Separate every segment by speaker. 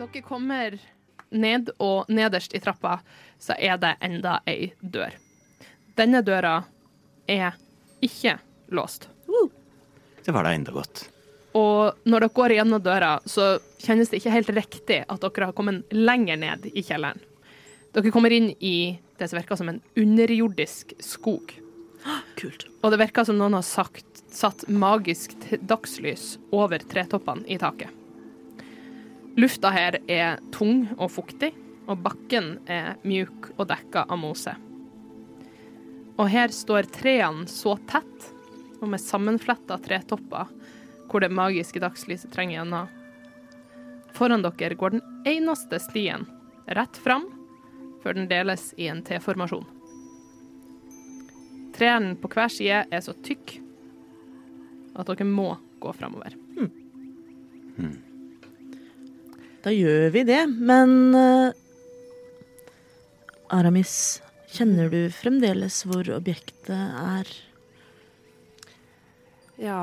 Speaker 1: Dere kommer ned, og nederst i trappa så er det enda ei dør. Denne døra er ikke låst.
Speaker 2: Det var da enda godt.
Speaker 1: Og når dere går gjennom døra, så kjennes det ikke helt riktig at dere har kommet lenger ned i kjelleren. Dere kommer inn i det som virker som en underjordisk skog.
Speaker 3: Kult.
Speaker 1: Og det virker som noen har sagt, satt magisk t- dagslys over tretoppene i taket. Lufta her er tung og fuktig, og bakken er mjuk og dekka av mose. Og her står trærne så tett, og med sammenfletta tretopper, hvor det magiske dagslyset trenger gjennom. Foran dere går den eneste stien rett fram, før den deles i en T-formasjon. Trærne på hver side er så tykk at dere må gå framover.
Speaker 3: Da gjør vi det, men eh, Aramis, kjenner du fremdeles hvor objektet er?
Speaker 4: Ja,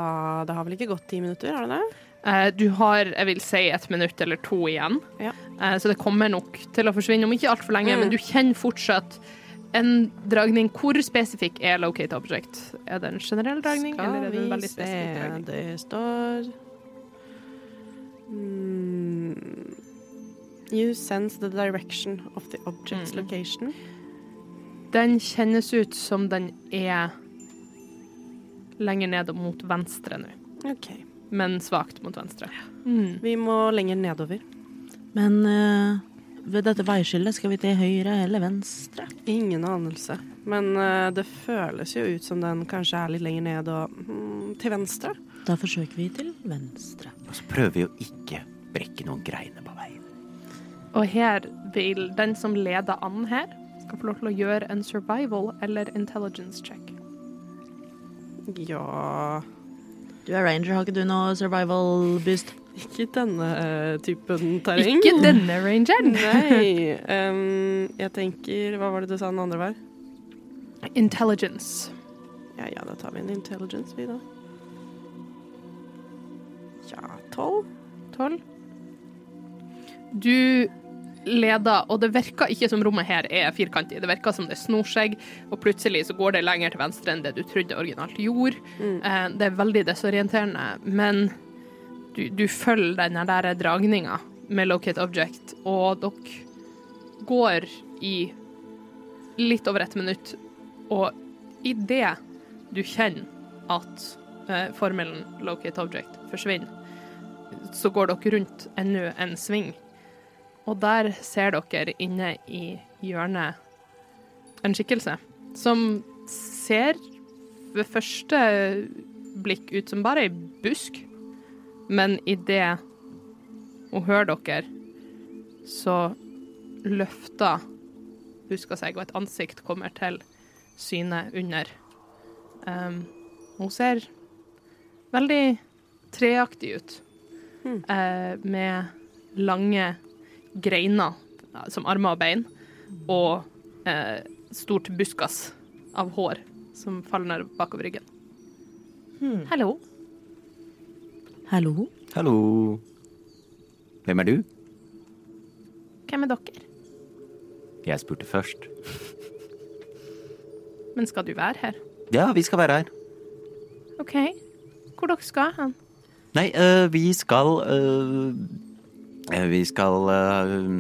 Speaker 4: det har vel ikke gått ti minutter, har det det?
Speaker 1: Eh, Du har, jeg vil si, et minutt eller to igjen,
Speaker 4: Ja.
Speaker 1: Eh, så det kommer nok til å forsvinne om ikke altfor lenge,
Speaker 4: Mm.
Speaker 1: men du kjenner fortsatt en dragning. Hvor spesifikk er locate object? Er det en generell dragning, eller er det en veldig spesifikk dragning?
Speaker 4: det står mm. You sense the direction of the object's
Speaker 1: Mm.
Speaker 4: location.
Speaker 1: Den kjennes ut som den er lenger ned og mot venstre nå,
Speaker 4: OK.
Speaker 1: men svakt mot venstre. Mm.
Speaker 4: Vi må lenger nedover.
Speaker 3: Men eh, ved dette veiskillet skal vi til høyre eller venstre?
Speaker 4: Ingen anelse. Men eh, det føles jo ut som den kanskje er litt lenger ned og mm, til venstre.
Speaker 3: Da forsøker vi til venstre.
Speaker 2: Og så prøver vi å ikke brekke noen greiner på veien.
Speaker 1: Og her vil den som leder an her, skal få lov til å gjøre en survival eller intelligence check.
Speaker 4: Ja
Speaker 3: Du er ranger, har ikke du noe survival boost?
Speaker 4: Ikke denne eh, typen terreng.
Speaker 1: Ikke denne rangeren.
Speaker 4: Nei. em, jeg tenker Hva var det du sa den andre var?
Speaker 1: Intelligence.
Speaker 4: Ja, ja, da tar vi en intelligence, vi, da. Ja, tolv.
Speaker 1: 12. Du leder, og det virker ikke som rommet her er firkantig. Det virker som det snor seg, og plutselig så går det lenger til venstre enn det du trodde originalt gjorde. Eh, Det er veldig desorienterende, men du, du følger denne der dragninga med locate object, og dere går i litt over et minutt, og i det du kjenner at eh, formelen locate object forsvinner, så går dere rundt enda en sving. Og der ser dere inne i hjørnet en skikkelse som ser ved første blikk ut som bare ei busk. Men idet hun hører dere, så løfter buska seg, og et ansikt kommer til syne under. Um, hun ser veldig treaktig ut eh, med lange greiner eh, som armer og bein, og eh, stort buskas av hår som faller ned bakover ryggen. Hallo.
Speaker 3: Hallo?
Speaker 2: Hallo. Hvem er du?
Speaker 1: Hvem er dere?
Speaker 2: Jeg spurte først.
Speaker 1: Men skal du være her?
Speaker 2: Ja, vi skal være her.
Speaker 1: OK. Hvor dere skal hen?
Speaker 2: Nei, øh, vi skal øh, øh, Vi skal øh,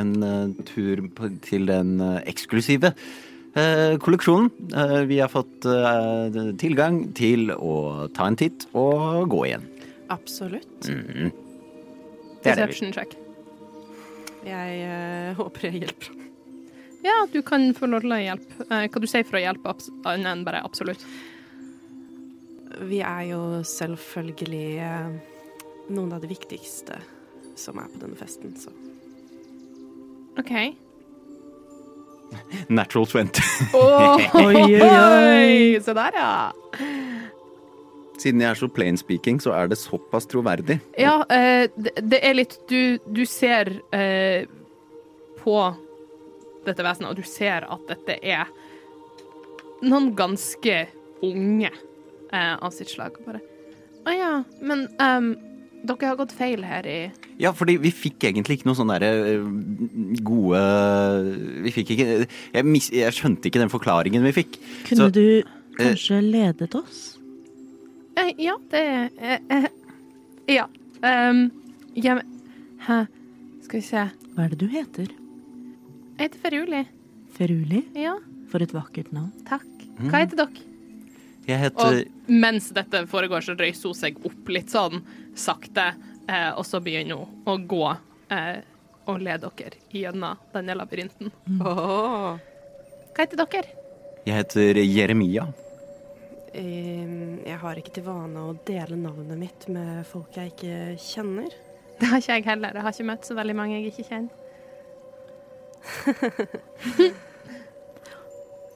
Speaker 2: en øh, tur på, til den øh, eksklusive øh, kolleksjonen. Øh, vi har fått øh, tilgang til å ta en titt og gå igjen.
Speaker 4: Absolutt.
Speaker 2: Mhm. Det er det vi
Speaker 1: Deception check.
Speaker 4: Jeg eh, håper jeg hjelper.
Speaker 1: Ja, du kan få lov til å hjelpe. Eh, hva du sier for å hjelpe, abs- annet enn bare absolutt.
Speaker 4: Vi er jo selvfølgelig eh, noen av de viktigste som er på denne festen, så
Speaker 1: OK.
Speaker 2: Natural 20.
Speaker 3: Oi, oi,
Speaker 1: Oi, se der, ja.
Speaker 2: Siden jeg er så plain speaking, så er det såpass troverdig.
Speaker 1: Ja, eh, det, det er litt Du, du ser eh, på dette vesenet, og du ser at dette er noen ganske unge eh, av sitt slag. og Bare Å ja, men ehm, dere har gått feil her i
Speaker 2: Ja, fordi vi fikk egentlig ikke noe sånn derre eh, gode Vi fikk ikke jeg, mis, jeg skjønte ikke den forklaringen vi fikk. Så-
Speaker 3: Kunne
Speaker 2: eh,
Speaker 3: du kanskje ledet oss?
Speaker 1: Eh, ja, det eh, eh, Ja. Um, ja men- Hæ? Skal vi se.
Speaker 3: Hva er det du heter?
Speaker 1: Jeg heter Feruli.
Speaker 3: Feruli?
Speaker 1: Ja,
Speaker 3: For et vakkert navn.
Speaker 1: takk. Hva heter dere?
Speaker 2: Jeg heter
Speaker 1: Og mens dette foregår, så røyser hun seg opp litt sånn sakte, eh, og så begynner hun å gå eh, og lede dere gjennom denne labyrinten.
Speaker 4: Åh.
Speaker 1: Hva heter dere?
Speaker 2: Jeg heter Jeremia.
Speaker 4: Ehm, Jeg har ikke til vane å dele navnet mitt med folk jeg ikke kjenner.
Speaker 1: Det har ikke jeg heller. Jeg har ikke møtt så veldig mange jeg ikke kjenner.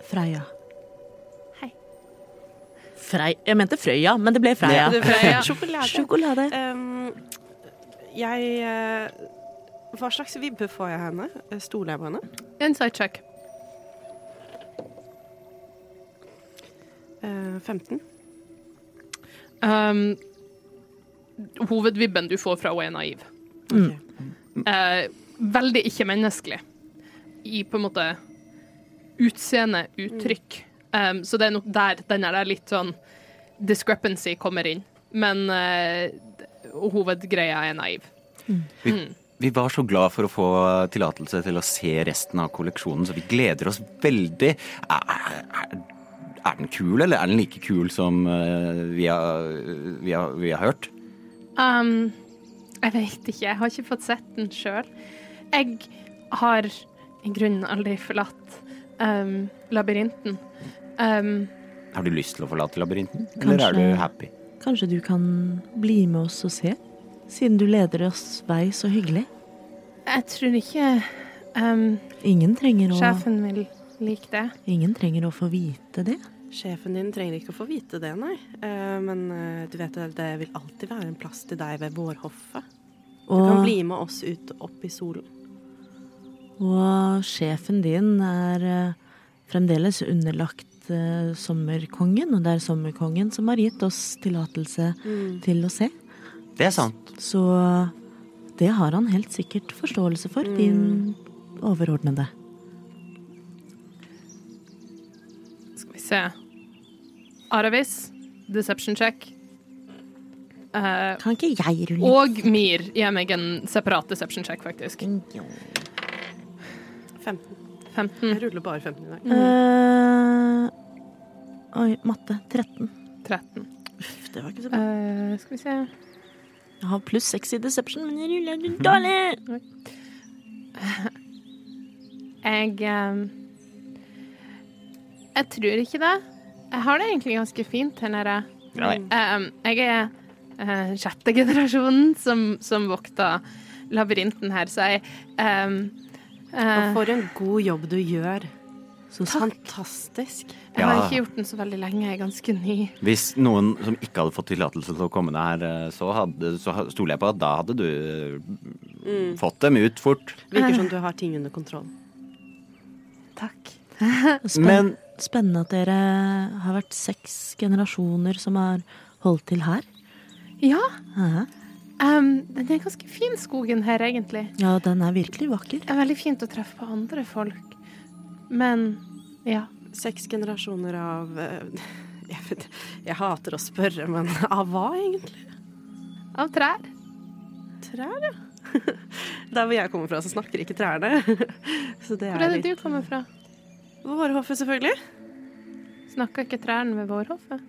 Speaker 3: Freya.
Speaker 1: Hei.
Speaker 3: Frei... Jeg mente Frøya, men det ble Freya.
Speaker 2: Ja.
Speaker 4: Det ble sjokolade.
Speaker 3: Sjokolade.
Speaker 4: Ehm, jeg eh, Hva slags vibbe får jeg av henne? Eh, Stoler jeg på henne?
Speaker 1: Inside check.
Speaker 4: Eh, 15.
Speaker 1: Um, hovedvibben du får fra henne, er naiv.
Speaker 4: Ok.
Speaker 1: eh, veldig ikke-menneskelig i på en måte utseende, uttrykk. Um, så det er nok der den her er litt sånn discrepancy kommer inn. Men eh, hovedgreia er naiv.
Speaker 2: Vi, vi var så glad for å få tillatelse til å se resten av kolleksjonen, så vi gleder oss veldig. Er, er, er den kul, eller er den like kul som eh, vi, har, vi, har, vi har hørt?
Speaker 1: Um, jeg vet ikke. Jeg har ikke fått sett den sjøl. Jeg har i grunnen aldri forlatt um, labyrinten. Um,
Speaker 2: Har du lyst til å forlate labyrinten, eller er
Speaker 3: Kanskje.
Speaker 2: du happy?
Speaker 3: Kanskje du kan bli med oss og se? Siden du leder oss vei så hyggelig.
Speaker 1: jeg tror ikke um,
Speaker 3: Ingen trenger å,
Speaker 1: sjefen vil like det.
Speaker 3: ingen trenger å få vite det.
Speaker 4: Sjefen din trenger ikke å få vite det, nei. Eh, Men eh, du vet at det vil alltid være en plass til deg ved vårhoffet. Du kan
Speaker 3: Og,
Speaker 4: bli med oss ut opp i solen.
Speaker 3: og sjefen din er eh, fremdeles underlagt eh, sommerkongen, og det er sommerkongen som har gitt oss tillatelse
Speaker 1: Mm.
Speaker 3: til å se.
Speaker 2: Det er sant.
Speaker 3: Så det har han helt sikkert forståelse for, din overordnede.
Speaker 1: Skal vi se. Aravis, deception check. Eh,
Speaker 3: Kan ikke jeg rulle?
Speaker 1: og Mir gir meg en separat deception check, faktisk.
Speaker 4: 15.
Speaker 1: 15,
Speaker 4: Jeg ruller bare 15 i dag.
Speaker 3: Eh, oi, matte. 13.
Speaker 1: 13.
Speaker 3: Uff, det var ikke så bra.
Speaker 1: Eh, skal vi se.
Speaker 3: Jeg har pluss 6 i deception, men jeg ruller litt dårlig.
Speaker 4: Mm.
Speaker 1: Jeg eh, Jeg tror ikke det. Jeg har det egentlig ganske fint her nede.
Speaker 2: Nei.
Speaker 1: Um, jeg er eh, sjette generasjonen som, som vokter labyrinten her, så jeg um, eh,
Speaker 4: Og for en god jobb du gjør.
Speaker 3: Så
Speaker 4: Fantastisk.
Speaker 1: Jeg har
Speaker 2: Ja.
Speaker 1: ikke gjort den så veldig lenge, jeg er ganske ny.
Speaker 2: Hvis noen som ikke hadde fått tillatelse til å komme ned her, eh, så, hadde, så ha- stoler jeg på at da hadde du eh, fått dem ut fort.
Speaker 4: Virker som du har ting under kontroll.
Speaker 1: Takk.
Speaker 3: Spenn
Speaker 2: Men-
Speaker 3: Spennende at dere har vært seks generasjoner som har holdt til her.
Speaker 1: Ja,
Speaker 3: Hæ?
Speaker 1: um, den er ganske fin, skogen her, egentlig.
Speaker 3: Ja, den er virkelig vakker.
Speaker 1: Det er veldig fint å treffe på andre folk. Men ja.
Speaker 4: Seks generasjoner av eh, jeg, vet, jeg hater å spørre, men av hva egentlig?
Speaker 1: Av trær.
Speaker 4: Trær, ja. Der hvor jeg kommer fra, så snakker ikke trærne. Så det
Speaker 1: Hvor er
Speaker 4: er
Speaker 1: det
Speaker 4: litt
Speaker 1: du kommer fra?
Speaker 4: Vårhoffet, selvfølgelig.
Speaker 1: Snakker ikke trærne ved vårhoffet?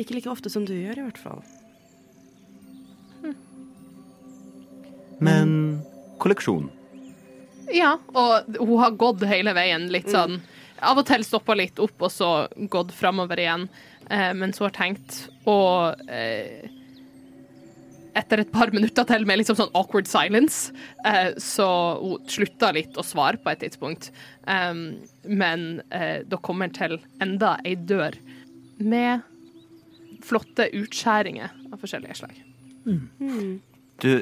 Speaker 4: Ikke like ofte som du gjør, i hvert fall.
Speaker 2: Men kolleksjon.
Speaker 1: Ja, og hun har gått hele veien litt sånn. Av og til stoppa litt opp, og så gått framover igjen eh, mens hun har tenkt. Og eh, etter et par minutter til med liksom sånn awkward silence, eh, så hun slutta litt å svare på et tidspunkt. Um, men eh, da kommer hun til enda ei dør med flotte utskjæringer av forskjellige slag.
Speaker 2: Du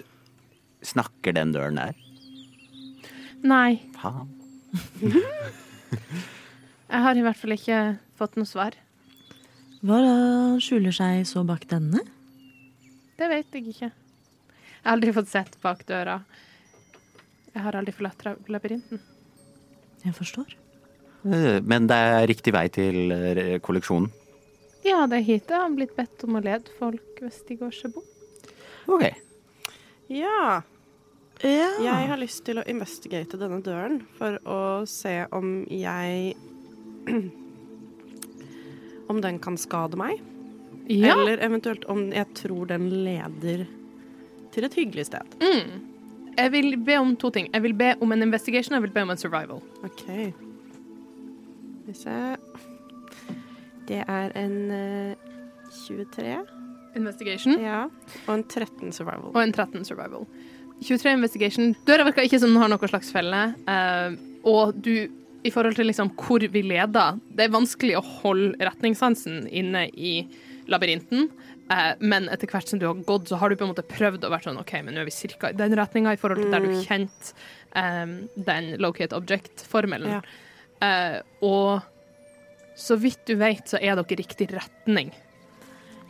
Speaker 2: snakker den døren der.
Speaker 1: Nei,
Speaker 2: Faen.
Speaker 1: jeg har i hvert fall ikke fått noe svar.
Speaker 3: Hva skjuler seg så bak denne?
Speaker 1: Det vet jeg ikke. Jeg har aldri fått sett bak døra. Jeg har aldri forlatt tra- labyrinten.
Speaker 3: Jeg forstår.
Speaker 2: Eh, Men det er riktig vei til eh, kolleksjonen.
Speaker 1: Ja, det er hit jeg har blitt bedt om å lede folk hvis de går seg bort.
Speaker 2: Ok.
Speaker 4: Ja.
Speaker 3: Ja.
Speaker 4: Jeg har lyst til å investigate denne døren for å se om jeg Om den kan skade meg,
Speaker 1: Ja.
Speaker 4: eller eventuelt om jeg tror den leder til et hyggelig sted.
Speaker 1: Jeg vil be om to ting. Jeg vil be om en investigation, og jeg vil be om en survival.
Speaker 4: OK. Skal vi se Det er en eh, 23,
Speaker 1: Investigation
Speaker 4: ja, og en 13 survival.
Speaker 1: og en 13 survival. 23 investigation. Døra virker ikke som den har noen slags felle. eh, og du, i forhold til liksom hvor vi leder, det er vanskelig å holde retningssansen inne i labyrinten. eh, men etter hvert som du har gått, så har du på en måte prøvd å være sånn OK, men nå er vi cirka i den retninga i forhold til der du kjente eh, den locate object-formelen.
Speaker 4: Ja.
Speaker 1: Eh, og så vidt du vet, så er dere i riktig retning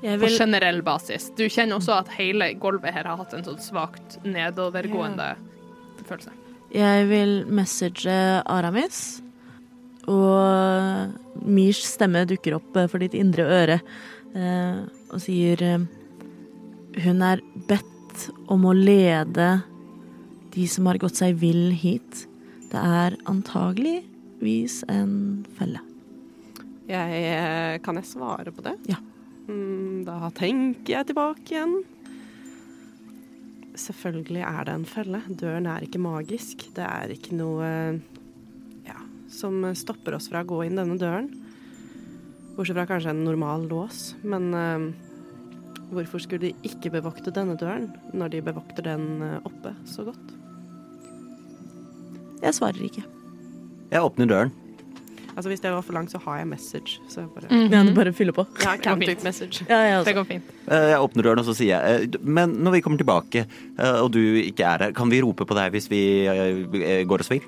Speaker 3: Jeg
Speaker 1: på
Speaker 3: vil,
Speaker 1: generell basis. Du kjenner også at hele gulvet her har hatt en sånn svakt nedovergående følelse.
Speaker 3: jeg vil message Aramis, og Mirs stemme dukker opp eh, for ditt indre øre eh, og sier eh, Hun er bedt om å lede de som har gått seg vill hit. Det er antageligvis en felle.
Speaker 4: Jeg, eh, kan jeg svare på det?
Speaker 3: Ja.
Speaker 4: Mm, Da tenker jeg tilbake igjen. Selvfølgelig er det en felle. Døren er ikke magisk. Det er ikke noe eh, ja, som stopper oss fra å gå inn denne døren. Bortsett fra kanskje en normal lås. Men eh, hvorfor skulle de ikke bevokte denne døren når de bevokter den eh, oppe så godt?
Speaker 3: Jeg svarer ikke.
Speaker 2: Jeg åpner døren.
Speaker 4: Altså Hvis det var for langt, så har jeg message. Så jeg bare,
Speaker 1: Mhm.
Speaker 3: Ja, du bare fyller på.
Speaker 4: Ja,
Speaker 1: Det går
Speaker 4: can
Speaker 1: fint.
Speaker 4: take message.
Speaker 3: Ja, jeg
Speaker 1: Det
Speaker 3: også.
Speaker 1: går fint.
Speaker 2: Eh, Jeg åpner døren, og så sier jeg eh, d- Men når vi kommer tilbake, eh, og du ikke er her, kan vi rope på deg hvis vi eh, går oss vill?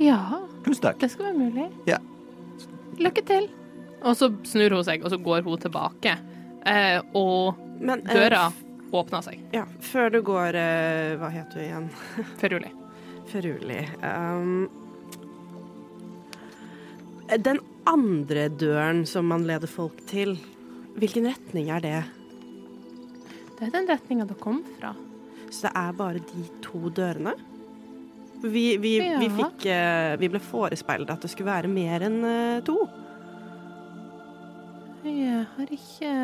Speaker 1: Ja,
Speaker 2: Tusen takk.
Speaker 1: det skal være mulig.
Speaker 2: Ja.
Speaker 1: Lykke til. Og så snur hun seg, og så går hun tilbake. Eh, og
Speaker 4: Men, eh,
Speaker 1: døra åpner seg.
Speaker 4: Ja, før du går eh, Hva heter du igjen?
Speaker 1: Feruli.
Speaker 4: Feruli. Um, den andre døren som man leder folk til, hvilken retning er det?
Speaker 1: Det er den retninga du kom fra.
Speaker 4: Så det er bare de to dørene? Vi, vi, vi,
Speaker 1: Ja.
Speaker 4: fikk, eh, vi ble forespeilet at det skulle være mer enn eh, to.
Speaker 1: Jeg har ikke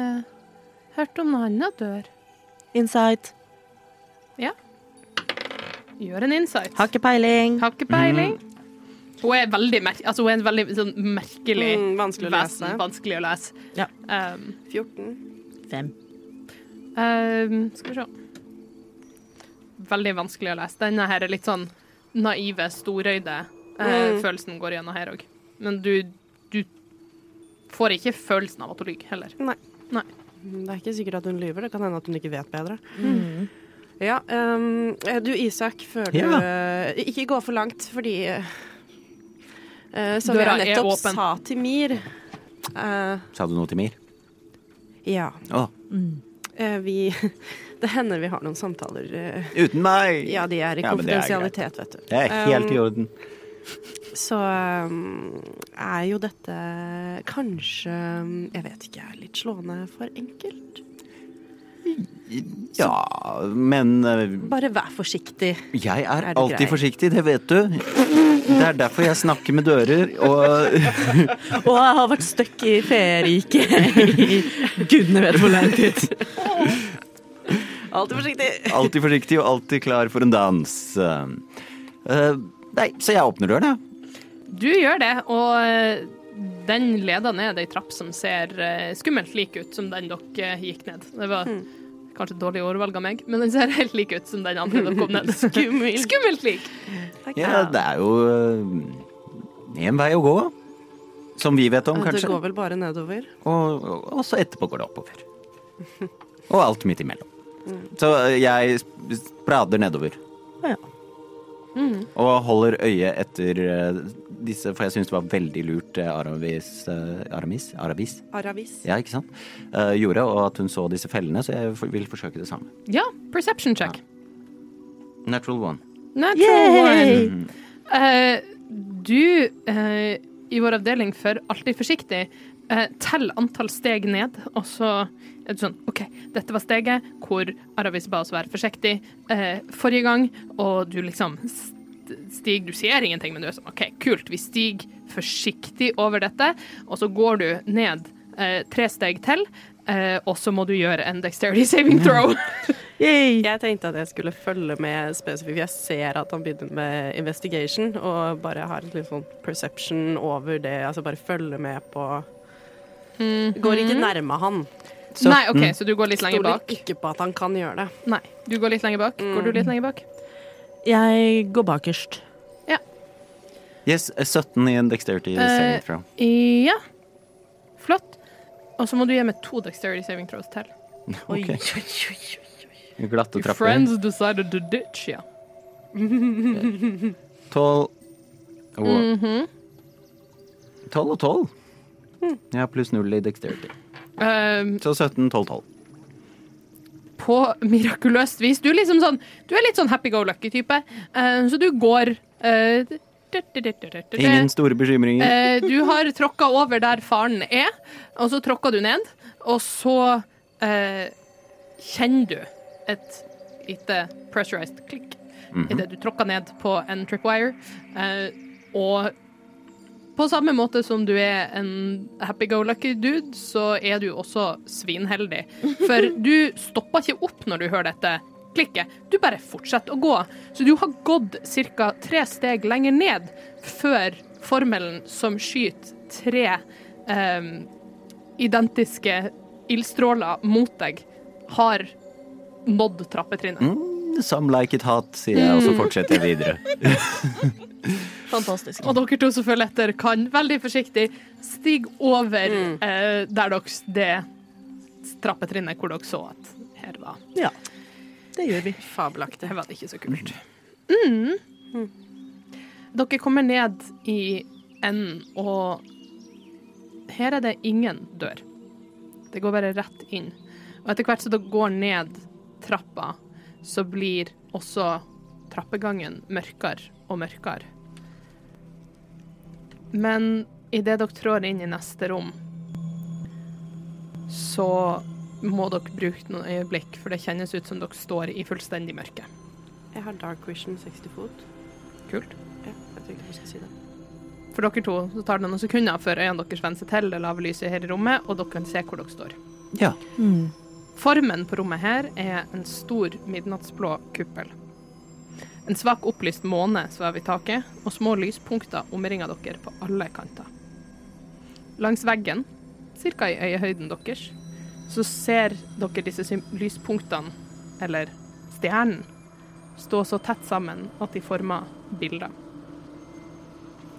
Speaker 1: hørt om noen annen dør.
Speaker 3: Insight.
Speaker 1: Gjør en insight.
Speaker 3: Har ikke peiling.
Speaker 1: Har ikke peiling.
Speaker 4: Mhm.
Speaker 1: Hun er veldig merk altså, hun er en veldig sånn, merkelig
Speaker 4: Mm, vanskelig å lese.
Speaker 1: vesen. Vanskelig å lese.
Speaker 3: Ja.
Speaker 1: Um,
Speaker 4: 14.
Speaker 3: Fem.
Speaker 1: um, skal vi se. Veldig vanskelig å lese. Denne her er litt sånn naive, storøyde eh,
Speaker 4: Mm.
Speaker 1: følelsen går gjennom her òg. Men du, du får ikke følelsen av at hun lyver, heller.
Speaker 4: Nei.
Speaker 1: Nei.
Speaker 4: Mm, Det er ikke sikkert at hun lyver. Det kan hende at hun ikke vet bedre. Ja, ehm, du Isak, før du
Speaker 2: Ja.
Speaker 4: eh, Ikke gå for langt, fordi eh, eh, Som
Speaker 1: Døra
Speaker 4: jeg
Speaker 1: er
Speaker 4: nettopp
Speaker 1: åpen.
Speaker 4: sa til Mir eh,
Speaker 2: Sa du noe til Mir?
Speaker 4: Ja,
Speaker 2: Å,
Speaker 4: eh, vi Det hender vi har noen samtaler. eh,
Speaker 2: uten meg!
Speaker 4: ja, de er i
Speaker 2: Ja, men det er greit.
Speaker 4: konfidensialitet, vet du.
Speaker 2: Det er helt i
Speaker 4: Ehm,
Speaker 2: orden.
Speaker 4: Så ehm, er jo dette kanskje eh, Jeg vet ikke, litt slående for enkelt.
Speaker 2: Ja, men eh,
Speaker 4: Bare vær forsiktig.
Speaker 2: Jeg er,
Speaker 4: Er du
Speaker 2: alltid
Speaker 4: grei?
Speaker 2: forsiktig, det vet du. Det er derfor jeg snakker med dører, og
Speaker 3: Og jeg har vært stuck i ferieriket i gudene vet hvor lang tid.
Speaker 4: Alltid forsiktig.
Speaker 2: alltid forsiktig og alltid klar for en dans. Eh, nei, så jeg åpner døren, jeg.
Speaker 1: Du gjør det, og eh, den leder ned ei trapp som ser eh, skummelt lik ut som den dere eh, gikk ned. Det var
Speaker 4: Mm.
Speaker 1: kanskje et dårlig ordvalg av meg, men den ser helt lik ut som den andre dere kom ned.
Speaker 4: Skummelt.
Speaker 1: skummelt lik!
Speaker 2: Ja, det er jo eh, en vei å gå. Som vi vet om,
Speaker 4: Ja, Eh, Det
Speaker 2: kanskje.
Speaker 4: går vel bare nedover.
Speaker 2: Og, og, og så etterpå går det oppover. Og alt midt imellom. Så eh, jeg sp- sprader nedover.
Speaker 3: Ja.
Speaker 2: Og holder øye etter eh, disse, for jeg syns det var veldig lurt det Aramis, eh, Aramis, Arabis
Speaker 4: Aravis.
Speaker 2: ja, ikke sant? Eh, gjorde, og at hun så disse fellene, så jeg for- vil forsøke det samme.
Speaker 1: Ja, perception check.
Speaker 2: Natural one.
Speaker 1: Natural
Speaker 3: Yay!
Speaker 1: one. Eh, du, eh, i vår avdeling for Alltid forsiktig, uh, tell antall steg ned, og så er du sånn OK, dette var steget hvor Aravis ba oss være forsiktig eh, forrige gang, og du liksom st- stig, Du ser ingenting, men du er sånn OK, kult, vi stiger forsiktig over dette, og så går du ned eh, tre steg til, eh, og så må du gjøre en dexterity saving
Speaker 4: Mm.
Speaker 1: throw.
Speaker 3: Yay!
Speaker 4: Jeg tenkte at jeg skulle følge med spesifikt. Jeg ser at han begynner med investigation, og bare har et litt sånn perception over det. Altså bare følge med på Går ikke nærme han.
Speaker 1: Mm. Nei, OK, så du går litt lenger
Speaker 4: Mm. Stoler
Speaker 1: bak.
Speaker 4: Mhm. ikke Mm. på at han kan gjøre det.
Speaker 1: Nei, du går litt lenger bak. Går du litt lenger bak?
Speaker 3: Jeg går bakerst.
Speaker 2: Yes, eh, 17 i en dexterity
Speaker 1: Eh,
Speaker 2: saving throw.
Speaker 1: Ja. Flott. Og så må du gi meg to dexterity saving throws til.
Speaker 2: Ok.
Speaker 3: Oi, oi, oi, oi.
Speaker 2: Glatte
Speaker 1: Your
Speaker 2: trapper.
Speaker 1: friends decided to ditch you.
Speaker 2: 12 og 12 og 12. Jeg har pluss 0 i dexterity.
Speaker 1: Um,
Speaker 2: Så 17, 12, 12.
Speaker 1: på mirakuløst vis. Du er liksom sånn Du er litt sånn happy-go-lucky-type, um, så du går uh,
Speaker 2: Ingen store bekymringer.
Speaker 1: Eh, du har tråkka over der faren er, og så tråkka du ned. Og så eh, kjenner du et lite pressurized klikk
Speaker 2: Mhm.
Speaker 1: idet du tråkka ned på en tripwire. Eh, og på samme måte som du er en happy-go-lucky dude, så er du også svinheldig. For du stopper ikke opp når du hører dette klikket. Du bare fortsetter å gå. Så du har gått ca. tre steg lenger ned før formelen som skyter tre ehm, identiske ildstråler mot deg, har nådd trappetrinnet.
Speaker 2: Some like it hot, sier jeg, og så fortsetter jeg videre.
Speaker 3: Fantastisk.
Speaker 1: Og dere to som følger etter, kan veldig forsiktig stige over eh, der dere, det trappetrinnet hvor dere så at her var
Speaker 3: Ja. Det gjør vi.
Speaker 4: Fabelaktig.
Speaker 1: her var det ikke så kult. Mm. Dere kommer ned i enden, og her er det ingen dør. Det går bare rett inn. Og etter hvert som dere går ned trappa, så blir også trappegangen mørkere og mørkere. Men idet dere trår inn i neste rom, så må dere bruke noen øyeblikk, for det kjennes ut som dere står i fullstendig mørke.
Speaker 4: Jeg har dark vision 60 fot.
Speaker 1: Kult.
Speaker 4: Ja, jeg tror ikke du skal si det.
Speaker 1: For dere to så tar det noen sekunder før øynene deres venner seg til det lave lyset her i rommet, og dere kan se hvor dere står.
Speaker 2: Ja.
Speaker 1: Formen på rommet her er en stor midnattsblå kuppel. En svak opplyst måne svever i taket, og små lyspunkter omringer dere på alle kanter. Langs veggen, ca. i øyehøyden deres, så ser dere disse sym- lyspunktene, eller stjernen, stå så tett sammen at de former bilder.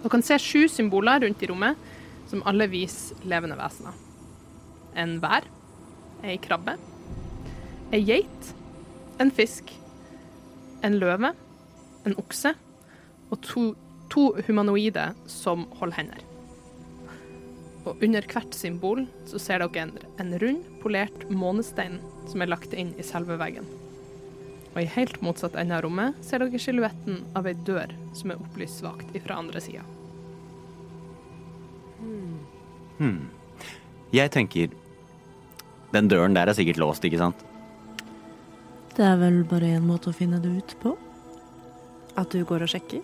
Speaker 1: Dere kan se sju symboler rundt i rommet, som alle viser levende vesener. En vær, ei krabbe, ei geit, en fisk, en løve, en okse og to, to humanoide som holder hender. Og under hvert symbol så ser dere en, en rund, polert månestein som er lagt inn i selve veggen. Og i helt motsatt ende av rommet ser dere silhuetten av ei dør som er opplyst svakt ifra andre sida.
Speaker 2: Jeg tenker Den døren der er sikkert låst, ikke sant?
Speaker 3: Det er vel bare én måte å finne det ut på.
Speaker 4: At du går og sjekker?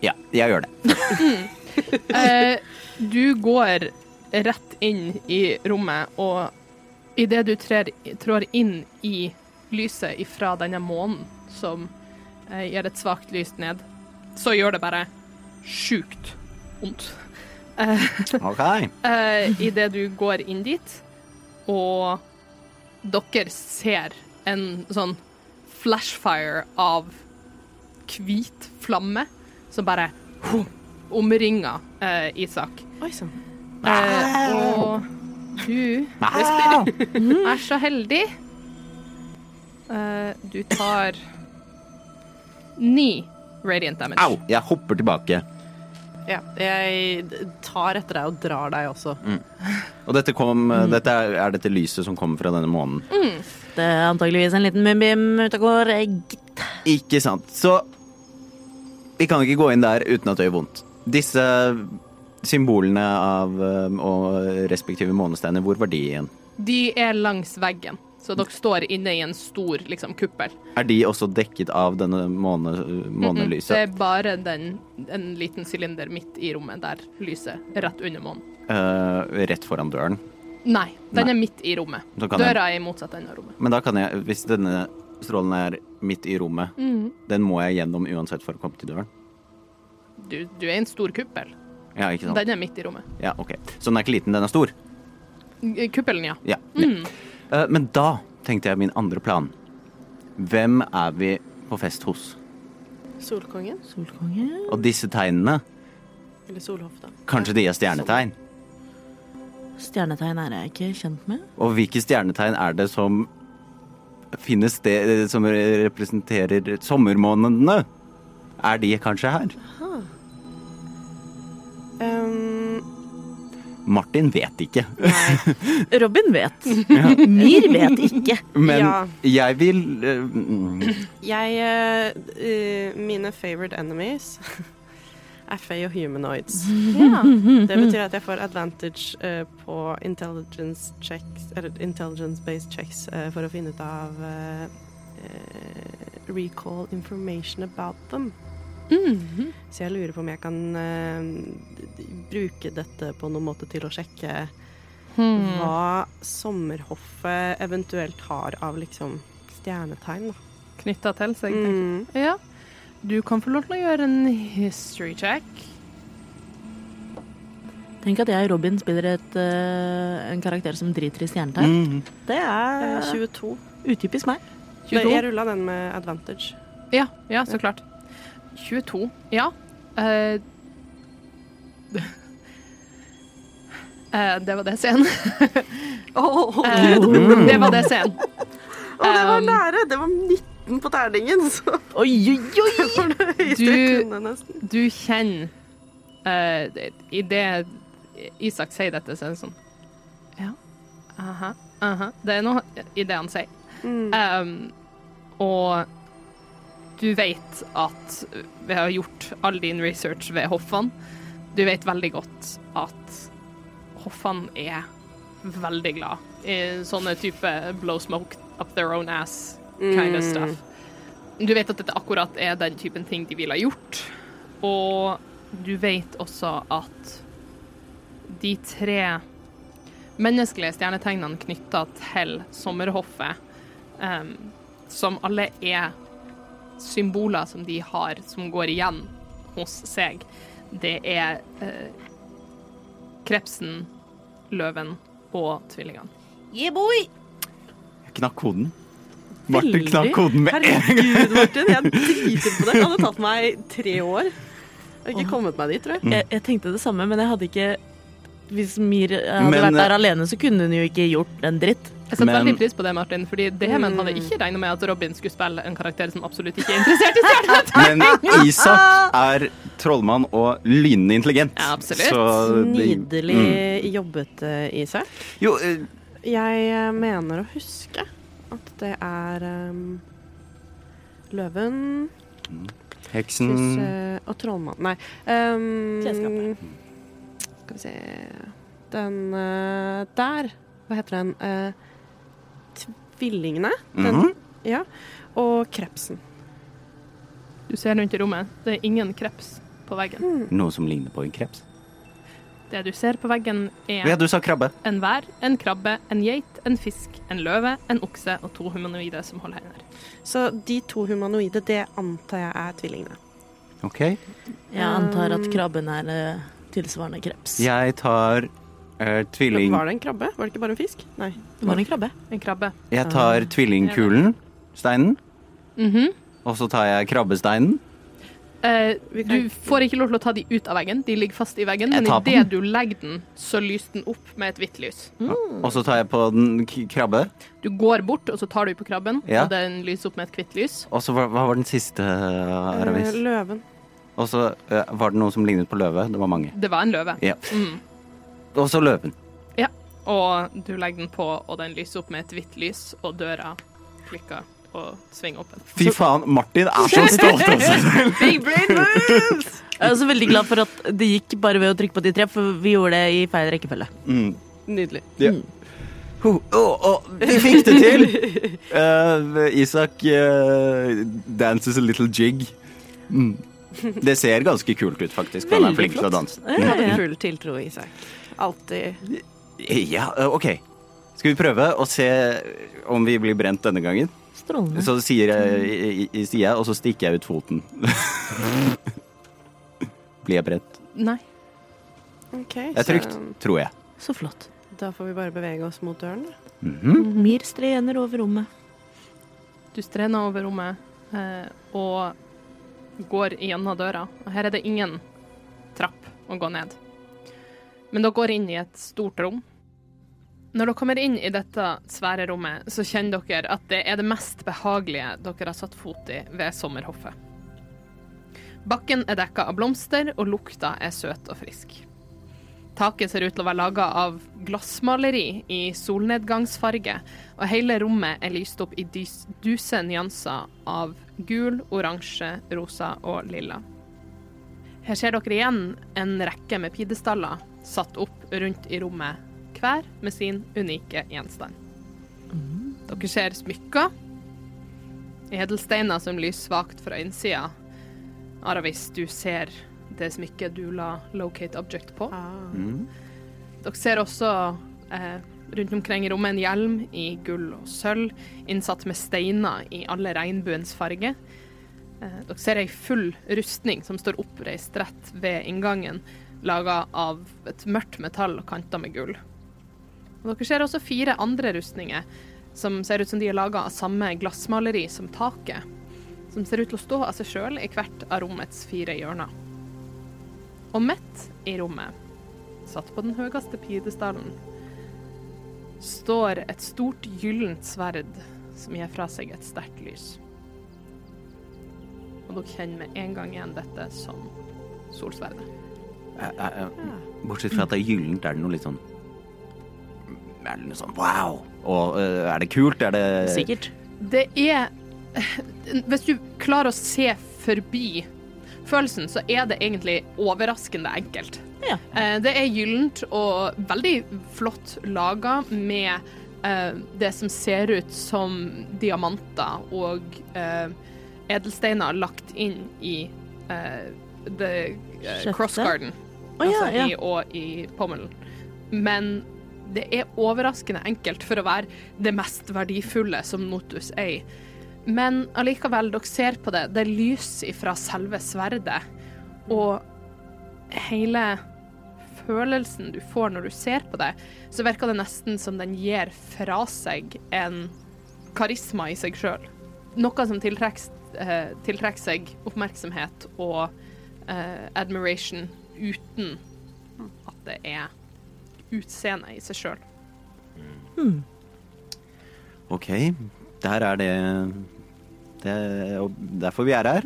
Speaker 2: Ja, jeg gjør det.
Speaker 1: Eh, du går rett inn i rommet, og idet du trer, trår inn i lyset ifra denne månen, som eh, gir et svakt lys ned, så gjør det bare sjukt vondt.
Speaker 2: Ok.
Speaker 1: Eh, Idet du går inn dit, og dere ser en sånn flashfire av hvit flamme som bare huh, omringer eh, Isak.
Speaker 4: Oi sånn. sann.
Speaker 1: Eh, og du
Speaker 2: Au!
Speaker 1: er så heldig. Eh, du tar ni radiant damage.
Speaker 2: Au! Jeg hopper tilbake.
Speaker 4: Ja, jeg d- tar etter deg og drar deg også.
Speaker 2: Og dette, kom, dette er, er dette lyset som kommer fra denne månen.
Speaker 3: Det er antageligvis en liten mumbim ute og går. eh, gitt.
Speaker 2: Ikke sant. Så vi kan ikke gå inn der uten at det gjør vondt. Disse symbolene av eh, og respektive månesteiner, hvor var de igjen?
Speaker 1: De er langs veggen, så dere står inne i en stor liksom, kuppel.
Speaker 2: Er de også dekket av denne måne,
Speaker 1: Det
Speaker 2: månelyset?
Speaker 1: er bare den, en liten sylinder midt i rommet der lyset er rett under månen.
Speaker 2: Eh, rett foran døren.
Speaker 1: Nei, den
Speaker 2: Nei.
Speaker 1: er midt i rommet.
Speaker 2: Så kan jeg-
Speaker 1: Døra er i motsatt ende av rommet.
Speaker 2: Men da kan jeg, hvis denne strålen er midt i rommet, den må jeg gjennom uansett for å komme til døren.
Speaker 1: Du, du er i en stor kuppel.
Speaker 2: Ja, ikke sant?
Speaker 1: Den er midt i rommet.
Speaker 2: Ja, ok. Så den er ikke liten, den er stor.
Speaker 1: Kuppelen, ja.
Speaker 2: Ja. Eh, men da tenkte jeg min andre plan. Hvem er vi på fest hos?
Speaker 4: Solkongen?
Speaker 3: Solkonge.
Speaker 2: Og disse tegnene,
Speaker 4: Eller Solhofta?
Speaker 2: kanskje de er stjernetegn?
Speaker 3: Stjernetegn er jeg ikke kjent med.
Speaker 2: Og hvilke stjernetegn er det som finnes det som representerer sommermånedene? Er de kanskje her?
Speaker 4: Um,
Speaker 2: Martin vet ikke.
Speaker 3: Robin vet. Mir vet ikke.
Speaker 2: Men
Speaker 4: Ja.
Speaker 2: jeg vil eh, mm,
Speaker 4: jeg eh, eh, Mine favorite enemies er Faye og humanoids. Det
Speaker 1: Mhm.
Speaker 4: betyr at jeg får advantage eh, på intelligence checks Eller intelligence-based checks eh, for å finne ut av eh, eh, recall information about them.
Speaker 1: Mm-hmm.
Speaker 4: Så jeg lurer på om jeg kan eh, d- d- bruke dette på noen måte til å sjekke
Speaker 1: Mhm.
Speaker 4: hva sommerhoffet eventuelt har av liksom stjernetegn. da.
Speaker 1: Knytta til seg.
Speaker 4: Mm.
Speaker 1: tenker jeg. Ja. Du kan få lov til å gjøre en history check.
Speaker 3: Tenk at jeg og Robin spiller et, eh, en karakter som driter i stjernetegn.
Speaker 2: mm.
Speaker 3: Det
Speaker 4: Eh,
Speaker 3: er
Speaker 4: 22.
Speaker 3: utypisk meg.
Speaker 4: Nei,
Speaker 1: 22.
Speaker 4: Jeg rulla den med advantage.
Speaker 1: Ja, ja, så klart. 22. Ja. Eh, eh, det var det scenen. Eh, det var det scenen.
Speaker 4: Å, det var
Speaker 1: Um,
Speaker 4: nære! Det var 19 på terningen, så
Speaker 3: Oi, oi, oi!
Speaker 4: det var det høyeste jeg
Speaker 1: Du-
Speaker 4: kunne, nesten.
Speaker 1: Du kjenner uh, I det Isak sier dette, så er det sånn Ja. Aha. Aha. Det er noe i det han sier. Um, og du vet at vi har gjort all din research ved hoffene. Du vet veldig godt at hoffene er veldig glad i sånne type blow smoke up their own ass kind of stuff. Du vet at dette akkurat er den typen ting de ville ha gjort. Og du vet også at de tre menneskelige stjernetegnene knytta til sommerhoffet, ehm, em, som alle er symboler som de har, som går igjen hos seg, det er eh, krepsen, løven og tvillingene.
Speaker 2: Jeg knakk koden. Martin
Speaker 3: Veldig.
Speaker 2: knakk koden med
Speaker 4: Herregud, Martin, jeg driter på deg. Det hadde tatt meg tre år. Jeg har ikke kommet meg dit, tror
Speaker 2: Mm.
Speaker 4: jeg.
Speaker 3: Jeg, jeg tenkte det samme, men jeg hadde ikke Hvis Mir eh, hadde
Speaker 2: Men,
Speaker 3: vært der
Speaker 2: eh,
Speaker 3: alene, så kunne hun jo ikke gjort en dritt.
Speaker 1: Jeg setter
Speaker 2: Men- Mm.
Speaker 1: veldig pris på det, Martin, fordi Demen hadde ikke regna med at Robin skulle spille en karakter som absolutt ikke er interessert i stjerner.
Speaker 2: Men Isak er trollmann og lynende intelligent.
Speaker 1: Ja, absolutt.
Speaker 2: Så det-
Speaker 4: Nydelig
Speaker 2: Mm.
Speaker 4: jobbet, eh, Isak.
Speaker 2: Jo, eh,
Speaker 4: Jeg eh, mener å huske at det er ehm, løven synes,
Speaker 2: heksen
Speaker 4: eh, og trollmann Nei. ehm,
Speaker 3: Klesskapet.
Speaker 4: skal vi se Den eh, der. Hva heter den? Eh, tvillingene. Den,
Speaker 2: Mhm.
Speaker 4: Ja. Og krepsen.
Speaker 1: Du ser rundt i rommet. Det er ingen kreps på veggen.
Speaker 4: Mm.
Speaker 2: Noe som ligner på en kreps.
Speaker 1: Det du ser på veggen, er
Speaker 2: Ja, du sa krabbe.
Speaker 1: En vær, en krabbe, en geit, en fisk, en løve, en okse og to humanoide som holder hender.
Speaker 4: Så de to humanoide, det antar jeg er tvillingene.
Speaker 2: Ok.
Speaker 3: Jeg antar at krabben er eh, tilsvarende kreps.
Speaker 2: Jeg tar eh, tvilling...
Speaker 4: Var det en krabbe? Var det ikke bare en fisk? Nei.
Speaker 3: Det var en krabbe.
Speaker 1: En krabbe.
Speaker 2: Jeg tar tvillingkulen, steinen,
Speaker 1: Mhm.
Speaker 2: og så tar jeg krabbesteinen.
Speaker 1: Eh,
Speaker 4: Vi kan-
Speaker 1: du får ikke lov til å ta de ut av veggen, de ligger fast i veggen,
Speaker 2: Jeg
Speaker 1: men
Speaker 2: tar på
Speaker 1: idet du legger den, så lyser den opp med et hvitt lys.
Speaker 2: Og så tar jeg på den k- krabbe.
Speaker 1: Du går bort, og så tar du på krabben,
Speaker 2: Ja.
Speaker 1: og den lyser opp med et hvitt lys.
Speaker 2: Og så hva, hva var den siste, eh, Aramis?
Speaker 4: Eh, løven.
Speaker 2: Og så eh, var det noen som lignet på løve. Det var mange.
Speaker 1: Det var en løve.
Speaker 2: Ja.
Speaker 1: Mm.
Speaker 2: Og så løven.
Speaker 1: Ja. Og du legger den på, og den lyser opp med et hvitt lys, og døra klikker og svinger åpen.
Speaker 2: Fy faen, Martin er så stolt altså. av seg selv!
Speaker 1: Big brain moves!
Speaker 3: Jeg er også veldig glad for at det gikk bare ved å trykke på de tre, for vi gjorde det i feil rekkefølge.
Speaker 4: Nydelig.
Speaker 2: Ja. Ho, Mm, å, å, vi fikk det til! Eh, Isak eh, dances a little jig. Mm. Det ser ganske kult ut, faktisk. Han er
Speaker 3: Veldig
Speaker 2: flink til å
Speaker 3: flott.
Speaker 2: danse.
Speaker 4: Jeg
Speaker 3: Ja,
Speaker 4: hadde
Speaker 3: ja.
Speaker 4: full tiltro, Isak. Alltid.
Speaker 2: Ja, eh, OK. Skal vi prøve å se om vi blir brent denne gangen?
Speaker 3: Strålende.
Speaker 2: Så sier jeg, i- i- sier jeg og så stikker jeg ut foten. blir jeg brent?
Speaker 1: Nei.
Speaker 4: OK,
Speaker 2: Det er trygt,
Speaker 4: så
Speaker 2: tror jeg.
Speaker 3: Så flott.
Speaker 4: da får vi bare bevege oss mot døren. da.
Speaker 2: Mhm.
Speaker 3: Mm. Mir strener over rommet.
Speaker 1: Du strener over rommet eh, og går gjennom døra. Og her er det ingen trapp å gå ned. Men dere går inn i et stort rom. Når dere kommer inn i dette svære rommet, så kjenner dere at det er det mest behagelige dere har satt fot i ved sommerhoffet. Bakken er dekka av blomster, og lukta er søt og frisk. Taket ser ut til å være laga av glassmaleri i solnedgangsfarge, og hele rommet er lyst opp i dys- duse nyanser av gul, oransje, rosa og lilla. Her ser dere igjen en rekke med pidestaller satt opp rundt i rommet, hver med sin unike gjenstand. Dere ser smykker, edelsteiner som lyser svakt fra innsida. Aravis, du ser det smykket du la locate object på. Dere ser også eh, rundt omkring i rommet en hjelm i gull og sølv, innsatt med steiner i alle regnbuens farge. Eh, dere ser ei full rustning som står oppreist rett ved inngangen, laga av et mørkt metall og kanta med gull. Og dere ser også fire andre rustninger som ser ut som de er laga av samme glassmaleri som taket. Som ser ut til å stå av seg sjøl i hvert av rommets fire hjørner. Og midt i rommet satt på den høyeste pidestallen, står et stort gyllent sverd som gir fra seg et sterkt lys. Og dere kjenner med en gang igjen dette som solsverdet.
Speaker 2: Eh, eh, eh, Bortsett fra at det er gyllent, er det noe litt sånn Er det noe sånn wow? Og eh, er det kult? Er det
Speaker 3: Sikkert.
Speaker 1: Det er Hvis du klarer å se forbi følelsen, så er det egentlig overraskende enkelt.
Speaker 3: Ja.
Speaker 1: Eh, Det er gyllent og veldig flott laga med eh, det som ser ut som diamanter og eh, edelsteiner lagt inn i eh, the eh,
Speaker 3: Skjøttet?
Speaker 1: cross garden,
Speaker 3: Å, ja,
Speaker 1: altså
Speaker 3: ja.
Speaker 1: i, og i pommelen. Men det er overraskende enkelt for å være det mest verdifulle som Notus eier. Men allikevel, dere ser på det, det er lys ifra selve sverdet, og hele følelsen du får når du ser på det, så virker det nesten som den gir fra seg en karisma i seg sjøl. Noe som tiltrekker eh, tiltrekker seg oppmerksomhet og eh, admiration uten at det er utseendet i seg sjøl.
Speaker 2: OK, der er det Det er og derfor vi er her.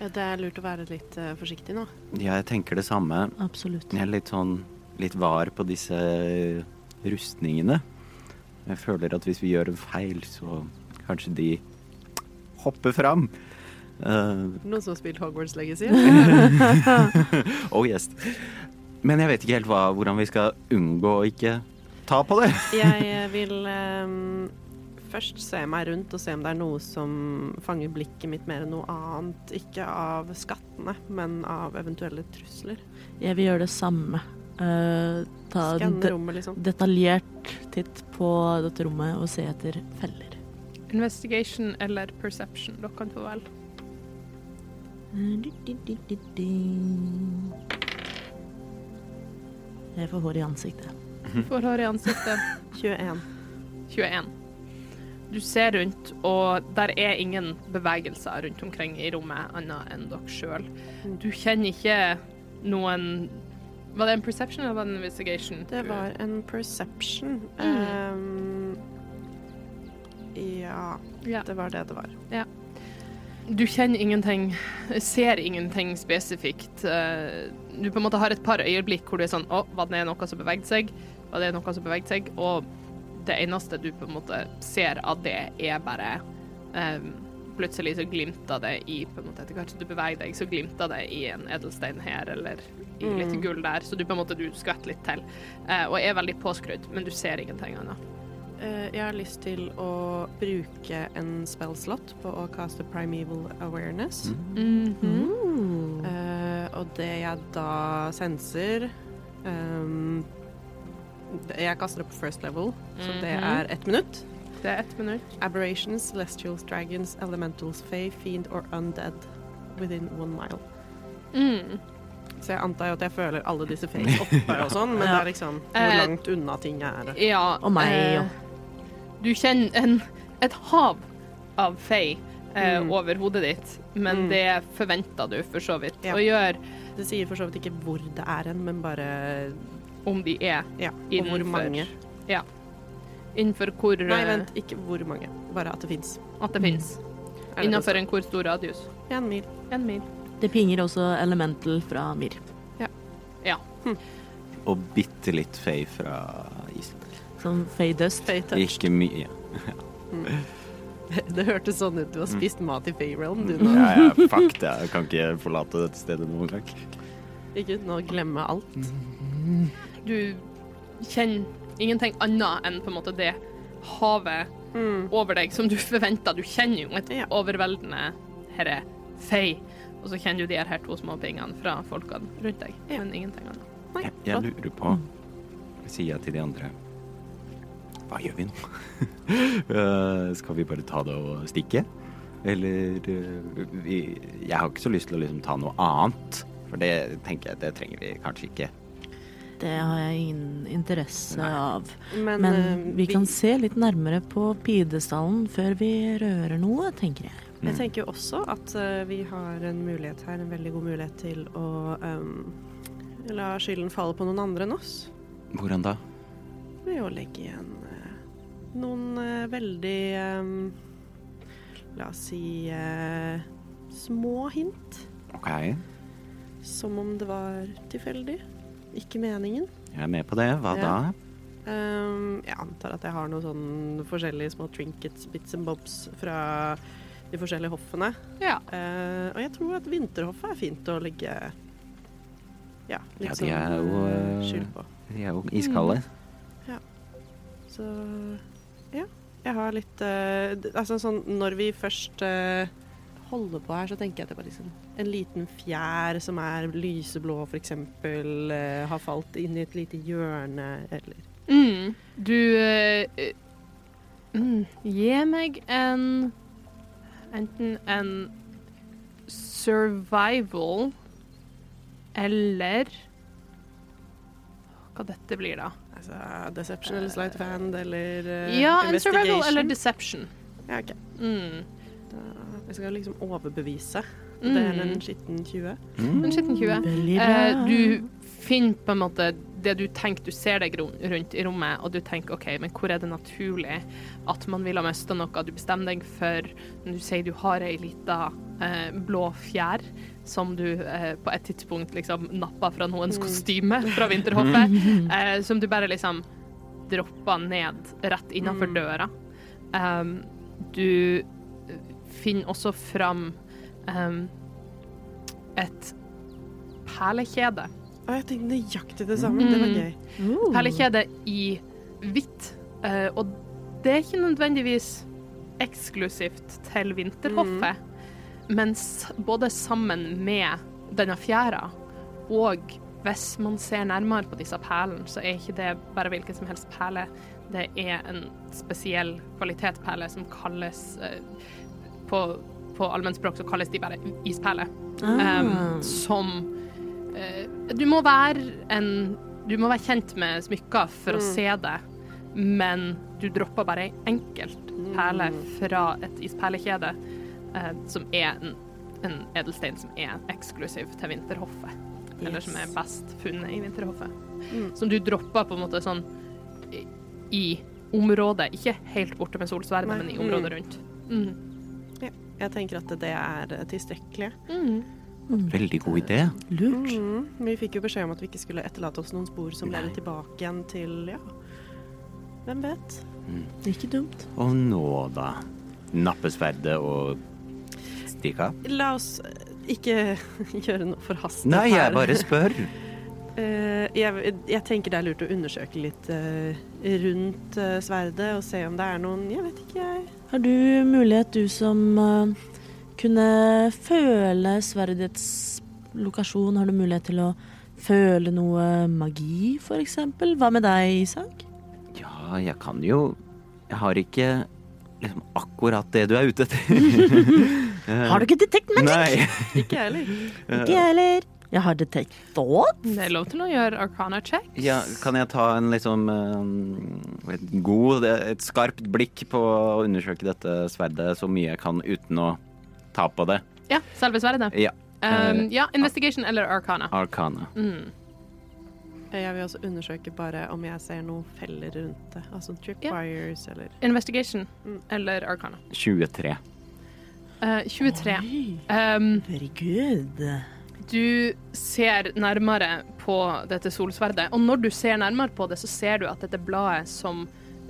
Speaker 4: Ja, det er lurt å være litt eh, forsiktig nå.
Speaker 2: Jeg tenker det samme.
Speaker 3: Absolutt.
Speaker 2: Jeg er litt sånn litt var på disse eh, rustningene. Jeg føler at hvis vi gjør en feil, så kanskje de hopper fram. Eh,
Speaker 4: Noen som har spilt Hogwarts Legacy?
Speaker 2: oh yes. Men jeg vet ikke helt hva, hvordan vi skal unngå å ikke ta på det.
Speaker 4: Jeg eh, vil ehm, først se meg rundt og se om det er noe som fanger blikket mitt mer enn noe annet. Ikke av skattene, men av eventuelle trusler.
Speaker 3: Jeg vil gjøre det samme. Eh, ta en
Speaker 4: Skanne
Speaker 3: de
Speaker 4: rommet, liksom.
Speaker 3: detaljert titt på dette rommet og se etter feller.
Speaker 1: Investigation eller perception, dere kan få velge.
Speaker 3: Eh, Jeg får hår i ansiktet.
Speaker 1: Får hår i ansiktet.
Speaker 4: 21.
Speaker 1: 21. Du ser rundt, og der er ingen bevegelser rundt omkring i rommet annet enn dere sjøl.
Speaker 4: Mm.
Speaker 1: Du kjenner ikke noen Var det en perception eller var det en investigation?
Speaker 4: Det var en perception. Ehm, ja,
Speaker 1: Ja.
Speaker 4: det var det det var.
Speaker 1: du kjenner ingenting, ser ingenting spesifikt. Eh, Du på en måte har et par øyeblikk hvor du er sånn Å, var det noe som bevegde seg? Var det noe som bevegde seg? Og det eneste du på en måte ser av det, er bare eh, Plutselig så glimter det i på en måte Etter hvert som du beveger deg, så glimter det i en edelstein her eller i litt gull der. Så du på en måte du skvetter litt til. eh, og er veldig påskrudd, men du ser ingenting annet.
Speaker 4: Eh, Jeg har lyst til å bruke en spellslott på å caste Primeval Awareness.
Speaker 1: Mhm.
Speaker 4: Eh, og det jeg da senser ehm, det- Jeg kaster det på first level, så det er ett minutt.
Speaker 1: Det er ett minutt.
Speaker 4: Aberrations, celestials, dragons, elementals, fae, fiend or undead within one mile.
Speaker 1: Mm.
Speaker 4: Så jeg antar jo at jeg føler alle disse faes oppe og sånn, men det er liksom hvor
Speaker 1: Eh,
Speaker 4: langt unna ting er.
Speaker 1: Ja.
Speaker 3: Og meg,
Speaker 1: eh,
Speaker 3: ja.
Speaker 1: Du kjenner en, et hav av fei eh,
Speaker 4: Mm.
Speaker 1: over hodet ditt, men
Speaker 4: Mm.
Speaker 1: det forventer du for så vidt
Speaker 4: Ja.
Speaker 1: å gjøre
Speaker 4: Det sier for så vidt ikke hvor det er hen, men bare
Speaker 1: om de er
Speaker 4: ja, og
Speaker 1: innenfor
Speaker 4: hvor mange.
Speaker 1: Ja. Innenfor hvor
Speaker 4: Nei,
Speaker 1: eh,
Speaker 4: vent, Mm. ikke hvor mange, bare at det fins.
Speaker 1: At det fins. Innenfor en hvor stor radius?
Speaker 4: en mil.
Speaker 1: En mil.
Speaker 3: Det pinger også Elemental fra Mir.
Speaker 1: Ja.
Speaker 2: Og bitte litt fei fra isen.
Speaker 3: Som Fay Dust.
Speaker 2: Ikke mye.
Speaker 4: Det hørtes sånn ut. Du har spist mat i Fayrealm, du nå.
Speaker 2: Mm. Ja, ja, fuck det. Jeg kan ikke forlate dette stedet noen gang.
Speaker 4: Ikke uten å glemme alt.
Speaker 2: Mm.
Speaker 1: Du kjenner ingenting annet enn på en måte det havet
Speaker 4: Mm.
Speaker 1: over deg som du forventer. Du kjenner jo et
Speaker 4: Ja.
Speaker 1: overveldende herre fei, og så kjenner du de her to små pingene fra folkene rundt deg,
Speaker 4: Ja.
Speaker 1: men ingenting annet.
Speaker 2: Jeg, jeg lurer på
Speaker 4: Mm.
Speaker 2: Sier jeg til de andre Hva gjør vi nå? Eh, Skal vi bare ta det og stikke? Eller eh, vi, Jeg har ikke så lyst til å liksom ta noe annet. For det tenker jeg, det trenger vi kanskje ikke.
Speaker 3: Det har jeg ingen interesse av.
Speaker 4: Men,
Speaker 3: Men
Speaker 4: eh,
Speaker 3: vi kan se litt nærmere på pidestallen før vi rører noe, tenker jeg.
Speaker 2: Mm.
Speaker 4: Jeg tenker jo også at eh, vi har en mulighet her, en veldig god mulighet til å eh, la skylden falle på noen andre enn oss.
Speaker 2: Hvordan da?
Speaker 4: Ved å legge igjen eh, noen eh, veldig eh, La oss si eh, små hint.
Speaker 2: OK,
Speaker 4: Som om det var tilfeldig. Ikke meningen.
Speaker 2: jeg er med på det. Hva da?
Speaker 4: Ja. Ehm, jeg antar at jeg har noen sånn forskjellige små trinkets, bits and bobs fra de forskjellige hoffene.
Speaker 1: Ja.
Speaker 4: Eh, og jeg tror at vinterhoffet er fint å legge ja,
Speaker 2: Ja,
Speaker 4: litt
Speaker 2: de er
Speaker 4: sånn
Speaker 2: jo,
Speaker 4: eh,
Speaker 2: eh,
Speaker 4: skyld på.
Speaker 2: De er jo
Speaker 4: Mm.
Speaker 2: iskalde.
Speaker 4: Så ja. Jeg har litt eh, d- Altså sånn når vi først eh, holder på her, så tenker jeg at det bare liksom En liten fjær som er lyseblå, for eksempel, eh, har falt inn i et lite hjørne, eller
Speaker 1: Mm. Du eh, eh, mm, Gi meg en Enten en survival eller Hva dette blir, da?
Speaker 4: Altså Deception eller Slight of Hand eller eh,
Speaker 1: ja, en
Speaker 4: Investigation.
Speaker 1: survival eller deception.
Speaker 4: Ja, ok.
Speaker 1: Mm.
Speaker 4: Da- Jeg skal liksom overbevise.
Speaker 1: Mm.
Speaker 4: Det er en skitten 20.
Speaker 2: Mm,
Speaker 1: En skitten 20.
Speaker 3: Veldig
Speaker 1: Eh, du finner på en måte det du tenker, du ser deg ro- rundt i rommet, og du tenker OK, men hvor er det naturlig at man vil ha mista noe du bestemmer deg for? Du sier du har ei lita eh, blå fjær som du eh, på et tidspunkt liksom nappa fra noens kostyme fra vinterhoffet, eh, som du bare liksom droppa ned rett innafor døra. Um, du finner også fram um, et perlekjede.
Speaker 4: Å, jeg tenkte nøyaktig det samme.
Speaker 1: Mm.
Speaker 4: Det var gøy.
Speaker 3: Uh.
Speaker 1: perlekjede i hvitt. eh, og det er ikke nødvendigvis eksklusivt til vinterhoffet, men s- både sammen med denne fjæra og hvis man ser nærmere på disse perlene, så er ikke det bare hvilken som helst perle. Det er en spesiell kvalitetsperle som kalles eh, På, på allmennspråk så kalles de bare isperler.
Speaker 3: Ah.
Speaker 1: Um, som Eh, Du må være en Du må være kjent med smykker for
Speaker 3: Mm.
Speaker 1: å se det, men du dropper bare ei enkelt perle
Speaker 3: Mm.
Speaker 1: fra et isperlekjede, eh, som er en, en edelstein som er eksklusiv til vinterhoffet. Eller som er
Speaker 3: Yes. Mm.
Speaker 1: best funnet i vinterhoffet. Som du dropper på en måte sånn i- i området, ikke helt borte med solsverdet,
Speaker 4: Nei.
Speaker 1: Mm. men i området rundt. Mm.
Speaker 4: Jeg tenker at det er eh, tilstrekkelig.
Speaker 2: Veldig god idé.
Speaker 3: Lurt.
Speaker 4: Vi fikk jo beskjed om at vi ikke skulle etterlate oss noen spor som
Speaker 2: Nei.
Speaker 4: leder tilbake igjen til ja. Hvem vet?
Speaker 3: Det er ikke dumt.
Speaker 2: Og nå, da. Nappe sverdet og stikke av?
Speaker 4: La oss eh, ikke gjøre noe forhastet
Speaker 2: Nei,
Speaker 4: her.
Speaker 2: jeg bare spør.
Speaker 4: Eh, jeg, jeg tenker det er lurt å undersøke litt eh, rundt eh, sverdet og se om det er noen Jeg vet ikke, jeg.
Speaker 3: Har du mulighet, du som eh, kunne føle sverdets lokasjon, har du mulighet til å føle noe magi, for eksempel? Hva med deg, Isak?
Speaker 2: Ja, jeg kan jo Jeg har ikke liksom akkurat det du er ute etter.
Speaker 3: Har du ikke detect magic?
Speaker 2: Eh, Nei.
Speaker 4: Ikke jeg heller.
Speaker 3: Ikke jeg heller. Jeg har detect thought.
Speaker 1: Det er lov til å gjøre arcana check.
Speaker 2: Ja, kan jeg ta en liksom eh, et god, et skarpt blikk på å undersøke dette sverdet så mye jeg kan uten å ta på det? Eh,
Speaker 1: Ja, selve sverdet.
Speaker 2: Ja.
Speaker 1: Um, ja, investigation eller arcana. Mm.
Speaker 2: Arcana.
Speaker 4: Eh, Jeg vil også undersøke bare om jeg ser noen feller rundt det. Altså tripwires eller
Speaker 1: Investigation eller arcana.
Speaker 2: 23.
Speaker 1: Eh, 23. Um,
Speaker 3: Very good.
Speaker 1: du ser nærmere på dette solsverdet, og når du ser nærmere på det, så ser du at dette bladet som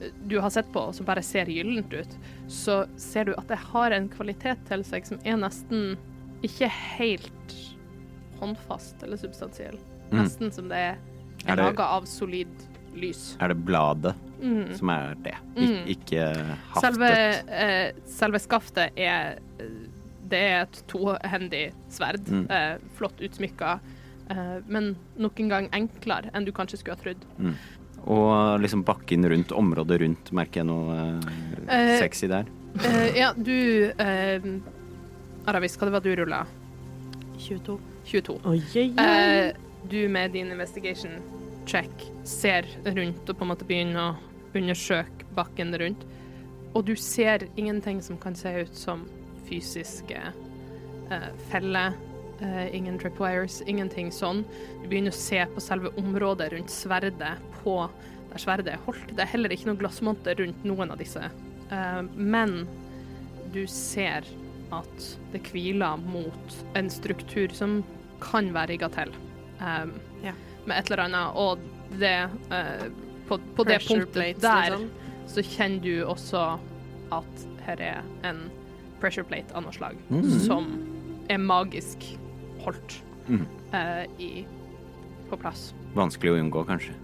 Speaker 1: eh, du har sett på, og som bare ser gyllent ut, så ser du at det har en kvalitet til seg som er nesten ikke helt håndfast eller substansiell.
Speaker 2: Mm.
Speaker 1: Nesten som det er,
Speaker 2: Er
Speaker 1: er
Speaker 2: det-
Speaker 1: laga av solid lys.
Speaker 2: Er det bladet som er det? Ik ikke haftet?
Speaker 1: Mm. Selve, eh, selve skaftet er eh, Det er et tohendig sverd.
Speaker 2: Mm.
Speaker 1: Eh, flott utsmykka, eh, men nok en gang enklere enn du kanskje skulle ha trodd.
Speaker 2: Og liksom bakken rundt, området rundt, merker jeg noe eh,
Speaker 1: Eh,
Speaker 2: sexy der?
Speaker 1: Eh, ja, du eh, Aravis, hva det var du rulla?
Speaker 4: 22.
Speaker 1: 22.
Speaker 3: Oi, oi, oi.
Speaker 1: Eh, du med din investigation check ser rundt og på en måte begynner å undersøke bakken rundt. Og du ser ingenting som kan se ut som fysiske eh, feller. eh, ingen tripwires, ingenting sånn. Du begynner å se på selve området rundt sverdet, på der sverdet er holdt. Det er heller ikke noe glassmonter rundt noen av disse. Eh, men du ser at det hviler mot en struktur som kan være rigga til um,
Speaker 4: Ja.
Speaker 1: med et eller annet, og det eh, på, på det
Speaker 4: Pressure
Speaker 1: punktet
Speaker 4: plates,
Speaker 1: der
Speaker 4: liksom.
Speaker 1: så kjenner du også at her er en pressure plate av noe slag som er magisk holdt
Speaker 2: Mm.
Speaker 1: eh, i, på plass.
Speaker 2: Vanskelig å unngå, kanskje.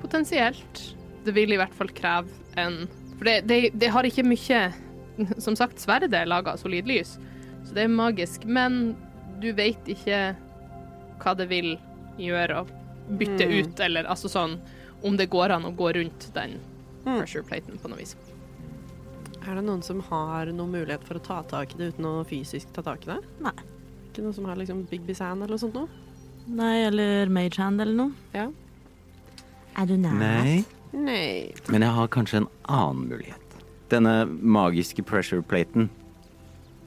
Speaker 1: Potensielt. Det vil i hvert fall kreve en For det, det, det har ikke mye Som sagt, sverdet er laga av solid lys, så det er magisk. Men du veit ikke hva det vil gjøre å bytte
Speaker 2: Mm.
Speaker 1: ut, eller altså sånn Om det går an å gå rundt den
Speaker 2: Mm.
Speaker 1: pressure platen på noe vis.
Speaker 4: Er det noen som har noen mulighet for å ta tak i det uten å fysisk ta tak i det?
Speaker 3: Nei.
Speaker 4: Ikke noen som har liksom Big Bizan eller noe sånt noe?
Speaker 3: Nei, eller mage hand eller noe.
Speaker 4: Ja.
Speaker 3: Er du nær?
Speaker 2: Nei.
Speaker 4: Nei.
Speaker 2: Men jeg har kanskje en annen mulighet. Denne magiske pressure platen.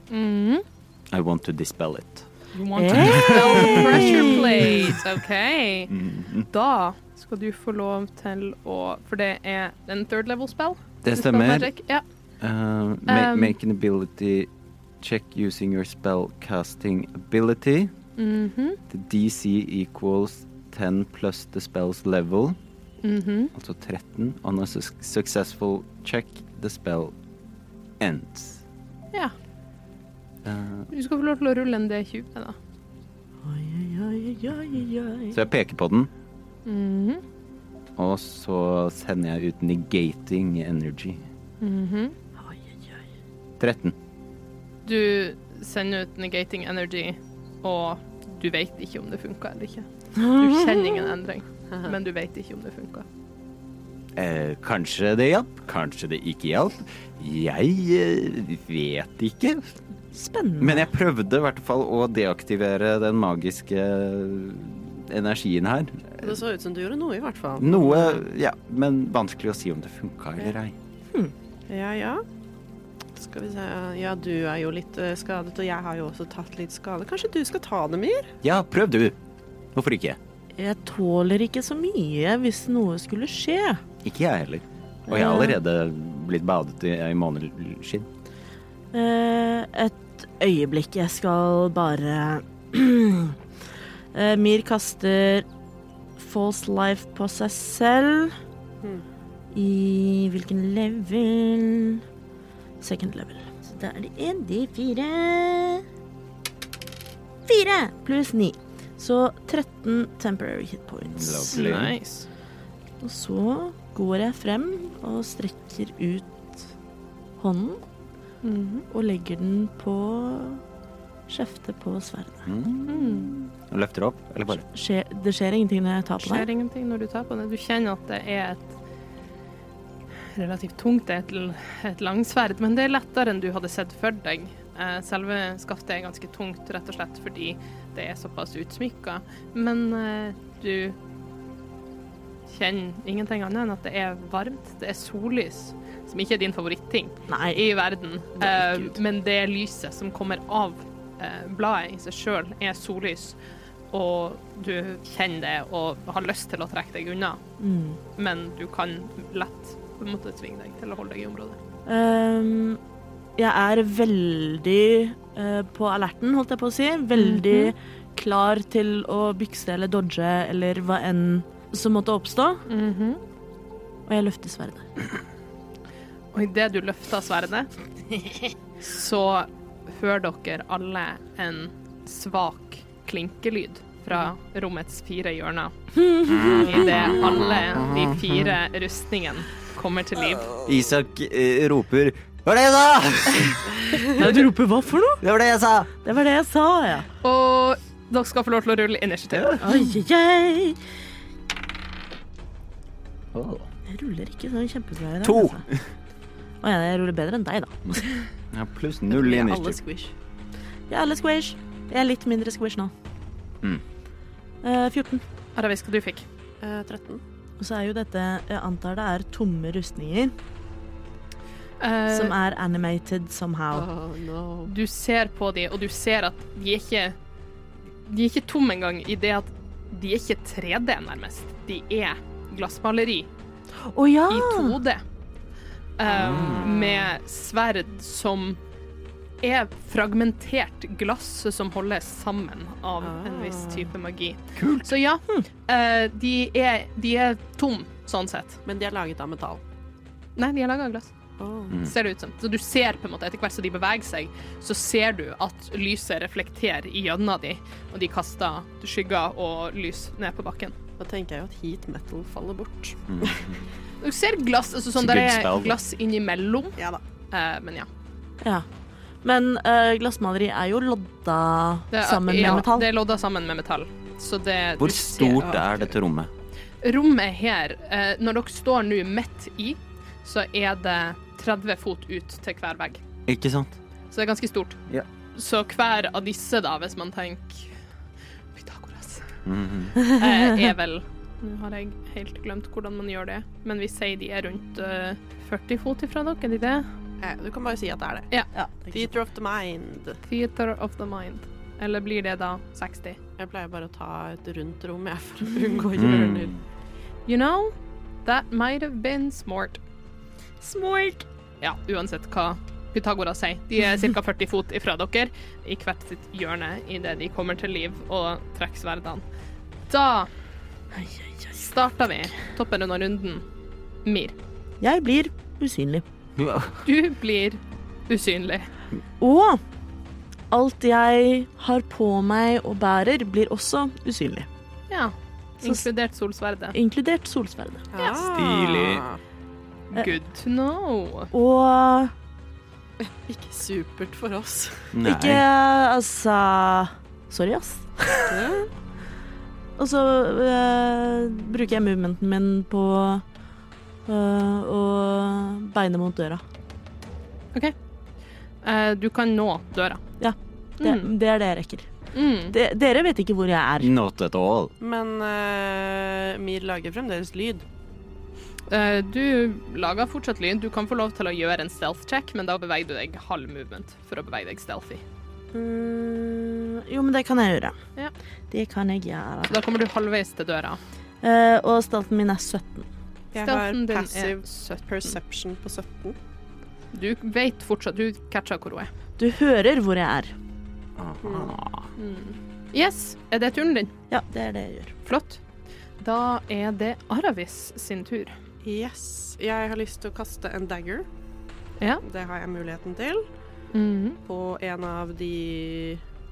Speaker 2: I want to dispel it.
Speaker 1: You want
Speaker 3: Eh,
Speaker 1: to dispel the pressure plate, OK?
Speaker 2: Mm.
Speaker 1: Da skal du få lov til å For det er en third level spell?
Speaker 2: Det
Speaker 1: Dispel
Speaker 2: stemmer.
Speaker 1: magic, Ja.
Speaker 2: Uh, ma
Speaker 1: Um,
Speaker 2: make an ability check using your spell casting ability.
Speaker 1: Mhm.
Speaker 2: The DC equals 10 plus the spell's level,
Speaker 1: Mhm.
Speaker 2: altså 13. On a su successful check, the spell ends.
Speaker 1: Ja.
Speaker 2: Uh,
Speaker 1: Du skal få lov til å rulle en D20, da.
Speaker 3: Oi, oi, oi, oi, oi.
Speaker 2: så jeg peker på den, og så sender jeg ut negating energy.
Speaker 3: Oi, oi, oi.
Speaker 2: 13.
Speaker 1: Du sender ut negating energy, og du vet ikke om det funker eller ikke. Du kjenner ingen endring, men du vet ikke om det funker.
Speaker 2: Eh, kanskje det hjalp, kanskje det ikke hjalp. Jeg eh, vet ikke.
Speaker 3: Spennende.
Speaker 2: Men jeg prøvde i hvert fall å deaktivere den magiske eh, energien her.
Speaker 4: Det så ut som du gjorde noe, i hvert fall.
Speaker 2: Noe Ja, men vanskelig å si om det funka eller ei.
Speaker 4: Ja, ja. Skal vi se Ja, du er jo litt eh, skadet, og jeg har jo også tatt litt skade. Kanskje du skal ta det, Myr?
Speaker 2: Ja, prøv du. Hvorfor ikke?
Speaker 3: Jeg tåler ikke så mye hvis noe skulle skje.
Speaker 2: Ikke jeg heller. Og jeg har allerede blitt badet i, i måneskinn.
Speaker 3: Eh, et øyeblikk. Jeg skal bare Eh, Mir kaster false life på seg selv.
Speaker 4: Hmm.
Speaker 3: I hvilken level Second level. Så da er det én D4 Fire pluss ni. Så 13 temporary hit points.
Speaker 2: Lovely.
Speaker 1: Nice.
Speaker 3: Og så går jeg frem og strekker ut hånden og legger den på skjeftet på sverdet.
Speaker 2: Mm. Løfter opp, eller bare
Speaker 3: Skjer, det skjer ingenting når jeg tar på
Speaker 1: skjer
Speaker 3: det.
Speaker 1: ingenting når du tar på det. Du kjenner at det er et relativt tungt, det er et, et langsverd, men det er lettere enn du hadde sett for deg. Eh, Selve skaftet er ganske tungt, rett og slett fordi det er såpass utsmykka, men eh, du kjenner ingenting annet enn at det er varmt, det er sollys, som ikke er din favoritting
Speaker 3: Nei,
Speaker 1: i verden,
Speaker 3: Det er
Speaker 1: eh,
Speaker 3: kult.
Speaker 1: men det lyset som kommer av eh, bladet i seg sjøl, er sollys, og du kjenner det og har lyst til å trekke deg unna,
Speaker 3: Mm.
Speaker 1: men du kan lett på en måte tvinge deg til å holde deg i området.
Speaker 3: Ehm, jeg er veldig eh, på alerten, holdt jeg på å si. Veldig klar til å bykse eller dodge eller hva enn som måtte oppstå. Mhm. Og jeg løfter sverdet.
Speaker 1: Og idet du løfter sverdet, så hører dere alle en svak klinkelyd fra
Speaker 3: Mhm.
Speaker 1: rommets fire hjørner. Idet alle de fire rustningene kommer til liv.
Speaker 2: Isak eh, roper Det var det jeg sa!
Speaker 3: Du roper hva for noe?
Speaker 2: Det var det jeg sa!
Speaker 3: Det var det jeg sa, ja.
Speaker 1: Og dere skal få lov til å rulle initiativ.
Speaker 3: Oi, oi, oi.
Speaker 2: Åh.
Speaker 3: Jeg ruller ikke sånn kjempebra i dag.
Speaker 2: To.
Speaker 3: Altså. Å ja, jeg ruller bedre enn deg, da.
Speaker 2: Ja, pluss null i
Speaker 1: Alle
Speaker 2: initiativ.
Speaker 1: squish.
Speaker 3: Jeg er alle squish. Jeg er litt mindre squish nå.
Speaker 2: Mm.
Speaker 3: Eh, 14.
Speaker 1: Araviska, du fikk.
Speaker 4: Eh, 13.
Speaker 3: Og så er jo dette Jeg antar det er tomme rustninger
Speaker 1: Eh,
Speaker 3: som er animated somehow.
Speaker 4: Oh, no.
Speaker 1: Du ser på dem, og du ser at de er ikke De er ikke tomme engang i det at de er ikke 3D, nærmest. De er glassmaleri
Speaker 3: Å ja!
Speaker 1: i 2D. eh, Med sverd som er fragmentert glass som holdes sammen av en viss type magi.
Speaker 2: Kult.
Speaker 1: Så ja, eh, de er, de er tom, sånn sett.
Speaker 4: Men de er laget av metall.
Speaker 1: Nei, de er laga av glass.
Speaker 4: Oh.
Speaker 2: Mm.
Speaker 1: ser det ut som. Så du ser på en måte, etter hvert som de beveger seg, så ser du at lyset reflekterer gjennom de, og de kaster skygger og lys ned på bakken.
Speaker 4: Da tenker jeg jo at heat metal faller bort.
Speaker 1: Du ser glass, altså sånn
Speaker 2: Så
Speaker 1: der
Speaker 2: good
Speaker 1: er
Speaker 2: spell.
Speaker 1: glass innimellom,
Speaker 4: Ja da.
Speaker 1: eh, men ja.
Speaker 3: ja. Men eh, glassmaleri er jo lodda
Speaker 1: Det er-
Speaker 3: sammen
Speaker 1: ja,
Speaker 3: med metall.
Speaker 1: Det er lodda sammen med metall. Så det,
Speaker 2: Hvor
Speaker 1: du ser-
Speaker 2: stort er dette rommet?
Speaker 1: Rommet her, eh, når dere står nå midt i, så er det 30 fot ut til hver vegg.
Speaker 2: Ikke sant?
Speaker 1: Så det er ganske stort.
Speaker 2: Ja.
Speaker 1: Så hver av disse, da, hvis man tenker Pythagoras
Speaker 2: Mhm.
Speaker 1: eh, er vel Nå har jeg helt glemt hvordan man gjør det, men vi sier de er rundt eh, 40 fot ifra dere, er de det?
Speaker 4: Eh, du kan bare si at det er det.
Speaker 1: Ja.
Speaker 3: Ja.
Speaker 4: Theater of the mind.
Speaker 1: Theater of the mind. Eller blir det da 60?
Speaker 4: Jeg pleier bare å ta et rundt rom, jeg, for å unngå hjørner.
Speaker 2: Mm.
Speaker 1: You know, that might have been smart.
Speaker 3: Smart.
Speaker 1: Ja, uansett hva Pythagoras sier. De er ca. 40 fot ifra dere, i hvert sitt hjørne idet de kommer til liv og trekker sverdene. Da
Speaker 3: Ai, ai, ai.
Speaker 1: starter vi toppen under runden. Mir,
Speaker 3: Jeg blir usynlig.
Speaker 2: Ja.
Speaker 1: du blir usynlig.
Speaker 3: Og alt jeg har på meg og bærer, blir også usynlig.
Speaker 1: Ja.
Speaker 3: Så-
Speaker 1: Inkludert solsverdet.
Speaker 3: Inkludert solsverdet.
Speaker 4: Ja.
Speaker 2: Stilig.
Speaker 4: Eh,
Speaker 1: Good to know.
Speaker 3: Og
Speaker 4: Ikke supert for oss.
Speaker 2: Nei.
Speaker 3: Ikke Altså Sorry, ass. Og så eh, bruker jeg movementen min på eh, å beine mot døra.
Speaker 1: Eh, du kan nå døra.
Speaker 3: Det,
Speaker 1: Mm.
Speaker 3: det er det jeg rekker.
Speaker 1: Mm.
Speaker 3: De, dere vet ikke hvor jeg er.
Speaker 2: Not at all.
Speaker 4: Men eh, Mir lager fremdeles lyd.
Speaker 1: Eh, du lager fortsatt lyd. Du kan få lov til å gjøre en stealth check, men da beveger du deg halv movement for å bevege deg stealthy.
Speaker 3: Mm, jo, men det kan jeg gjøre.
Speaker 1: Ja.
Speaker 3: Det kan jeg gjøre.
Speaker 1: Så da kommer du halvveis til døra.
Speaker 3: Eh, og stelten min er 17.
Speaker 4: Jeg har
Speaker 1: Stealthen din er
Speaker 4: passive
Speaker 1: 17.
Speaker 4: perception på 17.
Speaker 1: Du vet fortsatt, du catcher hvor hun er.
Speaker 3: Du hører hvor jeg er.
Speaker 1: Mm.
Speaker 2: Aha.
Speaker 1: Yes, er det turen din?
Speaker 3: Ja, det er det jeg gjør.
Speaker 1: Flott. Da er det Aravis sin tur.
Speaker 4: Yes. Jeg har lyst til å kaste en dagger.
Speaker 1: Ja.
Speaker 4: Det har jeg muligheten til.
Speaker 1: Mm.
Speaker 4: På en av de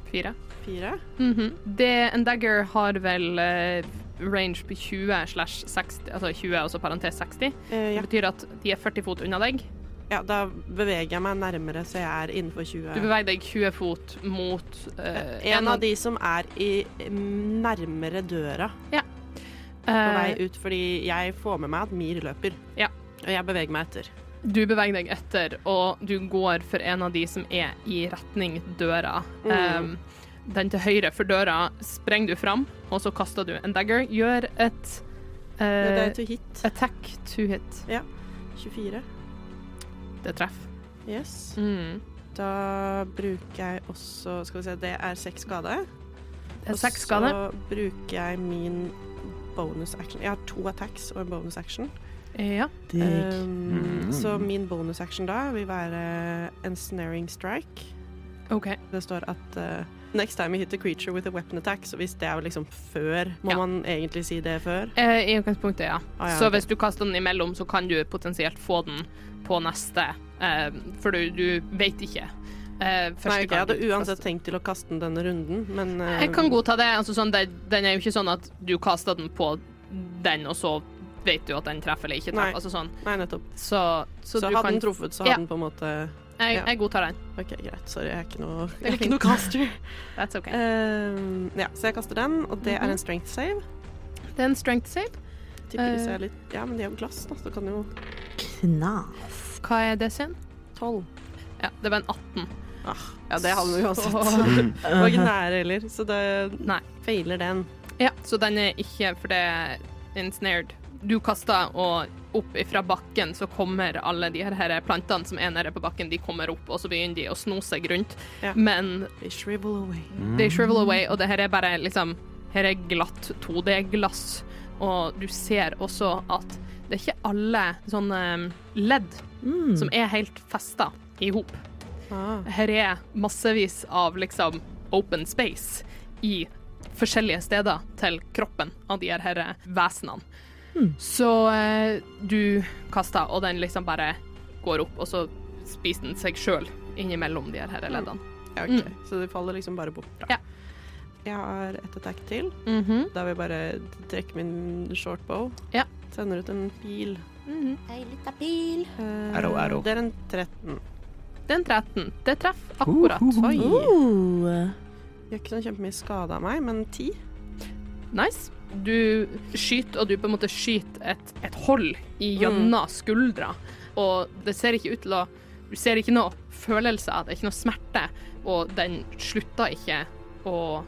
Speaker 1: Fire.
Speaker 4: fire.
Speaker 1: Mhm. Det, en dagger har vel eh, range på 20 slash 60, altså 20 og så parentes 60.
Speaker 4: Eh,
Speaker 1: Det
Speaker 4: ja.
Speaker 1: betyr at de er 40 fot unna deg.
Speaker 4: ja, da beveger jeg meg nærmere, så jeg er innenfor 20.
Speaker 1: Du beveger deg 20 fot mot eh,
Speaker 4: en av de som er i nærmere døra på
Speaker 1: eh,
Speaker 4: vei ut, fordi jeg får med meg at Mir løper.
Speaker 1: Ja.
Speaker 4: Og jeg beveger meg etter.
Speaker 1: Du beveger deg etter, og du går for en av de som er i retning døra.
Speaker 4: Mm.
Speaker 1: Um, den til høyre for døra sprenger du fram, og så kaster du en dagger. Gjør et
Speaker 4: Men det
Speaker 1: eh,
Speaker 4: er to hit.
Speaker 1: attack to hit.
Speaker 4: 24.
Speaker 1: Det treffer.
Speaker 4: Yes.
Speaker 1: Mm.
Speaker 4: Da bruker jeg også Skal vi se, det er seks skade.
Speaker 1: Det er seks skader.
Speaker 4: Og så bruker jeg min bonus action. Jeg har to attacks og en bonus action.
Speaker 1: Ja.
Speaker 3: Digg.
Speaker 4: Um,
Speaker 2: Mm.
Speaker 4: Så min bonus action da vil være ensnaring strike.
Speaker 1: OK.
Speaker 4: Det står at eh, Next time you hit a creature with a weapon attack, så hvis det er jo liksom før Må
Speaker 1: Ja.
Speaker 4: man egentlig si det før?
Speaker 1: Eh, I utgangspunktet, ja.
Speaker 4: Ah, ja,
Speaker 1: så
Speaker 4: ok.
Speaker 1: hvis du kaster den imellom, så kan du potensielt få den på neste, eh, for du, du vet ikke. Eh, første
Speaker 4: Nei, ok, jeg
Speaker 1: gang
Speaker 4: hadde
Speaker 1: du
Speaker 4: uansett
Speaker 1: kaster-
Speaker 4: tenkt til å kaste den denne runden, men eh,
Speaker 1: Jeg kan godta det. Altså, sånn, det. Den er jo ikke sånn at du kaster den på den, og så vet du at den treffer eller ikke
Speaker 4: Nei.
Speaker 1: treffer. Altså, sånn.
Speaker 4: Nei, nettopp.
Speaker 1: Så, så,
Speaker 4: Så,
Speaker 1: du
Speaker 4: hadde
Speaker 1: kan
Speaker 4: den truffet, så
Speaker 1: Ja.
Speaker 4: hadde den på en måte
Speaker 1: jeg,
Speaker 4: ja.
Speaker 1: jeg godtar den.
Speaker 4: OK, greit. Sorry, jeg er ikke noe,
Speaker 1: er
Speaker 4: jeg er
Speaker 1: fint.
Speaker 4: ikke noe caster.
Speaker 1: That's OK.
Speaker 4: Um, ja, så jeg kaster den, og det
Speaker 1: Mhm.
Speaker 4: er en strength save.
Speaker 1: Det er en strength save.
Speaker 4: Tipper
Speaker 1: Eh.
Speaker 4: hvis jeg er litt Ja, men de har glass, da, så kan jo
Speaker 3: Knas.
Speaker 1: Hva er det sin?
Speaker 4: 12.
Speaker 1: Ja, det var en 18.
Speaker 4: Ah, ja, det hadde den uansett.
Speaker 1: Så-
Speaker 4: Det var ikke nær heller, så det
Speaker 1: Nei.
Speaker 4: feiler den.
Speaker 1: Ja, så den er ikke for det er ensnared. Du kaster, og opp ifra bakken så kommer alle de her, her plantene som er nede på bakken, de kommer opp, og så begynner de å sno seg rundt.
Speaker 4: Ja.
Speaker 1: Men
Speaker 4: They shrivel away.
Speaker 1: They shrivel away, og det her er bare liksom Her er glatt 2D-glass, og du ser også at det er ikke alle sånne um, ledd
Speaker 3: Mm.
Speaker 1: som er helt festa i hop.
Speaker 4: Ah.
Speaker 1: Her er massevis av liksom open space i forskjellige steder til kroppen av de her her vesenene. Så eh, du kaster, og den liksom bare går opp, og så spiser den seg sjøl innimellom de her her leddene.
Speaker 4: Ja, ok.
Speaker 1: Mm.
Speaker 4: Så de faller liksom bare bort, da.
Speaker 1: Ja.
Speaker 4: Jeg har et attack til.
Speaker 1: Mhm,
Speaker 4: Da vil jeg bare trekke min short bow.
Speaker 1: Ja.
Speaker 4: Sender ut en pil.
Speaker 1: mhm.
Speaker 5: Ei lita pil.
Speaker 4: Eh,
Speaker 2: Arrow, arrow.
Speaker 4: Det er en 13.
Speaker 1: Den 13. Det treffer akkurat.
Speaker 3: Uh,
Speaker 4: Gjør ikke sånn kjempemye skade av meg, men 10.
Speaker 1: Nice. Du skyter, og du på en måte skyter et, et hold i
Speaker 4: Mm.
Speaker 1: gjennom skuldra, og det ser ikke ut til å Du ser ikke noe følelse av det, ikke noe smerte, og den slutter ikke å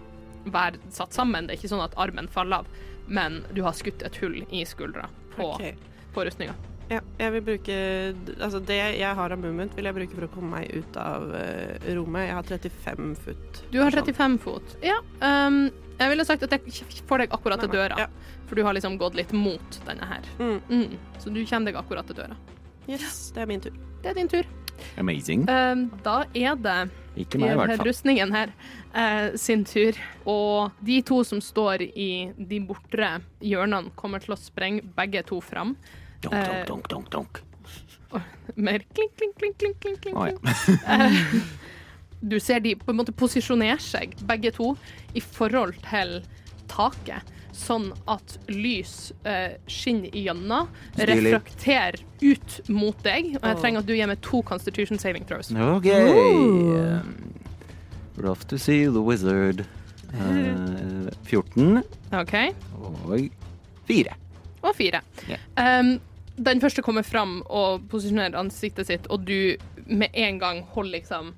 Speaker 1: være satt sammen. Det er ikke sånn at armen faller av, men du har skutt et hull i skuldra på,
Speaker 4: Ok.
Speaker 1: på rustninga.
Speaker 4: Ja, jeg vil bruke Altså, det jeg har av movement, vil jeg bruke for å komme meg ut av eh, rommet. Jeg har 35 foot.
Speaker 1: Du har 35 fot. Ja. Um, jeg ville sagt at jeg ikke får deg akkurat til
Speaker 4: Nei, nei.
Speaker 1: døra,
Speaker 4: Ja.
Speaker 1: for du har liksom gått litt mot denne her.
Speaker 4: Mm.
Speaker 1: Mm. Så du kommer deg akkurat til døra.
Speaker 4: Yes, det er min tur.
Speaker 1: Det er din tur.
Speaker 2: Amazing.
Speaker 1: Um, da er det
Speaker 2: Ikke meg, i hvert fall.
Speaker 1: rustningen her eh, sin tur. Og de to som står i de bortre hjørnene, kommer til å sprenge begge to fram.
Speaker 2: Donk,
Speaker 1: Eh.
Speaker 2: donk, donk, donk, donk.
Speaker 1: Mer klink, klink, klink, klink, klink, klink.
Speaker 2: Å, ja.
Speaker 1: Du ser de på en måte posisjonere seg, begge to, i forhold til taket. Sånn at lys eh, skinner igjennom,
Speaker 2: Stilig.
Speaker 1: refrakterer ut mot deg. Og jeg
Speaker 4: Åh.
Speaker 1: trenger at du gir meg to Constitution saving throws.
Speaker 2: OK.
Speaker 3: Ooh.
Speaker 2: Um, rough to see the wizard. Eh, 14
Speaker 1: OK?
Speaker 2: og 4.
Speaker 1: og fire.
Speaker 2: Ja.
Speaker 1: Um, den første kommer fram og posisjonerer ansiktet sitt, og du med en gang holder liksom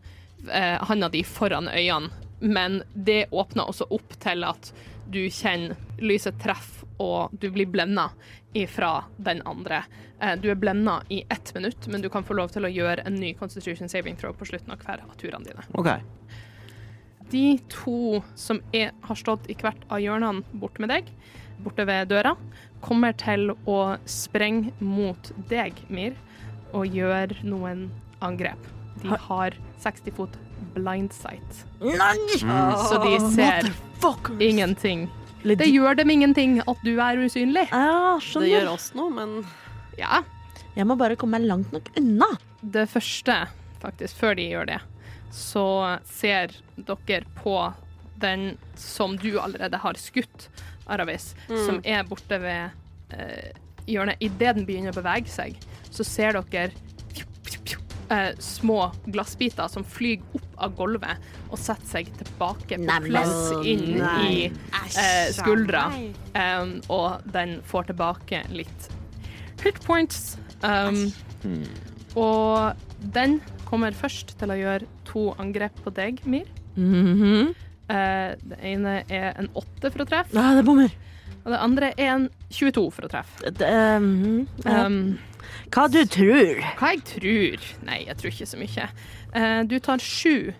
Speaker 1: eh, handa di foran øynene, men det åpner også opp til at du kjenner lyset treff, og du blir blenda ifra den andre. Eh, du er blenda i ett minutt, men du kan få lov til å gjøre en ny Constitution saving throw på slutten av hver av turene dine.
Speaker 2: OK.
Speaker 1: De to som er, har stått i hvert av hjørnene borte med deg, borte ved døra, kommer til å sprenge mot deg, Mir, og gjøre noen angrep. De har 60 fot blind sight,
Speaker 3: Nei!
Speaker 1: så de ser
Speaker 3: Fuck!
Speaker 1: ingenting. Mm. Det
Speaker 3: Legit. Ah.
Speaker 1: gjør dem ingenting at du er usynlig.
Speaker 3: Ja,
Speaker 1: Sånn,
Speaker 4: Det gjør
Speaker 3: skjønner.
Speaker 4: oss noe, men
Speaker 1: Ja.
Speaker 3: Jeg må bare komme meg langt nok unna.
Speaker 1: Det første, faktisk, før de gjør det, så ser dere på den som du allerede har skutt, Aravis, som er borte ved eh, hjørnet. Idet den begynner å bevege seg, så ser dere eh, små glassbiter som flyr opp av gulvet og setter seg tilbake på
Speaker 3: Neimen.
Speaker 1: plass inn
Speaker 4: Nei.
Speaker 1: i eh, skuldra. Um, og den får tilbake litt hit points. Um, og den kommer først til å gjøre to angrep på deg, Mir.
Speaker 3: Mhm.
Speaker 1: Eh, det ene er en åtte for å treffe,
Speaker 3: Ja, det bommer.
Speaker 1: og det andre er en 22 for å treffe.
Speaker 3: Det, ehm, ja.
Speaker 1: Um,
Speaker 3: Hva du tror?
Speaker 1: hva jeg tror Nei, jeg tror ikke så mye. Eh, du tar sju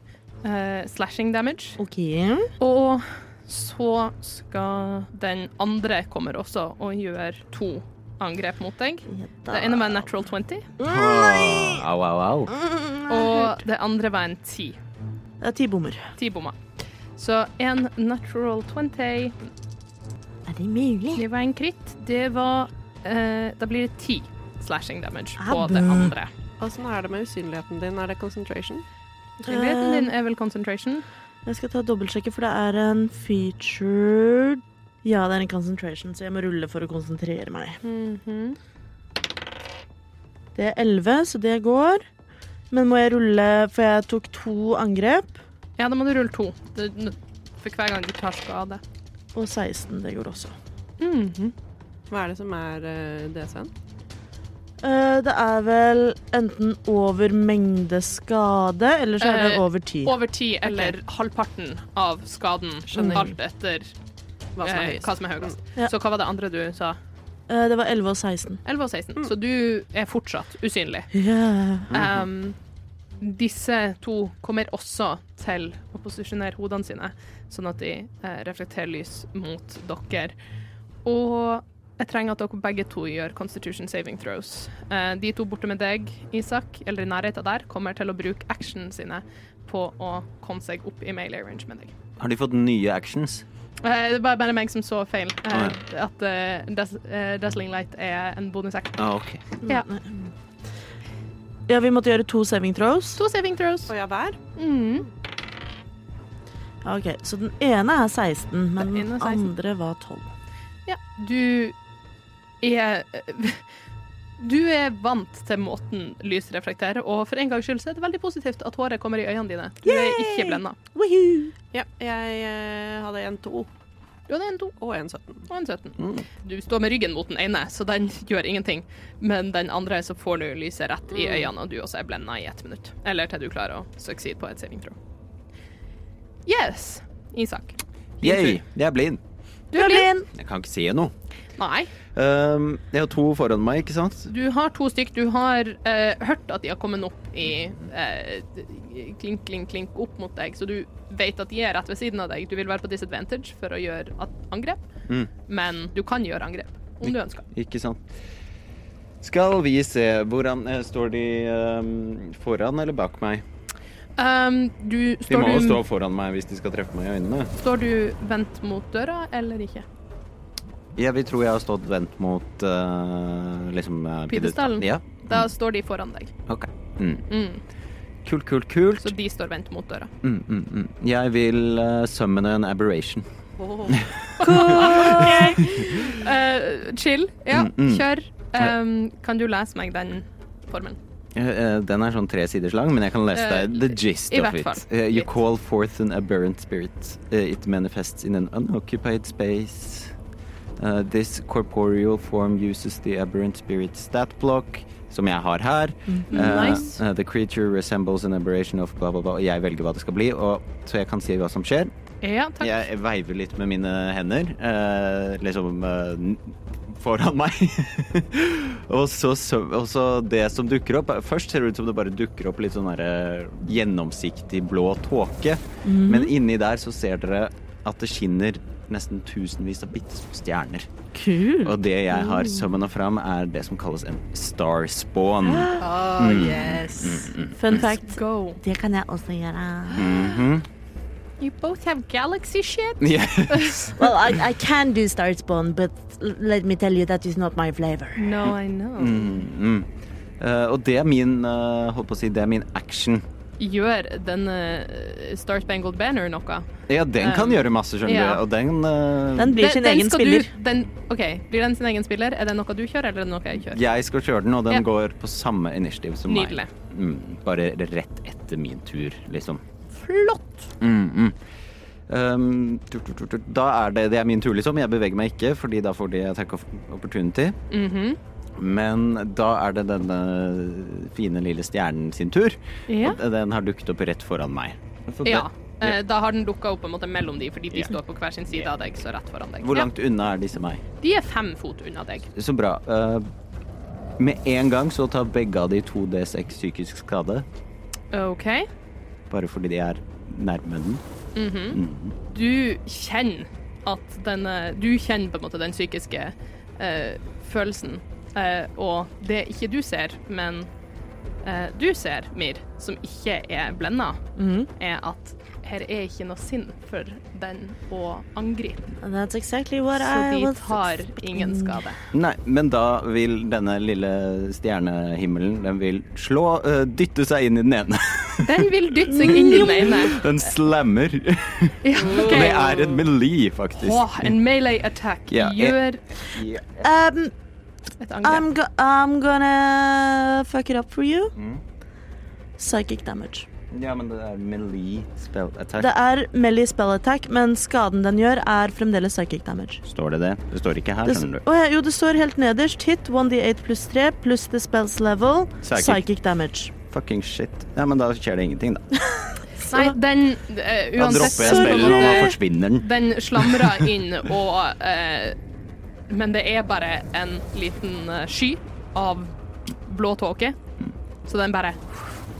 Speaker 1: eh, slashing damage.
Speaker 3: OK.
Speaker 1: Og så skal den andre kommer også og gjør to angrep mot deg. Det ene var en natural 20,
Speaker 2: Ah, Au, au, au.
Speaker 4: Ah,
Speaker 1: og det andre var en 10.
Speaker 3: Det er ti bommer.
Speaker 1: 10 bommer. Så en natural 20,
Speaker 3: Er det mulig?
Speaker 1: det var en kritt, det var eh, Da blir det 10 slashing damage på
Speaker 3: Ah,
Speaker 1: det
Speaker 3: bø.
Speaker 1: andre.
Speaker 4: åssen er det med usynligheten din? Er det concentration?
Speaker 1: Friheten din
Speaker 4: Ah.
Speaker 1: er vel concentration?
Speaker 3: Jeg skal ta og dobbeltsjekke, for det er en featured Ja, det er en concentration, så jeg må rulle for å konsentrere meg.
Speaker 4: Mhm.
Speaker 3: Det er elleve, så det går. Men må jeg rulle, for jeg tok to angrep.
Speaker 1: Ja, da må du rulle to. Du- For hver gang du tar skade.
Speaker 3: Og 16, det går også.
Speaker 4: Mhm. Hva er det som er eh, DSN?
Speaker 3: Eh, det er vel enten over mengde skade, eller så er det
Speaker 1: Eh,
Speaker 3: over tid.
Speaker 1: Over 10 eller halvparten av skaden, alt etter
Speaker 4: Hva som er
Speaker 1: eh,
Speaker 4: høyest?
Speaker 1: hva som er høyest.
Speaker 3: Ja.
Speaker 1: Så hva var det andre du sa?
Speaker 3: Eh, det var 11 og 16.
Speaker 1: 11 og 16.
Speaker 4: Mm.
Speaker 1: Så du er fortsatt usynlig.
Speaker 3: Yeah.
Speaker 1: Um, disse to kommer også til å posisjonere hodene sine, sånn at de eh, reflekterer lys mot dere. Og jeg trenger at dere begge to gjør Constitution saving throws. Eh, de to borte med deg, Isak, eller i nærheten der, kommer til å bruke actionene sine på å komme seg opp i melee range med deg.
Speaker 2: Har de fått nye actions?
Speaker 1: Eh, det var bare meg som så feil. eh,
Speaker 2: Ah,
Speaker 1: At eh, Daz- eh, Dazzling Light er en bonusaction.
Speaker 2: Ah, ok.
Speaker 1: Ja.
Speaker 3: Ja, vi måtte gjøre to saving throws.
Speaker 1: To saving throws.
Speaker 4: Å ja, hver?
Speaker 1: Mm.
Speaker 3: Ja, Ok, Så den ene er 16, men
Speaker 1: Den
Speaker 3: den
Speaker 1: ene er 16.
Speaker 3: andre var 12.
Speaker 1: Ja, du er Du er vant til måten lys reflekterer, og for en gangs skyld så er det veldig positivt at håret kommer i øynene dine. Du er
Speaker 3: Yay!
Speaker 1: ikke blenda.
Speaker 3: Woohoo!
Speaker 4: Ja, jeg eh, hadde en 2
Speaker 1: Du hadde en 2
Speaker 4: og en 17.
Speaker 1: og en 17.
Speaker 2: Mm.
Speaker 1: Du står med ryggen mot den ene, så den gjør ingenting. Men den andre så får du lyset rett i øynene, og du også er blenda i ett minutt. Eller til du klarer å succeed på et saving throw. Yes, Isak.
Speaker 2: Yay, jeg er blind.
Speaker 1: Du er blind.
Speaker 2: Jeg kan ikke se noe.
Speaker 1: Nei.
Speaker 2: Um, jeg har to foran meg, ikke sant?
Speaker 1: Du har to stykk. Du har eh, hørt at de har kommet opp i eh, klink, klink, klink opp mot deg, så du vet at de er rett ved siden av deg. Du vil være på disadvantage for å gjøre at angrep,
Speaker 2: Mm.
Speaker 1: men du kan gjøre angrep om du ønsker.
Speaker 2: Ikke sant. Skal vi se hvordan eh, Står de ehm, foran eller bak meg?
Speaker 1: Um, du,
Speaker 2: De
Speaker 1: står,
Speaker 2: må jo
Speaker 1: du,
Speaker 2: stå foran meg hvis de skal treffe meg i øynene.
Speaker 1: står du vendt mot døra eller ikke?
Speaker 2: Jeg vil tro jeg har stått vendt mot eh, liksom eh,
Speaker 1: Pidestallen?
Speaker 2: Ja.
Speaker 1: Da står de foran deg.
Speaker 2: Ok. Mm.
Speaker 1: Mm.
Speaker 2: Kult, kult, kult.
Speaker 1: Så de står vendt mot døra.
Speaker 2: Mm, mm, mm. Jeg vil uh, summone en aberration.
Speaker 1: Eh, chill. Ja,
Speaker 2: Mm, mm.
Speaker 1: kjør. Um, kan du lese meg den formelen?
Speaker 2: Eh, eh, Den er sånn tre siders lang, men jeg kan lese
Speaker 1: Eh,
Speaker 2: deg the gist
Speaker 1: i
Speaker 2: of
Speaker 1: hvert
Speaker 2: it.
Speaker 1: fall.
Speaker 2: Eh, you
Speaker 1: Litt.
Speaker 2: call forth an aberrant spirit. Eh, it manifests in an unoccupied space. Eh, this corporeal form uses the aberrant spirit stat block, som jeg har her. Eh,
Speaker 1: Mhm. Nice.
Speaker 2: eh, the creature resembles an aberration of bla, bla, bla. Jeg velger hva det skal bli, og, så jeg kan si hva som skjer.
Speaker 1: Ja, takk.
Speaker 2: Jeg veiver litt med mine hender. eh, liksom eh, foran meg. og, så, søv- og så det som dukker opp Først ser det ut som det bare dukker opp litt sånn derre gjennomsiktig blå tåke. Men inni der så ser dere at det skinner nesten tusenvis av bitte små stjerner.
Speaker 3: Kul.
Speaker 2: Og det jeg har summona fram, er det som kalles en star spawn.
Speaker 5: Oh, yes.
Speaker 3: Fun fact.
Speaker 1: Go.
Speaker 3: Det kan jeg også gjøre.
Speaker 2: Mhm.
Speaker 1: You both have galaxy shit.
Speaker 2: Yes.
Speaker 3: Well, I, I can do start spawn, but l- let me tell you that is not my flavor.
Speaker 5: No, I know.
Speaker 2: Mhm. Eh, og det er min eh, holdt på å si, det er min action.
Speaker 1: Gjør denne eh, Star Spangled Banner noe?
Speaker 2: Ja, den kan
Speaker 1: Um,
Speaker 2: gjøre masse, skjønner
Speaker 1: ja.
Speaker 2: du. Og den, eh,
Speaker 3: Den blir sin
Speaker 1: Den- den
Speaker 3: egen
Speaker 1: skal
Speaker 3: spiller.
Speaker 1: Du, den, OK, blir den sin egen spiller? Er det noe du kjører, eller er det noe jeg kjører?
Speaker 2: Jeg skal kjøre den, og den
Speaker 1: Ja.
Speaker 2: går på samme initiativ som
Speaker 1: Nydelig.
Speaker 2: meg. Mm, bare rett etter min tur, liksom.
Speaker 1: Flott!
Speaker 2: Mm, mm. Um, tut, tut, tut, tut. Da er det, det er min tur, liksom. Jeg beveger meg ikke, fordi da får de attack of opportunity.
Speaker 1: Mhm.
Speaker 2: Men da er det denne fine lille stjernen sin tur.
Speaker 1: Ja.
Speaker 2: Og den har dukket opp rett foran meg. Så det-
Speaker 1: ja. Eh, Da har den dukka opp på en måte mellom de, fordi de
Speaker 2: Ja.
Speaker 1: står på hver sin side av deg, så rett foran deg.
Speaker 2: Hvor
Speaker 1: Eh, Ja.
Speaker 2: langt unna er disse meg?
Speaker 1: De er fem fot unna deg.
Speaker 2: Så bra. Uh, med en gang så tar begge av de 2D6 psykisk skade,
Speaker 1: OK.
Speaker 2: bare fordi de er nærme den.
Speaker 1: du kjenner at denne Du kjenner på en måte den psykiske eh, følelsen. Eh, og det ikke du ser, men eh, du ser, Mir, som ikke er blenda, er at her er ikke noe sinn for den å angripe.
Speaker 3: And that's exactly what
Speaker 1: Så
Speaker 3: I
Speaker 1: de
Speaker 3: was
Speaker 1: tar
Speaker 3: expecting.
Speaker 1: ingen skade.
Speaker 2: Nei, men da vil denne lille stjernehimmelen Den vil slå, øh, dytte seg inn i den ene.
Speaker 1: Den vil dytte seg inn i den ene.
Speaker 2: Den slammer.
Speaker 1: Ja,
Speaker 2: Og det
Speaker 1: OK.
Speaker 2: er en melee, faktisk.
Speaker 1: Åh, en melee attack
Speaker 2: Ja, jeg-
Speaker 1: gjør
Speaker 2: Ja.
Speaker 3: Um,
Speaker 1: et angrep.
Speaker 3: I'm, go I'm gonna fuck it up for you.
Speaker 2: Mm.
Speaker 3: Psychic damage.
Speaker 2: Ja, men det er melee spell attack.
Speaker 3: Det er melee spell attack, men skaden den gjør, er fremdeles psychic damage.
Speaker 2: Står det det? Det står ikke her,
Speaker 3: Det,
Speaker 2: skjønner du.
Speaker 3: Å ja, jo, det står helt nederst. Hit 1D8 pluss 3 pluss the spells level.
Speaker 2: Psychic.
Speaker 3: Psychic, damage.
Speaker 2: Fucking shit. Ja, men da skjer det ingenting, da.
Speaker 1: Nei, den eh,
Speaker 2: Da
Speaker 1: Uansett
Speaker 2: dropper jeg
Speaker 1: så på en
Speaker 2: spillet, og
Speaker 1: måte-
Speaker 2: da forsvinner den.
Speaker 1: Den slamrer inn og eh, Men det er bare en liten eh, sky av blå tåke. Så den bare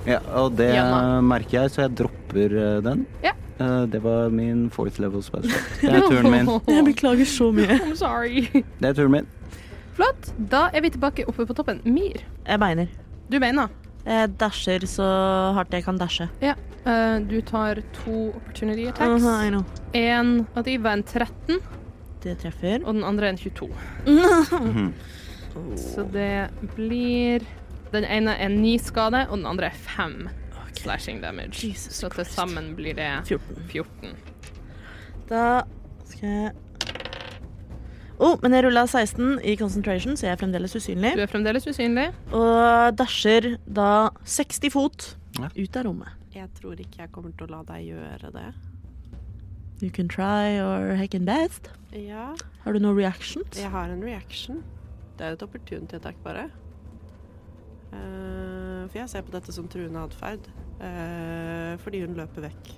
Speaker 2: Ja, og det
Speaker 1: Janna.
Speaker 2: merker jeg, så jeg dropper øh, den.
Speaker 1: Ja.
Speaker 2: Eh, det var min fourth level spell. attack. Det er turen min.
Speaker 3: Jeg beklager så mye.
Speaker 1: I'm sorry.
Speaker 2: Det er turen min.
Speaker 1: Flott. Da er vi tilbake oppe på toppen. Myr,
Speaker 3: Jeg beiner.
Speaker 1: du beina.
Speaker 3: Jeg dasher så hardt jeg kan dashe.
Speaker 1: Ja. Eh, du tar to opportunity attacks.
Speaker 3: Aha, I know.
Speaker 1: En av de var en 13,
Speaker 3: Det treffer.
Speaker 1: og den andre er en 22. Mhm. Så det blir Den ene er ni skade, og den andre er fem slashing damage.
Speaker 3: Jesus
Speaker 1: så til
Speaker 3: Christ.
Speaker 1: sammen blir det
Speaker 3: 14.
Speaker 1: 14.
Speaker 3: Da skal jeg oh, men jeg rulla 16 i concentration, så jeg er fremdeles usynlig.
Speaker 1: Du er fremdeles usynlig.
Speaker 3: Og dasher da 60 fot
Speaker 2: Ja.
Speaker 3: ut av rommet.
Speaker 4: Jeg tror ikke jeg kommer til å la deg gjøre det.
Speaker 3: You can try or hecken best.
Speaker 4: Ja,
Speaker 3: Har du noen reactions?
Speaker 4: jeg har en reaction. Det er et opportunity attack, bare. Eh, for jeg ser på dette som truende atferd. eh, fordi hun løper vekk.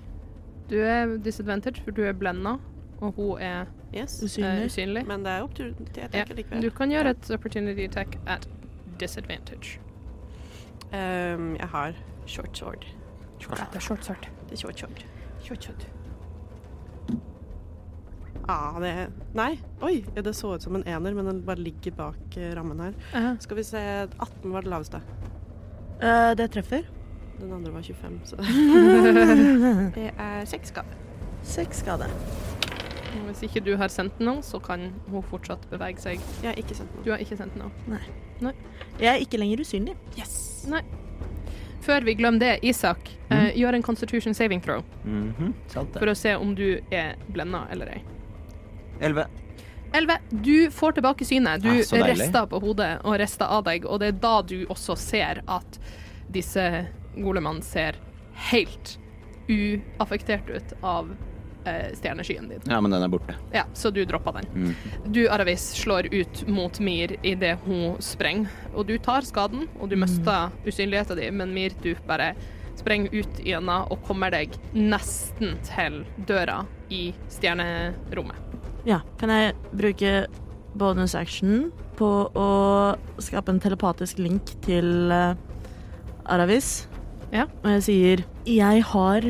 Speaker 1: Du er disadvantage, for du er blenda, og hun er
Speaker 4: Yes.
Speaker 1: eh,
Speaker 3: Usynlig.
Speaker 1: usynlig.
Speaker 4: Men det er opportunity
Speaker 1: Ja.
Speaker 4: attack
Speaker 1: Du
Speaker 4: likevel.
Speaker 1: kan gjøre et opportunity attack at disadvantage.
Speaker 4: Eh, jeg har short sword.
Speaker 1: Dette er short sword.
Speaker 4: Det er short sword.
Speaker 1: Short sword.
Speaker 4: Ah, det Nei. Oi, ja, det så ut som en ener, men den bare ligger bak eh, rammen her.
Speaker 1: Eh,
Speaker 4: Skal vi se 18 var det laveste.
Speaker 3: Eh, det treffer.
Speaker 4: Den andre var 25, så
Speaker 3: Mm.
Speaker 4: Det er seks skader.
Speaker 3: Seks skade.
Speaker 1: og hvis ikke du har sendt noe, så kan hun fortsatt bevege seg.
Speaker 4: Jeg har ikke sendt noe.
Speaker 1: Du har ikke sendt noe.
Speaker 3: Jeg er ikke lenger usynlig.
Speaker 4: Yes!
Speaker 1: Nei. Før vi glemmer det, Isak, eh, gjør en constitution saving throw
Speaker 2: Mhm, Sant
Speaker 1: for
Speaker 2: det.
Speaker 1: å se om du er blenda eller ei.
Speaker 2: Elleve.
Speaker 1: Elleve. Du får tilbake synet. Du
Speaker 2: Ah, så deilig.
Speaker 1: rister på hodet og rister av deg, og det er da du også ser at disse golemene ser helt uaffektert ut av eh, stjerneskyen din.
Speaker 2: Ja, men den er borte.
Speaker 1: Ja, så du droppa den.
Speaker 2: Mm.
Speaker 1: Du, Aravis, slår ut mot Mir idet hun sprenger, og du tar skaden, og
Speaker 2: Mm.
Speaker 1: du mister usynligheten din, men Mir, du bare sprenger ut gjennom og kommer deg nesten til døra i stjernerommet.
Speaker 3: Ja, kan jeg bruke bonus action på å skape en telepatisk link til eh, Aravis.
Speaker 1: Ja.
Speaker 3: Og jeg sier Jeg har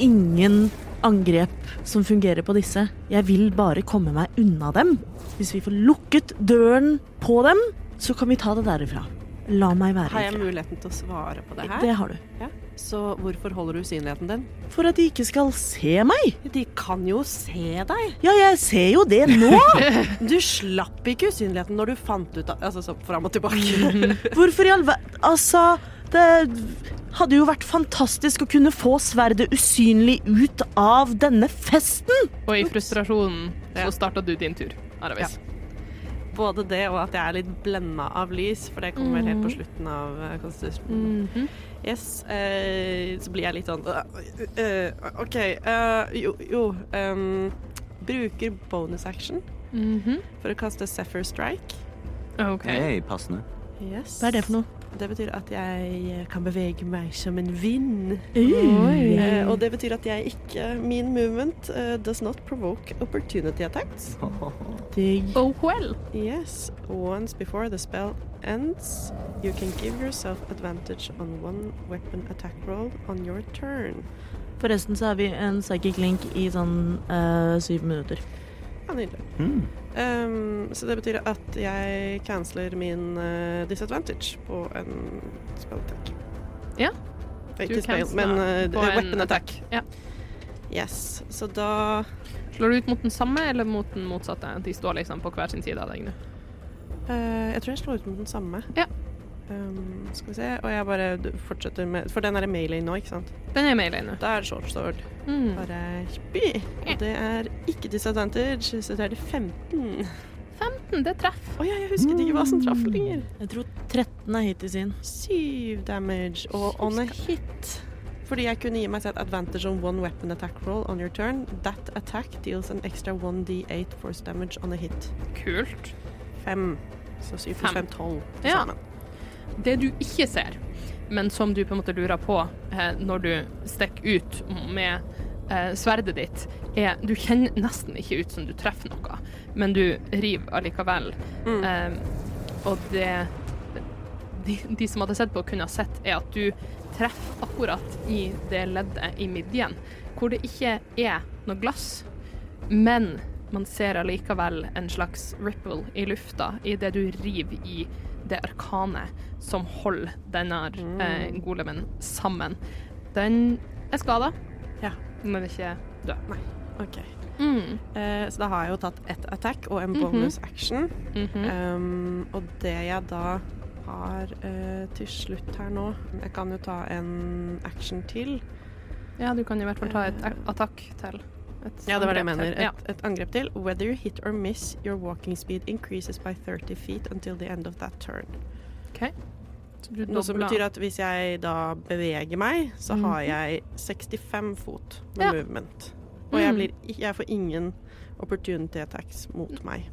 Speaker 3: ingen angrep som fungerer på disse. Jeg vil bare komme meg unna dem. Hvis vi får lukket døren på dem, så kan vi ta det derifra. La meg være
Speaker 4: Har jeg
Speaker 3: i fred.
Speaker 4: muligheten til å svare på det her?
Speaker 3: Det har du.
Speaker 4: Ja. Så hvorfor holder du usynligheten din?
Speaker 3: For at de ikke skal se meg.
Speaker 4: De kan jo se deg!
Speaker 3: Ja, jeg ser jo det nå!
Speaker 4: Du slapp ikke usynligheten når du fant ut av Altså, så fram og
Speaker 3: Mm-hmm.
Speaker 4: tilbake.
Speaker 3: Hvorfor i all verden Altså, det hadde jo vært fantastisk å kunne få sverdet usynlig ut av denne festen!
Speaker 1: Og i frustrasjonen så starta du din tur, Aravis.
Speaker 4: Både det og at jeg er litt blenda av lys, for det kommer vel helt
Speaker 3: Mm-hmm.
Speaker 4: på slutten av eh,
Speaker 3: Mm.
Speaker 4: konstitusjonen.
Speaker 1: Mhm.
Speaker 4: Yes. Eh, så blir jeg litt sånn øh, øh, OK. eh, jo, jo ehm, Bruker bonus action
Speaker 1: Mhm.
Speaker 4: for å kaste Zephyr Strike.
Speaker 1: OK.
Speaker 2: Hei, passende.
Speaker 4: Yes.
Speaker 3: Hva er det for noe?
Speaker 4: Det betyr at jeg kan bevege meg som en vind.
Speaker 1: Oi.
Speaker 4: Eh, og det betyr at jeg ikke Min movement eh, does not provoke opportunity attacks.
Speaker 3: Digg.
Speaker 1: Oh well.
Speaker 4: Yes. Once before the spell ends, you can give yourself advantage on one weapon attack roll on your turn.
Speaker 3: Forresten så har vi en psychic link i sånn eh, syv minutter.
Speaker 4: Ja, Ah, nydelig.
Speaker 2: Mm.
Speaker 4: Ehm, så det betyr at jeg canceler min eh, disadvantage på en spell attack.
Speaker 1: Ja.
Speaker 4: Ikke
Speaker 1: Du
Speaker 4: spell,
Speaker 1: canceler
Speaker 4: men eh,
Speaker 1: på en
Speaker 4: weapon attack.
Speaker 1: Ja.
Speaker 4: Yes. Så da
Speaker 1: Slår du ut mot den samme eller mot den motsatte? De står liksom på hver sin side av deg nå.
Speaker 4: Eh, jeg tror jeg slår ut med den samme.
Speaker 1: Ja.
Speaker 4: Ehm, skal vi se. Og jeg bare du- fortsetter med For den er melee nå, ikke sant?
Speaker 1: Den er med alene.
Speaker 4: Da er det short sword.
Speaker 1: Mm.
Speaker 4: Bare spy. Og det er ikke disadvantage, så det er det 15.
Speaker 1: 15, mm, det treffer.
Speaker 4: Å ja, jeg husket ikke hva som
Speaker 1: Mm.
Speaker 4: traff lenger.
Speaker 3: Jeg tror 13 er hittil sin.
Speaker 4: Syv damage og on a hit. Fordi jeg kunne gi meg selv advantage on one weapon attack roll on your turn. That attack deals an extra 1d8 force damage on a hit.
Speaker 1: Kult.
Speaker 4: Fem. Så syv pluss
Speaker 1: Fem.
Speaker 4: fem, tolv til
Speaker 1: Ja.
Speaker 4: sammen.
Speaker 1: Det du ikke ser, men som du på en måte lurer på eh, når du stikker ut med eh, sverdet ditt, er du kjenner nesten ikke ut som du treffer noe, men du river allikevel.
Speaker 4: Mm.
Speaker 1: Eh, og det de, de som hadde sett på, kunne ha sett, er at du treffer akkurat i det leddet i midjen, hvor det ikke er noe glass, men man ser allikevel en slags ripple i lufta i det du river i det arkanet som holder denne eh,
Speaker 4: Mm.
Speaker 1: golemen sammen. Den er skada,
Speaker 4: Ja.
Speaker 1: men er ikke død.
Speaker 4: OK.
Speaker 1: Mm.
Speaker 4: Eh, så da har jeg jo tatt ett attack og en bonus action.
Speaker 1: Eh,
Speaker 4: um, og det jeg da har eh, til slutt her nå Jeg kan jo ta en action til.
Speaker 1: Ja, du kan i hvert fall ta et a- attakk til. Et
Speaker 4: Ja, det var det
Speaker 1: angrep
Speaker 4: jeg mener.
Speaker 1: til. Ja.
Speaker 4: Et, et angrep til. Whether you hit or miss, your walking speed increases by 30 feet until the end of that turn.
Speaker 1: Så du
Speaker 4: Noe som
Speaker 1: dobler.
Speaker 4: betyr at hvis jeg da beveger meg, så har jeg 65 fot med
Speaker 1: Ja.
Speaker 4: movement. Og jeg,
Speaker 1: Mm.
Speaker 4: blir, i- jeg får ingen opportunity attacks mot meg.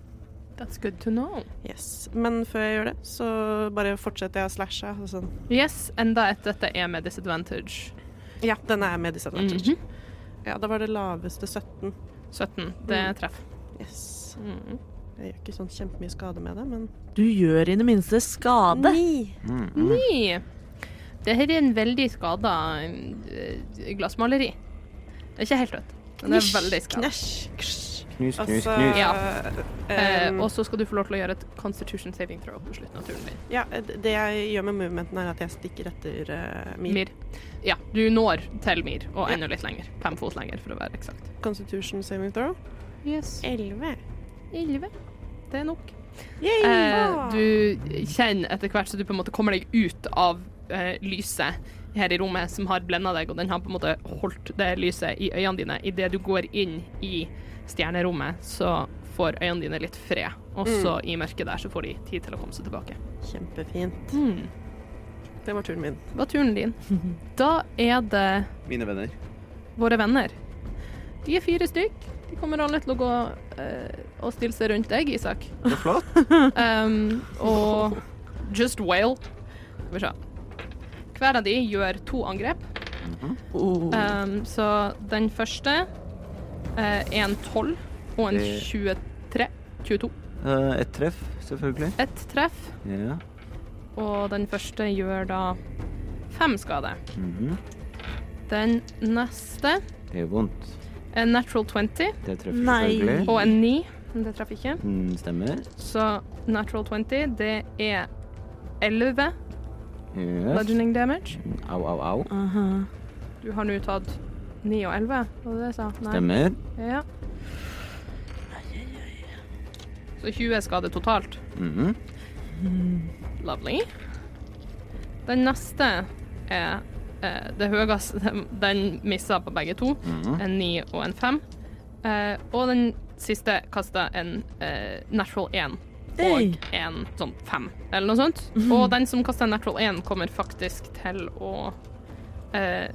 Speaker 1: That's good to know.
Speaker 4: Yes. Men før jeg gjør det, så bare fortsetter jeg å slashe. og Sånn.
Speaker 1: Yes, enda et dette er med disadvantage.
Speaker 4: Ja, den er med disadvantage.
Speaker 1: Mhm.
Speaker 4: Ja, da var det laveste 17.
Speaker 1: 17, det
Speaker 4: Mm.
Speaker 1: treffer.
Speaker 4: Yes.
Speaker 1: Mm.
Speaker 4: Jeg gjør ikke sånn kjempemye skade med det, men
Speaker 3: Du gjør i det minste skade.
Speaker 4: Ni!
Speaker 2: Mhm.
Speaker 1: Ni. Det her er en veldig skada eh, glassmaleri. Det er ikke helt rødt, men det er
Speaker 4: Nisj,
Speaker 1: veldig skada.
Speaker 4: Knæsj, knusj.
Speaker 2: Knus, knus,
Speaker 4: Altså
Speaker 2: knus.
Speaker 1: Ja. Eh,
Speaker 4: ehm,
Speaker 1: og så skal du få lov til å gjøre et constitution saving throw på slutten av turen din.
Speaker 4: ja, det jeg gjør med movementen, er at jeg stikker etter eh, min
Speaker 1: Mir. Ja, du når til Mir, og
Speaker 4: Ja.
Speaker 1: enda litt lenger. Fem fot lenger, for å være eksakt.
Speaker 4: Constitution saving throw.
Speaker 1: Yes.
Speaker 4: 11.
Speaker 1: Elleve. Det er nok.
Speaker 4: Yay!
Speaker 1: Eh, du kjenner etter hvert så du på en måte kommer deg ut av eh, lyset her i rommet som har blenda deg, og den har på en måte holdt det lyset i øynene dine. Idet du går inn i stjernerommet, så får øynene dine litt fred. Og så i mørket der så får de tid til å komme seg tilbake.
Speaker 4: Kjempefint.
Speaker 1: Mm.
Speaker 4: Det var turen min.
Speaker 1: Det var turen din. Da er det
Speaker 2: Mine venner.
Speaker 1: våre venner. De er fire stykk. De kommer alle til å gå eh, og stille seg rundt deg, Isak.
Speaker 2: Så flott.
Speaker 1: Um, og Just Wail. Skal vi se. Hver av de gjør to angrep.
Speaker 2: Mhm. Oh.
Speaker 1: Um, så den første eh, er en 12 og en
Speaker 2: Det-
Speaker 1: 23. 22.
Speaker 2: Eh, Ett treff, selvfølgelig.
Speaker 1: Ett treff,
Speaker 2: Ja.
Speaker 1: og den første gjør da fem skade.
Speaker 2: Mhm.
Speaker 1: Den neste
Speaker 2: Det gjør vondt.
Speaker 1: en natural 20
Speaker 2: Det treffer
Speaker 3: Nei.
Speaker 2: selvfølgelig.
Speaker 1: og en 9. Men det treffer ikke.
Speaker 2: Mm, stemmer.
Speaker 1: Så natural 20, det er 11
Speaker 2: Yes.
Speaker 1: bludgeoning damage.
Speaker 2: Au, au, au.
Speaker 3: Aha.
Speaker 1: Du har nå tatt 9 og 11, var det det jeg sa? Nei.
Speaker 2: Stemmer.
Speaker 1: Ja. Så 20 skade totalt.
Speaker 2: Mhm.
Speaker 1: Lovely. Den neste er eh, det høyeste Den missa på begge to.
Speaker 2: Mhm.
Speaker 1: En 9 og en 5. Eh, og den siste kasta en eh, natural 1
Speaker 3: Hey.
Speaker 1: og en sånn 5, eller noe sånt. Og den som kasta en natural 1, kommer faktisk til å eh,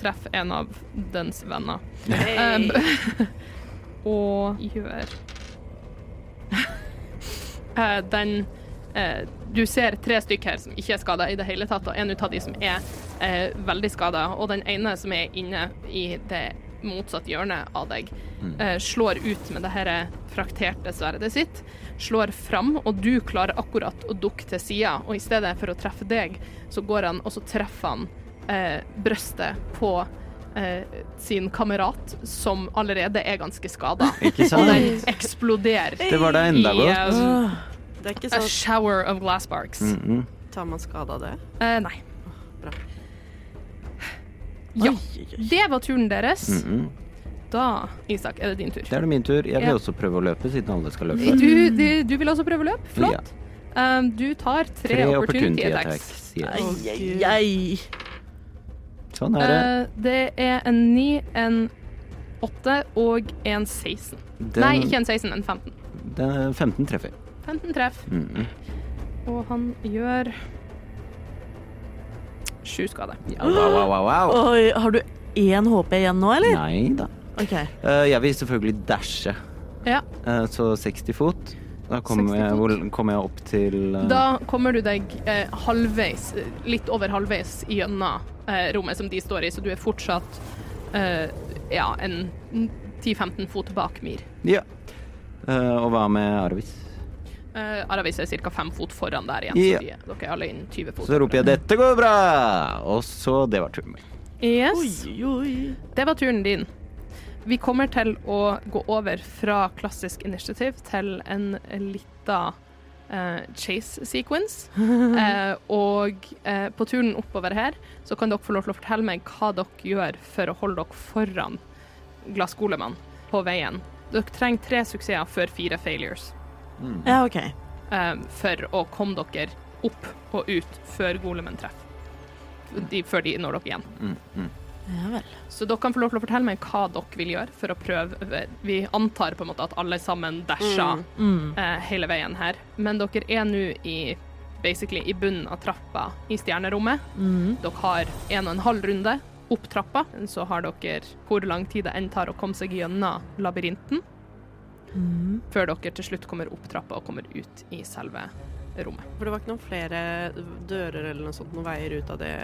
Speaker 1: treffe en av dens venner. Um, og gjør Eh, Den eh, Du ser tre stykker her som ikke er skada i det hele tatt, og en ut av de som er eh, veldig skada, og den ene som er inne i det motsatte hjørnet av deg, eh, slår ut med det her frakterte sverdet sitt, slår fram, og du klarer akkurat å dukke til sida, og i stedet for å treffe deg, så går han, og så treffer han eh, brøstet på eh, sin kamerat, som allerede er ganske skada.
Speaker 2: Ikke
Speaker 1: Og
Speaker 2: sant?
Speaker 1: den eksploderer
Speaker 2: Det var da enda
Speaker 1: i
Speaker 2: godt.
Speaker 1: um,
Speaker 3: Åh.
Speaker 4: Det er ikke
Speaker 1: a
Speaker 4: sånn
Speaker 1: shower of glass barks.
Speaker 2: Mhm.
Speaker 4: Tar man skade av det?
Speaker 1: Eh, nei.
Speaker 4: Bra.
Speaker 1: Ja.
Speaker 3: Oi, oi, oi.
Speaker 1: Det var turen deres.
Speaker 2: Mhm.
Speaker 1: Da, Isak, er det din tur.
Speaker 2: Det er det min tur. Jeg vil
Speaker 1: Ja.
Speaker 2: også prøve å løpe, siden alle skal løpe.
Speaker 1: Du, du, du vil også prøve løp? Flott. Um, du tar tre,
Speaker 2: Tre
Speaker 1: opportunity attacks.
Speaker 2: attacks. yes.
Speaker 3: Ai,
Speaker 4: Å,
Speaker 3: ai,
Speaker 4: Gud.
Speaker 3: ai.
Speaker 2: Sånn er det.
Speaker 1: Eh, det er en 9, en 8 og en 16.
Speaker 2: Den,
Speaker 1: Eh, Nei, ikke en 16, en 15.
Speaker 2: den 15 treffer.
Speaker 1: 15 treff,
Speaker 2: Mhm.
Speaker 1: og han gjør sju skade.
Speaker 2: Au, au, au, au, au.
Speaker 3: Oi, har du én HP igjen nå, eller?
Speaker 2: Nei da.
Speaker 3: OK.
Speaker 2: Eh, jeg vil selvfølgelig dashe,
Speaker 1: Ja.
Speaker 2: Eh, så 60 fot. Da kommer
Speaker 1: 60
Speaker 2: jeg,
Speaker 1: fot.
Speaker 2: hvor- kommer jeg opp til eh,
Speaker 1: Da kommer du deg eh, halvveis, eh, litt over halvveis gjennom eh, rommet som de står i, så du er fortsatt eh, ja, en 10-15 fot bak Mir.
Speaker 2: Ja. Eh, og hva med Arvis?
Speaker 1: Eh, Aravis er ca. 5 fot foran der igjen,
Speaker 2: Ja.
Speaker 1: så de, er- dere er alle innen 20 fot.
Speaker 2: Så roper jeg 'dette går bra', og så Det var turen min.
Speaker 1: Yes.
Speaker 3: Oi, oi.
Speaker 1: Det var turen din. Vi kommer til å gå over fra klassisk initiativ til en lita eh, chase sequence. Eh, og eh, på turen oppover her så kan dere få lov til å fortelle meg hva dere gjør for å holde dere foran glasskolemann på veien. Dere trenger tre suksesser før fire failures
Speaker 2: Mm.
Speaker 3: Ja, OK.
Speaker 1: eh, for å komme dere opp og ut før golemen treffer. De, før de når dere igjen.
Speaker 2: Mm, mm.
Speaker 3: Ja vel.
Speaker 1: Så dere kan få lov til å fortelle meg hva dere vil gjøre for å prøve. Vi antar på en måte at alle sammen dasher
Speaker 3: Mm.
Speaker 1: eh, hele veien her, men dere er nå i basically i bunnen av trappa i stjernerommet.
Speaker 3: Mm.
Speaker 1: Dere har en og en halv runde opp trappa, så har dere hvor lang tid det enn tar å komme seg gjennom labyrinten,
Speaker 3: Mm.
Speaker 1: før dere til slutt kommer opp trappa og kommer ut i selve rommet.
Speaker 4: For det var ikke noen flere dører eller noe sånt, noen veier ut av det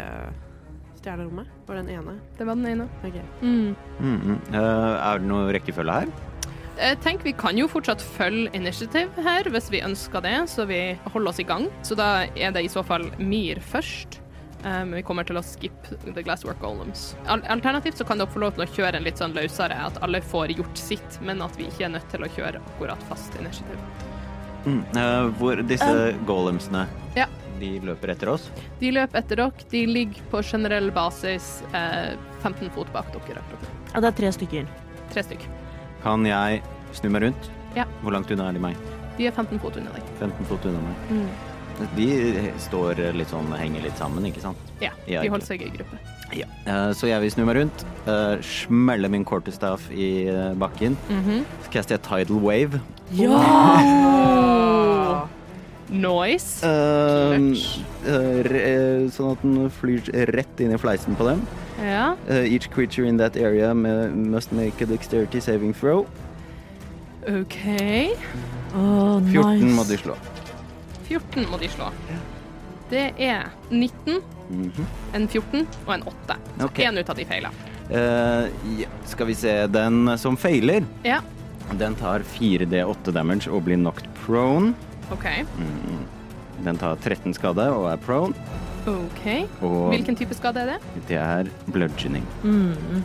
Speaker 4: stjernerommet? Var den ene?
Speaker 1: Det var den ene.
Speaker 4: Ok.
Speaker 1: Mm.
Speaker 2: Mm, mm. Eh, er det noe rekkefølge her?
Speaker 1: Jeg tenker Vi kan jo fortsatt følge initiativ her hvis vi ønsker det, så vi holder oss i gang. Så da er det i så fall Myr først. Um, vi kommer til å skippe The Glasswork Golems. Al alternativt så kan dere få lov til å kjøre en litt sånn løsere, at alle får gjort sitt, men at vi ikke er nødt til å kjøre akkurat fast initiativ.
Speaker 2: Mm, eh, hvor disse golemsene
Speaker 1: Ja.
Speaker 2: De løper etter oss?
Speaker 1: De løper etter dere. De ligger på generell basis eh, 15 fot bak dere. akkurat.
Speaker 3: Ja, det er tre stykker.
Speaker 1: Tre stykk.
Speaker 2: Kan jeg snu meg rundt?
Speaker 1: Ja.
Speaker 2: Hvor langt unna er de meg?
Speaker 1: De er 15 fot under deg.
Speaker 2: 15 fot unna meg. De står litt sånn, henger litt sammen, ikke sant?
Speaker 1: Ja,
Speaker 2: Ja,
Speaker 1: de
Speaker 2: ikke.
Speaker 1: holder seg i gruppe.
Speaker 2: Ja. Eh, Så jeg vil snu meg rundt, eh, smelle min quarterstaff i eh, bakken. Så kaster jeg tidal wave.
Speaker 1: Ja! Noise.
Speaker 2: Eh,
Speaker 1: Clutch.
Speaker 2: eh, re- eh, Sånn at den flyr rett inn i fleisen på dem.
Speaker 1: Ja.
Speaker 2: Eh, Each creature in that area ma- must make a dexterity saving throw.
Speaker 1: OK.
Speaker 3: Åh,
Speaker 2: 14
Speaker 3: nice.
Speaker 2: må de slå.
Speaker 1: 14 må de slå. Det er 19,
Speaker 2: Mhm.
Speaker 1: en 14 og en 8. Så
Speaker 2: Ok.
Speaker 1: én ut av de feiler.
Speaker 2: Eh, ja, skal vi se. Den som feiler,
Speaker 1: Ja.
Speaker 2: Den tar 4D8 damage og blir knocked prone.
Speaker 1: OK.
Speaker 2: Den tar 13 skade og er prone.
Speaker 1: OK.
Speaker 2: Og
Speaker 1: Hvilken type skade er det?
Speaker 2: det er bludgeoning.
Speaker 3: Mm.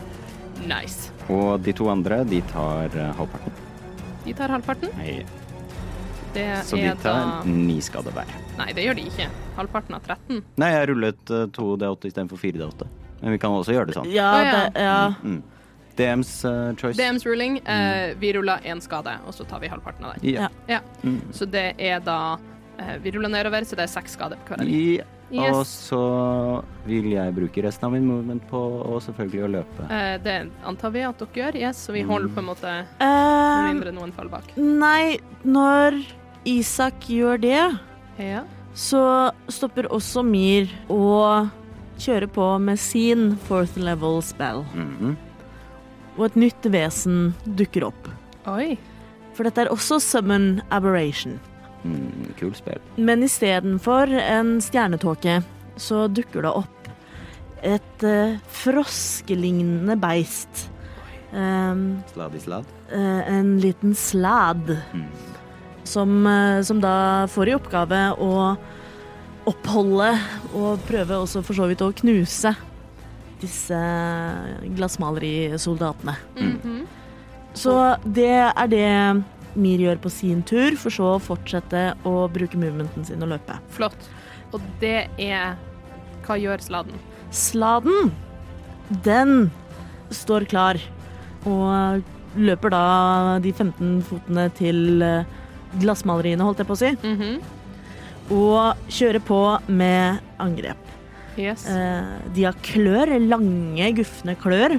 Speaker 1: Nice.
Speaker 2: Og de to andre, de tar eh, halvparten.
Speaker 1: De tar halvparten.
Speaker 2: Nei,
Speaker 1: Det
Speaker 2: Så de
Speaker 1: er
Speaker 2: tar
Speaker 1: da
Speaker 2: ni skade hver.
Speaker 1: Nei, det gjør de ikke. Halvparten av 13.
Speaker 2: Nei, jeg rullet eh, 2D8 istedenfor 4D8. Men vi kan også gjøre det sånn.
Speaker 3: Ja,
Speaker 1: Å, ja.
Speaker 3: det Ja.
Speaker 2: Mm. DMs eh, choice.
Speaker 1: DMs ruling.
Speaker 2: Mm.
Speaker 1: Eh, vi ruller én skade, og så tar vi halvparten av den.
Speaker 2: Ja.
Speaker 1: Ja.
Speaker 2: Mm.
Speaker 1: Så det er da eh, Vi ruller nedover, så det er seks skader på hver.
Speaker 2: Ja.
Speaker 1: Yes.
Speaker 2: Og så vil jeg bruke resten av min movement på å selvfølgelig å løpe.
Speaker 1: Eh, det antar vi at dere gjør, yes, så
Speaker 2: Mm.
Speaker 1: vi holder på en måte med
Speaker 3: Eh,
Speaker 1: Mm. mindre noen faller bak.
Speaker 3: nei, når Isak gjør det,
Speaker 1: Ja.
Speaker 3: så stopper også Mir å kjøre på med sin fourth level spell.
Speaker 2: Mhm.
Speaker 3: Og et nytt vesen dukker opp.
Speaker 1: Oi.
Speaker 3: For dette er også summon aberration.
Speaker 2: Mm, kul spill.
Speaker 3: Men istedenfor en stjernetåke, så dukker det opp et eh, froskelignende beist. Um,
Speaker 2: Slad i slad. Mm,
Speaker 3: eh, en liten slad. Som, eh, som da får i oppgave å oppholde og prøve også for så vidt å knuse disse glassmalerisoldatene.
Speaker 2: Mm.
Speaker 1: Mhm.
Speaker 3: Så det er det Mir gjør på sin tur, for så å fortsette å bruke movementen sin og løpe.
Speaker 1: Flott. Og det er Hva gjør sladden?
Speaker 3: Sladen, den står klar og løper da de 15 fotene til eh, glassmaleriene, holdt jeg på å si.
Speaker 1: Mhm.
Speaker 3: og kjører på med angrep.
Speaker 1: Yes.
Speaker 3: Eh, De har klør, lange, gufne klør,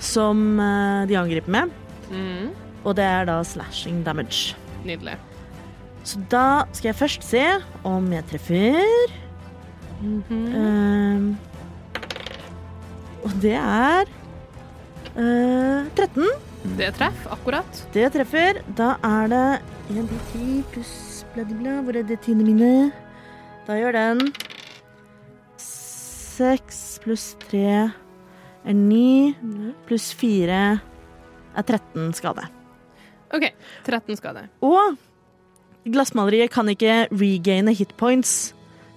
Speaker 3: som eh, de angriper med.
Speaker 1: Mhm.
Speaker 3: Og det er da slashing damage.
Speaker 1: Nydelig.
Speaker 3: Så da skal jeg først se om jeg treffer. Eh, og det er eh, 13.
Speaker 1: Det treffer akkurat.
Speaker 3: Det treffer. Da er det 1D10 pluss bla, bla, bla. Hvor er det tiende mine? Da gjør den 6 pluss 3 er 9, pluss 4 er 13 skade.
Speaker 1: OK. 13 skader.
Speaker 3: Og glassmaleriet kan ikke regaine hitpoints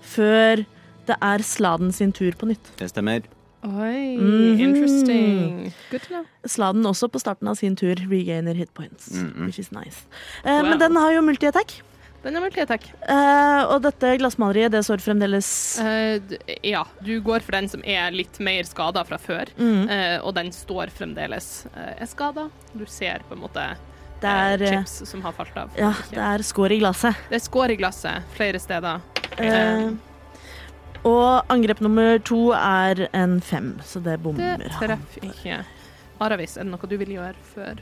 Speaker 3: før det er sladen sin tur på nytt.
Speaker 2: Det stemmer.
Speaker 1: Oi.
Speaker 3: Mhm.
Speaker 1: Interesting. Good to know.
Speaker 3: Sladen også på starten av sin tur regainer hitpoints,
Speaker 2: Mhm.
Speaker 3: which is nice. Eh,
Speaker 1: Wow.
Speaker 3: Men den har jo multiattack.
Speaker 1: Den er multi takk.
Speaker 3: Eh, og dette glassmaleriet, det står fremdeles
Speaker 1: Eh, d- ja, du går for den som er litt mer skada fra før,
Speaker 3: Mm, Mhm.
Speaker 1: eh, og den står fremdeles eh, er skada. Du ser på en måte
Speaker 3: Det er,
Speaker 1: eh,
Speaker 3: eh,
Speaker 1: chips som har falt av.
Speaker 3: Ja, det er skår i glasset.
Speaker 1: Det er skår i glasset flere steder.
Speaker 3: Eh, og angrep nummer to er en fem, så det bommer
Speaker 1: Det
Speaker 3: han.
Speaker 1: treffer ikke. Aravis, er det noe du vil gjøre før?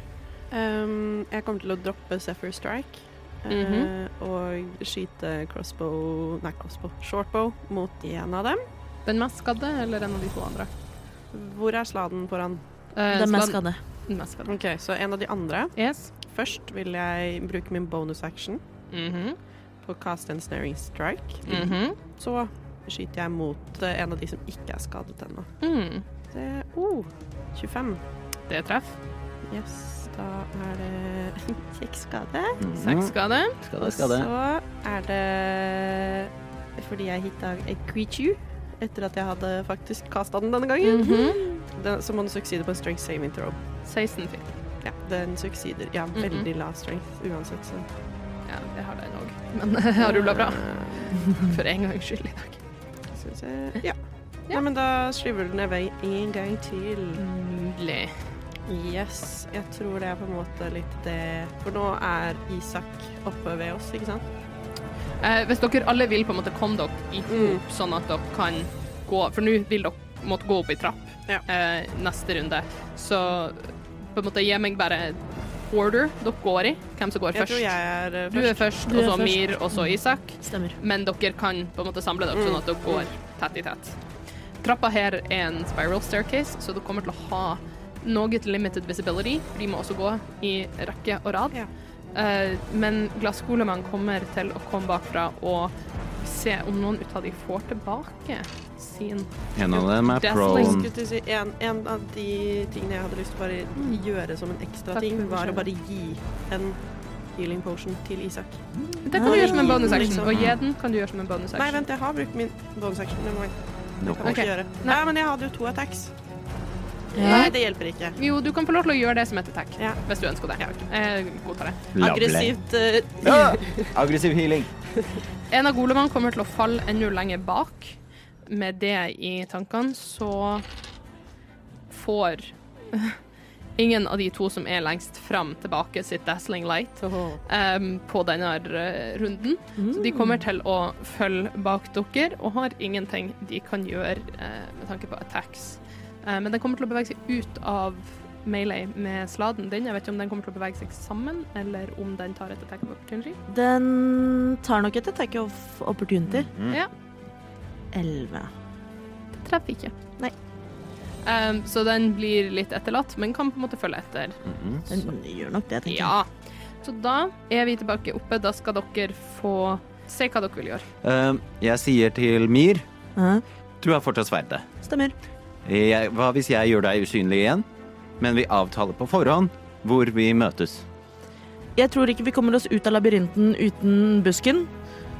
Speaker 4: Um, jeg kommer til å droppe Zephyr Strike. eh,
Speaker 1: Mhm.
Speaker 4: og skyte crossbow Nei, crossbow. Shortbow mot én av dem.
Speaker 1: Den mest skadde, eller en av de to andre?
Speaker 4: Hvor er sladen foran?
Speaker 1: Eh,
Speaker 3: Den
Speaker 1: skaden-
Speaker 3: mest skadde.
Speaker 1: Den mest skadde.
Speaker 4: OK, så en av de andre.
Speaker 1: Yes.
Speaker 4: Først vil jeg bruke min bonus action
Speaker 1: Mhm.
Speaker 4: på cast and snaring strike.
Speaker 1: Mhm.
Speaker 4: Så skyter jeg mot eh, en av de som ikke er skadet ennå.
Speaker 1: Mm.
Speaker 4: Det oh, 25.
Speaker 1: Det treff.
Speaker 4: Yes, da er det seks skade.
Speaker 2: Mhm.
Speaker 1: Seks skade.
Speaker 2: Skade,
Speaker 4: Og
Speaker 2: skade.
Speaker 4: så er det fordi jeg hitta a creature etter at jeg hadde faktisk kasta den denne gangen.
Speaker 1: Mhm.
Speaker 4: Den, så må den sukside på en strength saving throw.
Speaker 1: 16 fikk den.
Speaker 4: Ja, den suksider. Ja,
Speaker 1: Mhm.
Speaker 4: veldig lav strength uansett, så
Speaker 1: Ja, det har den òg. Men jeg har rulla bra.
Speaker 4: Mm.
Speaker 1: For en gangs skyld i dag.
Speaker 4: Skal vi se Eh, Ja.
Speaker 1: Ja.
Speaker 4: Nei, men da skyver den i vei en gang til.
Speaker 1: Nydelig.
Speaker 4: Yes. Jeg tror det er på en måte litt det For nå er Isak oppe ved oss, ikke sant?
Speaker 1: Eh, hvis dere alle vil på en måte komme dere i
Speaker 4: Mm.
Speaker 1: hop, sånn at dere kan gå For nå vil dere måtte gå opp i trapp
Speaker 4: Ja.
Speaker 1: eh, neste runde. Så på en måte gi meg bare order dere går i. Hvem som går
Speaker 4: Jeg
Speaker 1: først.
Speaker 4: tror jeg er eh,
Speaker 1: du
Speaker 4: først.
Speaker 1: er først,
Speaker 3: Du
Speaker 1: og
Speaker 3: er
Speaker 1: så
Speaker 3: først.
Speaker 1: Mir, og så Isak.
Speaker 3: Stemmer.
Speaker 1: Men dere kan på en måte samle dere, sånn at dere går
Speaker 4: Mm.
Speaker 1: tett i tett. Trappa her er en spiral staircase, så dere kommer til å ha noe limited visibility. De må også gå i rekke og rad.
Speaker 4: Ja.
Speaker 1: Eh, men glasskulemann kommer til å komme bakfra og se om noen ut av de får tilbake seen.
Speaker 2: En av dem er
Speaker 1: Dazzling.
Speaker 2: prone.
Speaker 4: Skulle til å si, en, en av de tingene jeg hadde lyst til å bare gjøre som en ekstra
Speaker 1: Takk
Speaker 4: ting,
Speaker 1: for
Speaker 4: var å
Speaker 1: beskjeden.
Speaker 4: bare gi en healing potion til Isak.
Speaker 1: Det kan du gjøre som en bonus action.
Speaker 4: Liksom.
Speaker 1: Og gi den kan du gjøre som en bonus
Speaker 4: Nei,
Speaker 1: action.
Speaker 4: vent, jeg har brukt min bonus action. Det må jeg det
Speaker 2: No.
Speaker 4: kan jeg
Speaker 1: Ok.
Speaker 4: ikke gjøre. Nei, men jeg hadde jo to attacks. Nei,
Speaker 3: Ja.
Speaker 4: det hjelper ikke.
Speaker 1: Jo, du kan få lov til å gjøre det som et attack,
Speaker 4: Ja.
Speaker 1: hvis du ønsker det. Jeg godtar det.
Speaker 2: Lovely.
Speaker 4: Aggressivt eh,
Speaker 2: Ja! Aggressiv healing.
Speaker 1: En av golemene kommer til å falle enda lenger bak. Med det i tankene så får ingen av de to som er lengst fram, tilbake sitt dazzling light em, på denne eh, runden. Så de
Speaker 3: Mm.
Speaker 1: kommer til å følge bak dere og har ingenting de kan gjøre eh, med tanke på attacks. Eh, men den kommer til å bevege seg ut av Melee med sladen din. Jeg vet ikke om den kommer til å bevege seg sammen, eller om den tar et attack of opportunity.
Speaker 3: Den tar nok et attack of opportunity.
Speaker 1: Ja.
Speaker 3: Elleve.
Speaker 1: treffer ikke.
Speaker 3: Nei.
Speaker 1: Ehm, så den blir litt etterlatt, men kan på en måte følge etter.
Speaker 2: Mhm.
Speaker 3: Den gjør nok det, tenker jeg.
Speaker 1: Ja. Så da er vi tilbake oppe. Da skal dere få se hva dere vil gjøre.
Speaker 2: Eh, jeg sier til Myr
Speaker 3: Ja.
Speaker 2: Du har fortsatt sverdet.
Speaker 3: Stemmer.
Speaker 2: Jeg, hva hvis jeg gjør deg usynlig igjen? Men vi avtaler på forhånd hvor vi møtes.
Speaker 3: Jeg tror ikke vi kommer oss ut av labyrinten uten busken.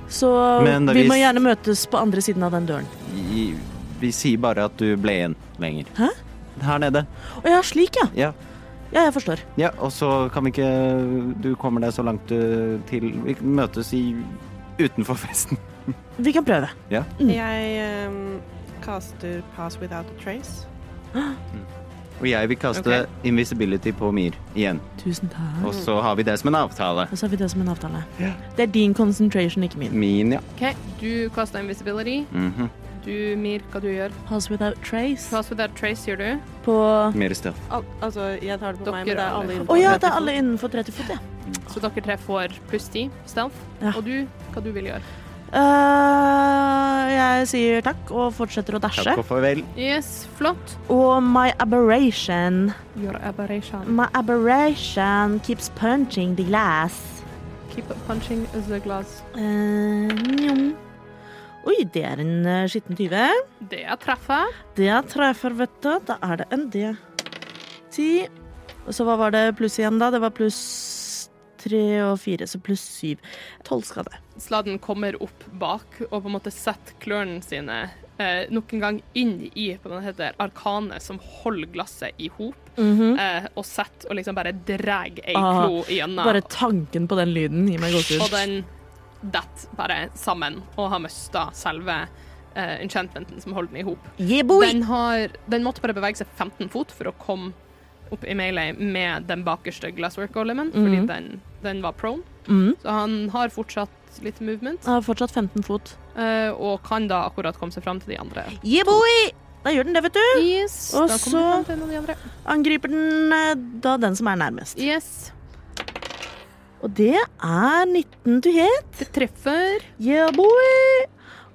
Speaker 3: Så
Speaker 2: Men
Speaker 3: vi
Speaker 2: hvis-
Speaker 3: må gjerne møtes på andre siden av den døren.
Speaker 2: I, vi sier bare at du ble igjen lenger.
Speaker 3: Hæ?
Speaker 2: Her nede.
Speaker 3: Å ja, slik, ja.
Speaker 2: Ja.
Speaker 3: Ja, jeg forstår.
Speaker 2: ja. Og så kan vi ikke Du kommer deg så langt du til Vi møtes i utenfor festen.
Speaker 3: Vi kan prøve.
Speaker 4: Jeg ehm, caster Pass Without a Trace.
Speaker 2: Og jeg vil kaste
Speaker 1: Ok.
Speaker 2: invisibility på Myr igjen.
Speaker 3: Tusen takk.
Speaker 2: Og så har vi det som en avtale.
Speaker 3: Og så har vi det som en avtale.
Speaker 2: Ja.
Speaker 3: Det er din concentration, ikke min.
Speaker 2: Min, ja.
Speaker 1: OK, du kaster invisibility.
Speaker 2: Mhm.
Speaker 1: Du, Mir, hva du gjør?
Speaker 3: Pass without trace
Speaker 1: Pass without trace, gjør du.
Speaker 3: på Å
Speaker 2: Mer stealth.
Speaker 4: Al altså, jeg tar det på
Speaker 1: Dere
Speaker 4: meg, men det er alle
Speaker 1: alle.
Speaker 4: innenfor.
Speaker 3: ja, det er alle innenfor 30 fot, ja.
Speaker 1: Så dere tre får pluss 10 stealth.
Speaker 3: Ja.
Speaker 1: Og du, hva du vil gjøre.
Speaker 3: Eh, jeg sier takk og fortsetter å dashe.
Speaker 2: Takk og farvel.
Speaker 1: Yes, flott.
Speaker 3: Og my aberration
Speaker 1: Your aberration.
Speaker 3: My aberration keeps punching the glass.
Speaker 1: Keep punching the glass.
Speaker 3: Eh, njom. Oi, det er en eh, skitten 20.
Speaker 1: Det er treffer.
Speaker 3: Det er treffer, vet du. Da er det en D. 10. Og så hva var det pluss igjen, da? Det var pluss 3 og 4, så pluss 7. 12 skade.
Speaker 1: Sladden kommer opp bak og på en måte setter klørne sine eh, nok en gang inn i på den heter arkanet som holder glasset i hop, eh, og setter og liksom bare drar ei
Speaker 3: Ah,
Speaker 1: klo gjennom,
Speaker 3: Bare tanken på den lyden gir meg gåsehud.
Speaker 1: og den detter bare sammen og har mista selve eh, enchantmenten som holder den i hop.
Speaker 3: Yeah, boy!
Speaker 1: Den, har, den måtte bare bevege seg 15 fot for å komme opp i melee med den bakerste glasswork-golemen, fordi
Speaker 3: Mhm.
Speaker 1: den, den var prone,
Speaker 3: Mm.
Speaker 1: så han har fortsatt litt movement.
Speaker 3: Jeg har fortsatt 15 fot.
Speaker 1: Eh, og kan da akkurat komme seg fram til de andre.
Speaker 3: Yeah, boy! Da gjør den det, vet du.
Speaker 1: Yes,
Speaker 3: Og
Speaker 1: da
Speaker 3: så-
Speaker 1: kommer vi fram til en av de andre.
Speaker 3: Angriper den eh, da den som er nærmest.
Speaker 1: Yes,
Speaker 3: Og det er 19 to hit.
Speaker 1: det treffer.
Speaker 3: Yeah, boy!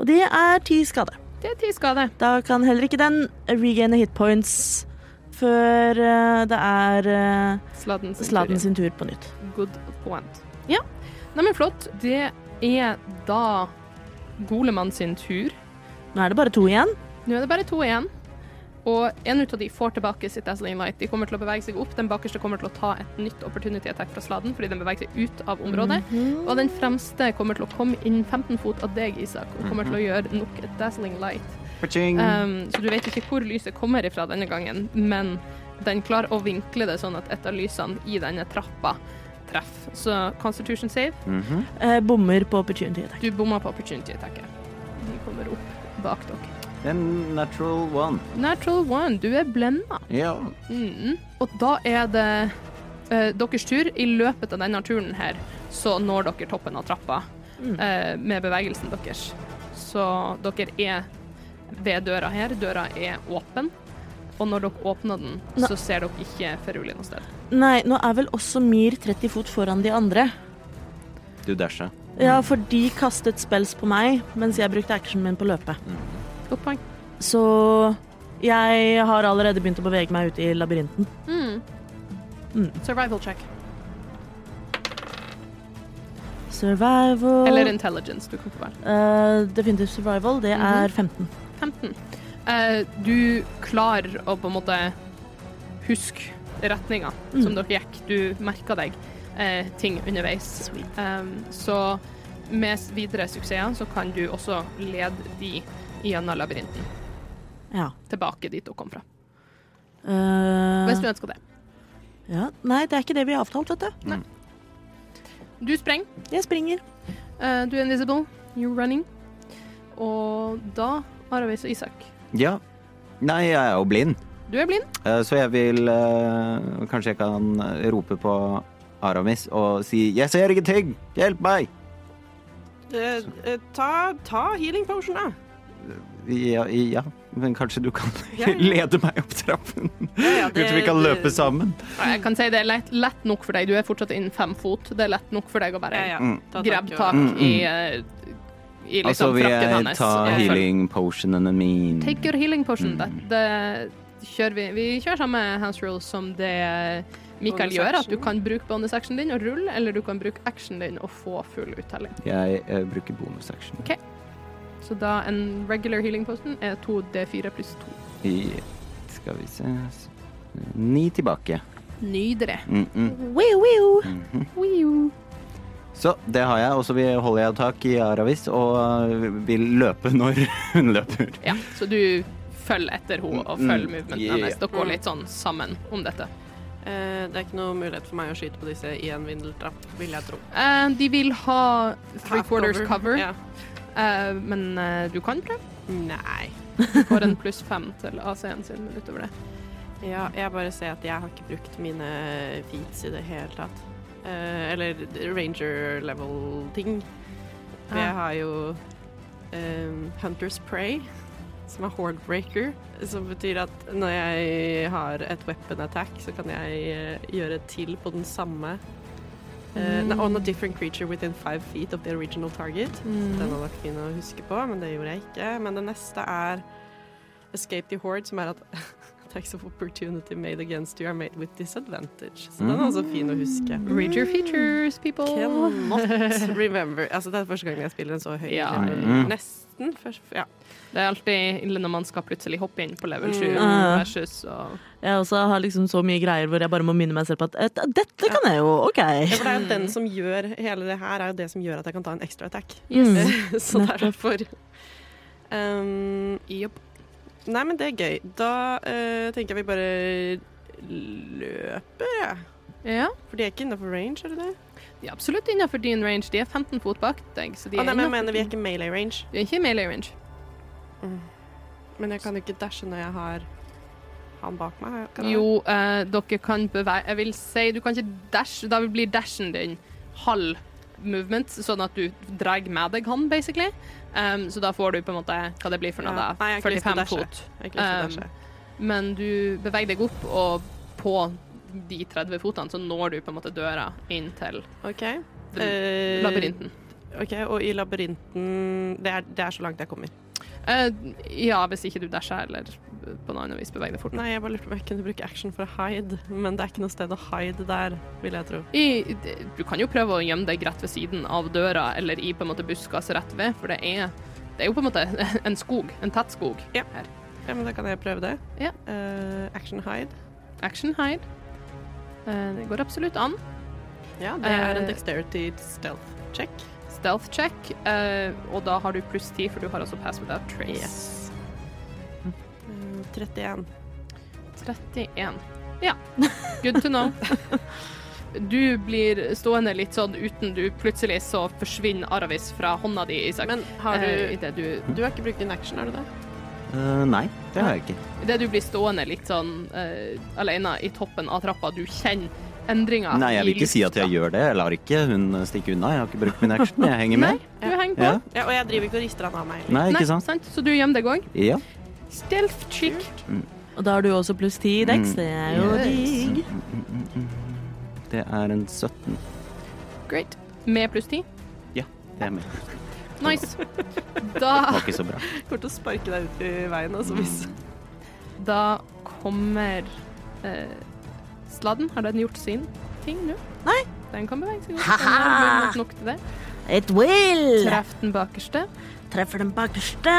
Speaker 3: Og det er 10 skade.
Speaker 1: Det er ti skade.
Speaker 3: Da kan heller ikke den regaine hit points før eh, det er eh,
Speaker 1: Sladden sin
Speaker 3: Sladen
Speaker 1: tur
Speaker 3: sin tur på nytt.
Speaker 1: inn. Good point. Ja, nei, men flott. Det er da Golemann sin tur.
Speaker 3: Nå er det bare to igjen.
Speaker 1: Nå er det bare to igjen. Og en ut av de får tilbake sitt Dazzling Light. De kommer til å bevege seg opp. Den bakerste kommer til å ta et nytt opportunity attack fra sladen, fordi den beveger seg ut av området.
Speaker 3: Mhm.
Speaker 1: Og den fremste kommer til å komme innen 15 fot av deg, Isak, og kommer til å gjøre nok et Dazzling Light.
Speaker 2: Ka-ching.
Speaker 1: Um, så du vet ikke hvor lyset kommer ifra denne gangen, men den klarer å vinkle det sånn at et av lysene i denne trappa treffer. Så Constitution save,
Speaker 2: Mhm.
Speaker 3: Eh, bommer på opportunity attack.
Speaker 1: du bomma på opportunity attacket. Den kommer opp bak dere.
Speaker 2: En natural one.
Speaker 1: Natural one, du er blenda.
Speaker 2: Ja.
Speaker 1: Mm. Og da er det eh, deres tur. I løpet av denne turen her så når dere toppen av trappa eh, med bevegelsen deres. Så dere er ved døra her. Døra er åpen. Og når dere åpner den, så ser dere ikke Feruli noe sted.
Speaker 3: Nei, nå er vel også Myr 30 fot foran de andre.
Speaker 2: Du dasha.
Speaker 1: Mm.
Speaker 3: Ja, for de kastet spells på meg mens jeg brukte actionen min på løpet.
Speaker 2: Mhm.
Speaker 1: Godt poeng.
Speaker 3: Så jeg har allerede begynt å bevege meg ut i labyrinten. Mm.
Speaker 1: Survival check.
Speaker 3: Survival
Speaker 1: Eller Mhm. intelligence, du kan få velge.
Speaker 3: Eh, Definitivt survival, det er 15.
Speaker 1: 15. Eh, du klarer å på en måte huske retninga
Speaker 3: Mm.
Speaker 1: som dere gikk. Du merka deg eh, ting underveis. Em, så med s- videre suksesser så kan du også lede de gjennom labyrinten
Speaker 3: Ja.
Speaker 1: tilbake dit dere kom fra.
Speaker 3: Eh,
Speaker 1: Hvis du ønsker det.
Speaker 3: ja. Nei, det er ikke det vi har avtalt, vet du.
Speaker 1: Du sprenger.
Speaker 3: Jeg springer.
Speaker 1: Eh, du er invisible. You're running. Og da, Aravis og Isak,
Speaker 2: Ja. Nei, jeg er jo blind,
Speaker 1: du er blind.
Speaker 2: Eh, så jeg vil eh, Kanskje jeg kan eh, rope på Aramis og si 'Jeg ser ingenting! Hjelp meg!'
Speaker 4: Eh, eh, ta, ta healing potion, da.
Speaker 2: Ja, ja. men kanskje du kan
Speaker 4: Ja, ja.
Speaker 2: lede meg opp trappen?
Speaker 4: Ja, ja,
Speaker 2: Kanskje vi kan løpe sammen?
Speaker 1: Jeg kan si det er lett, lett nok for deg. Du er fortsatt innen fem fot. Det er lett nok for deg å bare
Speaker 4: Ja, ja.
Speaker 2: Mm.
Speaker 4: Ta
Speaker 1: grabbe tak
Speaker 2: Mm, mm.
Speaker 1: i, eh, i liksom
Speaker 2: Altså, vil
Speaker 1: frakken
Speaker 2: jeg
Speaker 1: hans.
Speaker 2: ta
Speaker 1: Ja.
Speaker 2: healing potionene mine?
Speaker 1: Take your healing potion. Det,
Speaker 2: Mm.
Speaker 1: det kjører vi. vi kjører samme hands rule som det eh, Mikael
Speaker 4: Bonus
Speaker 1: gjør, at
Speaker 4: action.
Speaker 1: du kan bruke bonus action din og rulle, eller du kan bruke action din og få full uttelling.
Speaker 2: Jeg eh, bruker bonus action.
Speaker 1: Så da en regular healing potion er 2D4 pluss 2.
Speaker 2: I, skal vi se s- Ni tilbake.
Speaker 1: Nydelig.
Speaker 2: Mm -mm.
Speaker 3: Wiu, wiu.
Speaker 2: mhm.
Speaker 1: Wiu.
Speaker 2: Så det har jeg, og så vil- holder jeg tak i Aravis og øh, vil løpe når hun løper.
Speaker 1: Ja, så du følger etter henne og
Speaker 2: Mm,
Speaker 1: følger movementen
Speaker 2: yeah.
Speaker 1: hennes. Dere
Speaker 4: Mm.
Speaker 1: går litt sånn sammen om dette.
Speaker 4: Eh, det er ikke noe mulighet for meg å skyte på disse i en vindeltrapp, vil jeg tro.
Speaker 1: Eh, de vil ha three
Speaker 4: Half
Speaker 1: quarters cover,
Speaker 4: Ja.
Speaker 1: eh, men eh, du kan prøve.
Speaker 4: Nei.
Speaker 1: Du får en pluss fem til AC-en sin, men utover det.
Speaker 4: Ja, jeg bare ser at jeg har ikke brukt mine feats i det hele tatt. Eh, eller ranger level-ting.
Speaker 1: Ah.
Speaker 4: For jeg har jo eh, Hunter's Prey, som er Hordbreaker. Som betyr at når jeg har et weapon attack, så kan jeg eh, gjøre til på den samme eh,
Speaker 1: Mm.
Speaker 4: nei, On a different creature within five feet of the original target. Den var nok fin å huske på, men det gjorde jeg ikke. Men det neste er Escape the Horde, som er at Attacks of opportunity made against you are made with disadvantage. Så den er også fin å huske.
Speaker 1: Mm. Read your features, people.
Speaker 4: Cannot remember. Altså, det er første gang jeg spiller en så høy
Speaker 1: Ja.
Speaker 4: level.
Speaker 2: Mm.
Speaker 4: Nesten. Først, ja.
Speaker 1: Det er alltid ille når man skal plutselig hoppe inn på
Speaker 4: Mm.
Speaker 1: level 7
Speaker 3: Ah.
Speaker 1: versus og
Speaker 3: Jeg også har liksom så mye greier hvor jeg bare må minne meg selv på at eh, dette kan jeg jo, OK.
Speaker 4: Ja, for det er jo den som gjør hele det her, er jo det som gjør at jeg kan ta en ekstra attack.
Speaker 3: Yes.
Speaker 4: så det er derfor. Um, Nei, men det er gøy. Da eh, tenker jeg vi bare løper, jeg.
Speaker 1: Ja,
Speaker 4: For de er ikke innafor range, er det det?
Speaker 1: de er absolutt innenfor din range. De er 15 fot bak deg, så de
Speaker 4: Å,
Speaker 1: er
Speaker 4: Ah, nei, men jeg
Speaker 1: innenfor
Speaker 4: mener vi er
Speaker 1: din-
Speaker 4: ikke melee range.
Speaker 1: de er ikke i melee range.
Speaker 4: Men jeg kan jo ikke dashe når jeg har han bak meg. Kan jeg?
Speaker 1: Jo, eh, dere kan bevege Jeg vil si du kan ikke dash, da blir dashen din halv movement, sånn at du drar med deg han, basically. Um, så da får du på en måte hva det blir for noe,
Speaker 4: Ja.
Speaker 1: da.
Speaker 4: Nei, jeg har ikke lyst til å
Speaker 1: 45
Speaker 4: dashe.
Speaker 1: fot.
Speaker 4: Jeg har ikke lyst til å
Speaker 1: Um,
Speaker 4: dashe.
Speaker 1: Men du beveger deg opp, og på de 30 fotene så når du på en måte døra inn til
Speaker 4: OK.
Speaker 1: den
Speaker 4: Eh,
Speaker 1: labyrinten.
Speaker 4: OK, og i labyrinten det er, det er så langt jeg kommer.
Speaker 1: Eh, ja, hvis ikke du dasher eller på noe annet vis beveger deg fort.
Speaker 4: Nei, jeg bare lurte på om jeg kunne bruke action for å hide, men det er ikke noe sted å hide der, vil jeg tro.
Speaker 1: I, du kan jo prøve å gjemme deg rett ved siden av døra, eller i på en måte buskas rett ved, for det er, det er jo på en måte en skog, en tett skog.
Speaker 4: Ja.
Speaker 1: her.
Speaker 4: Ja, men da kan jeg prøve det.
Speaker 1: Ja.
Speaker 4: Eh, action hide.
Speaker 1: Action hide. Eh, Det går absolutt an.
Speaker 4: Ja, det er en
Speaker 1: Eh,
Speaker 4: dexterity stealth check.
Speaker 1: Stealth check, eh, og da har du pluss 10, for du har også pass without trace.
Speaker 4: Yes. Eh, 31.
Speaker 1: 31. Ja, good to know. Du blir stående litt sånn uten du plutselig så forsvinner Aravis fra hånda di, Isak.
Speaker 4: Men har
Speaker 1: Eh, i
Speaker 4: du
Speaker 1: det du
Speaker 4: Du har ikke brukt din action, har du det?
Speaker 2: Eh, nei, det har jeg ikke.
Speaker 1: Idet du blir stående litt sånn eh, alene i toppen av trappa, du kjenner endringer
Speaker 2: Nei, jeg vil
Speaker 1: i
Speaker 2: ikke si at jeg
Speaker 1: lufta.
Speaker 2: gjør det. Jeg lar ikke hun stikke unna. Jeg har ikke brukt min action. Jeg henger med.
Speaker 1: Du henger på.
Speaker 2: Ja.
Speaker 4: Ja, og jeg driver ikke og rister han av meg. heller.
Speaker 2: Nei, ikke sant?
Speaker 1: Så du gjemmer deg òg.
Speaker 2: Ja.
Speaker 1: Stealth chick.
Speaker 3: Og da har du også pluss ti i dex. Det er jo
Speaker 1: Yes.
Speaker 3: digg.
Speaker 2: Det er en 17.
Speaker 1: Great. Med pluss 10.
Speaker 2: Ja, det er med.
Speaker 1: Nice.
Speaker 2: Det
Speaker 1: Da,
Speaker 2: var ikke så bra.
Speaker 4: Jeg kommer til å sparke deg ut i veien. Altså, hvis.
Speaker 1: da kommer eh, sladden. Har den gjort sin ting nå?
Speaker 3: Nei.
Speaker 1: Den kan bevege seg godt. Den har mulighet nok til det.
Speaker 3: It will!
Speaker 1: Treff den bakerste.
Speaker 3: Treffer den bakerste.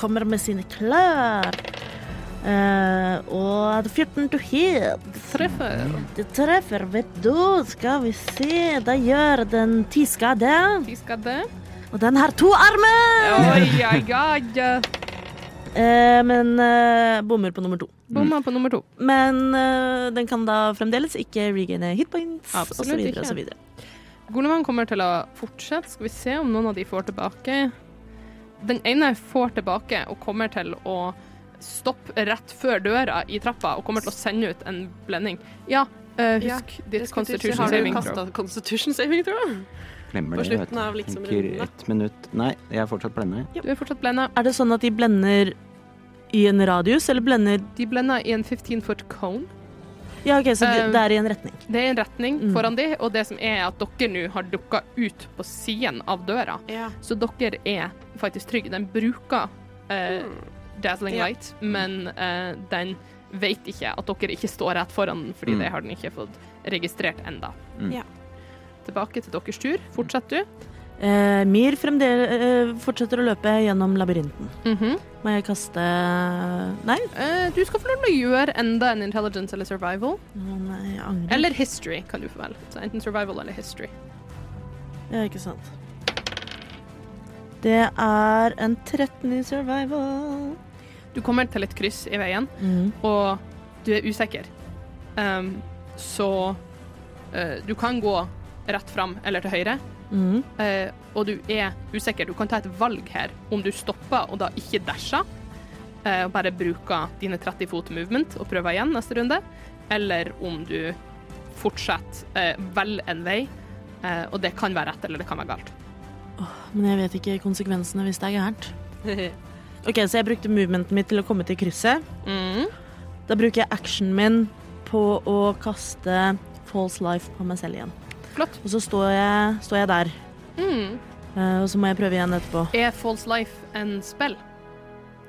Speaker 3: Kommer med sine klør. Eh, og det er 14 to hit.
Speaker 1: Treffer.
Speaker 2: Mm.
Speaker 3: Du treffer, vet du. Skal vi se. Da gjør den ti skade.
Speaker 1: De skal det.
Speaker 3: Og den har to armer!
Speaker 1: Oi, oi, oi.
Speaker 3: Eh, men eh, bommer på nummer to.
Speaker 1: Bomma på nummer to.
Speaker 3: Men eh, den kan da fremdeles ikke regaine hitpoints
Speaker 1: Absolutt
Speaker 3: osv.
Speaker 1: ikke.
Speaker 3: osv.
Speaker 1: Goleman kommer til å fortsette. Skal vi se om noen av de får tilbake. Den ene får tilbake og kommer til å stoppe rett før døra i trappa og kommer til å sende ut en blending. Ja, eh, husk ditt constitution saving throw.
Speaker 4: Har du kastet constitution saving throw?
Speaker 2: Glemmer
Speaker 4: På
Speaker 2: det, vet
Speaker 4: slutten av liksom
Speaker 2: Tenker
Speaker 4: runden, da.
Speaker 2: ett minutt Nei, jeg er fortsatt blenda.
Speaker 1: Du er fortsatt blenda.
Speaker 3: Er det sånn at de blender i en radius, eller blender
Speaker 1: De blender i en 15 foot cone.
Speaker 3: Ja, OK, så det-
Speaker 1: Eh,
Speaker 3: det er i en retning.
Speaker 1: Det er en retning
Speaker 3: Mm.
Speaker 1: foran de, og det som er at dere nå har dukka ut på siden av døra.
Speaker 4: Ja.
Speaker 1: Så dere er faktisk trygge. Den bruker eh, Dazzling
Speaker 4: Ja.
Speaker 1: Light, men eh, den vet ikke at dere ikke står rett foran den, fordi
Speaker 2: Mm.
Speaker 1: det har den ikke fått registrert enda.
Speaker 2: Mm.
Speaker 4: Ja.
Speaker 1: Tilbake til deres tur. Fortsett du.
Speaker 3: Eh, Mir fremdel- eh, fortsetter å løpe gjennom labyrinten.
Speaker 1: Mhm.
Speaker 3: Må jeg kaste Nei.
Speaker 1: Eh, du skal få lov til å gjøre enda en intelligence eller survival.
Speaker 3: Å, nei, jeg angrer.
Speaker 1: Eller history, kan du få velge. Så enten survival eller history.
Speaker 3: Ja, ikke sant. Det er en 13 i survival.
Speaker 1: Du kommer til et kryss i veien. og du er usikker, Ehm, så eh, du kan gå rett fram eller til høyre,
Speaker 3: Mm.
Speaker 1: eh, og du er usikker. Du kan ta et valg her om du stopper og da ikke dasher, eh, og bare bruker dine 30 fot movement og prøver igjen neste runde, eller om du fortsetter eh, vel en vei, eh, og det kan være rett eller det kan være galt.
Speaker 3: Men jeg vet ikke konsekvensene hvis det er gærent. OK, så jeg brukte movementet mitt til å komme til krysset.
Speaker 1: Mm.
Speaker 3: Da bruker jeg actionen min på å kaste false life på meg selv igjen.
Speaker 1: Flott.
Speaker 3: Og så står jeg, står jeg der.
Speaker 1: Mm.
Speaker 3: Eh, og så må jeg prøve igjen etterpå.
Speaker 1: Er false life en spill?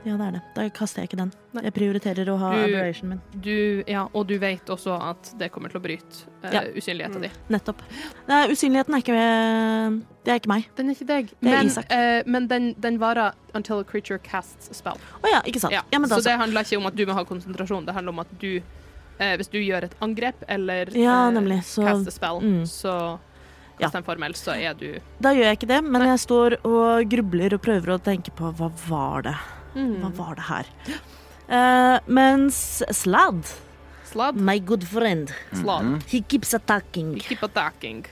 Speaker 3: Ja, det er det. Da kaster jeg ikke den. Jeg prioriterer å ha
Speaker 1: Du-
Speaker 3: aberration min.
Speaker 1: Du, ja, og du vet også at det kommer til å bryte eh,
Speaker 3: Ja.
Speaker 1: usynligheten din.
Speaker 3: Nettopp. Nei, usynligheten er ikke Det er ikke meg.
Speaker 1: Den er ikke deg,
Speaker 3: Det er
Speaker 1: men,
Speaker 3: Isak.
Speaker 1: eh, men den, den varer until a creature casts spell.
Speaker 3: Å ja, ikke sant. Ja, men da
Speaker 1: så
Speaker 3: så.
Speaker 1: det handler ikke om at du må ha konsentrasjon, det handler om at du eh, Hvis du gjør et angrep eller
Speaker 3: Ja,
Speaker 1: eh,
Speaker 3: nemlig. Så
Speaker 1: caster spell,
Speaker 3: mm.
Speaker 1: så
Speaker 3: Ja.
Speaker 1: kast en formel, så er du
Speaker 3: da gjør jeg ikke det, men jeg står og grubler og prøver å tenke på hva var det? Hva
Speaker 1: mm,
Speaker 3: var det her? Eh, mens Slad,
Speaker 1: sladd.
Speaker 3: my good friend,
Speaker 2: Mm,
Speaker 1: Sladd.
Speaker 3: he keeps attacking,
Speaker 1: Keep attacking.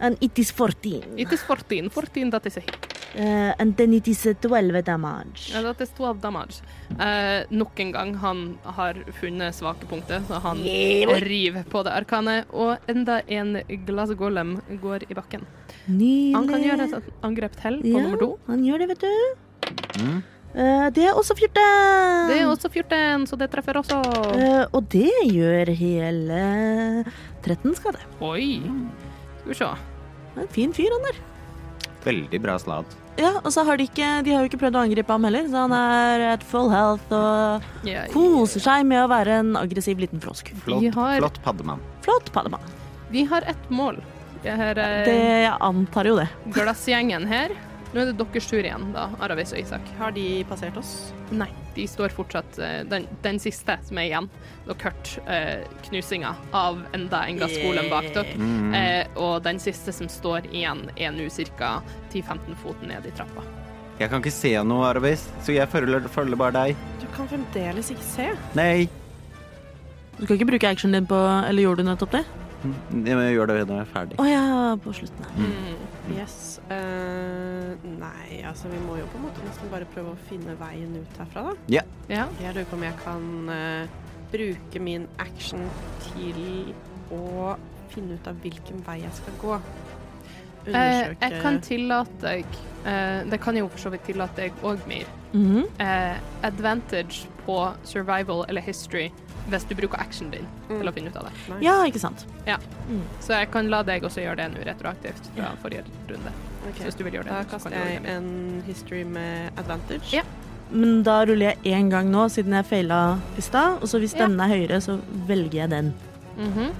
Speaker 3: and it is 14.
Speaker 1: It is 14. 14 that is a hit.
Speaker 3: Eh, and then it is eh, 12 damage.
Speaker 1: Ja, that is 12 damage. Eh, nok en gang han har funnet svake punkter, så han river på det arkanet. Og enda en glassgolem går i bakken.
Speaker 3: Nydelig.
Speaker 1: Han kan gjøre et angrep til på
Speaker 3: Ja,
Speaker 1: nummer to.
Speaker 3: han gjør det, vet du. Eh, det er også 14.
Speaker 1: Det er også 14, så det treffer også.
Speaker 3: Eh, og det gjør hele 13 skade.
Speaker 1: Oi. Skal vi se.
Speaker 3: Han er En fin fyr, han der.
Speaker 2: Veldig bra slad.
Speaker 3: Ja, og så har de ikke De har jo ikke prøvd å angripe ham heller, så han er at full health og
Speaker 1: Ja,
Speaker 3: koser seg med å være en aggressiv liten frosk.
Speaker 2: Flott,
Speaker 1: Vi har-
Speaker 2: flott paddemann.
Speaker 3: Flott, Panama.
Speaker 1: Vi har ett mål. Det her eh,
Speaker 3: Det jeg antar jo det.
Speaker 1: glassgjengen her. Nå er det deres tur igjen, da, Aravis og Isak.
Speaker 4: Har de passert oss?
Speaker 1: Nei, de står fortsatt eh, den, den siste som er igjen. Dere hørte eh, knusinga av enda en glassgolem bak dere.
Speaker 2: Mm.
Speaker 1: Eh, og den siste som står igjen, er nå ca. 10-15 fot ned i trappa.
Speaker 2: Jeg kan ikke se noe, Arvis, så jeg følger, følger bare deg.
Speaker 4: Du kan fremdeles ikke se.
Speaker 2: Nei,
Speaker 3: Du kan ikke bruke actionen din på Eller gjorde du nettopp det?
Speaker 2: jeg gjør det når jeg er ferdig.
Speaker 3: Å ja, på slutten. ja.
Speaker 4: Yes. Eh, nei, altså vi må jo på en måte nesten bare prøve å finne veien ut herfra, da.
Speaker 2: Ja.
Speaker 1: Ja.
Speaker 4: Jeg lurer på om jeg kan eh, bruke min action til å finne ut av hvilken vei jeg skal gå.
Speaker 1: Eh, jeg kan tillate deg eh, Det kan jeg jo for så vidt tillate deg òg, Mir.
Speaker 3: Mhm.
Speaker 1: Eh, advantage på survival eller history hvis du bruker actionen din
Speaker 4: Mm.
Speaker 1: til å finne ut av det.
Speaker 4: Nice.
Speaker 3: Ja, ikke sant.
Speaker 1: Så jeg kan la deg også gjøre det nå retroaktivt fra
Speaker 3: Ja.
Speaker 1: forrige runde.
Speaker 4: Ok.
Speaker 1: Så hvis du vil gjøre
Speaker 4: Da
Speaker 1: det, så
Speaker 4: kaster
Speaker 1: kan du gjøre det.
Speaker 4: jeg
Speaker 1: Mir.
Speaker 4: en history med advantage.
Speaker 1: Ja.
Speaker 3: Men da ruller jeg én gang nå, siden jeg faila i stad. Og så hvis
Speaker 1: Ja.
Speaker 3: denne er høyere, så velger jeg den.
Speaker 1: Mhm.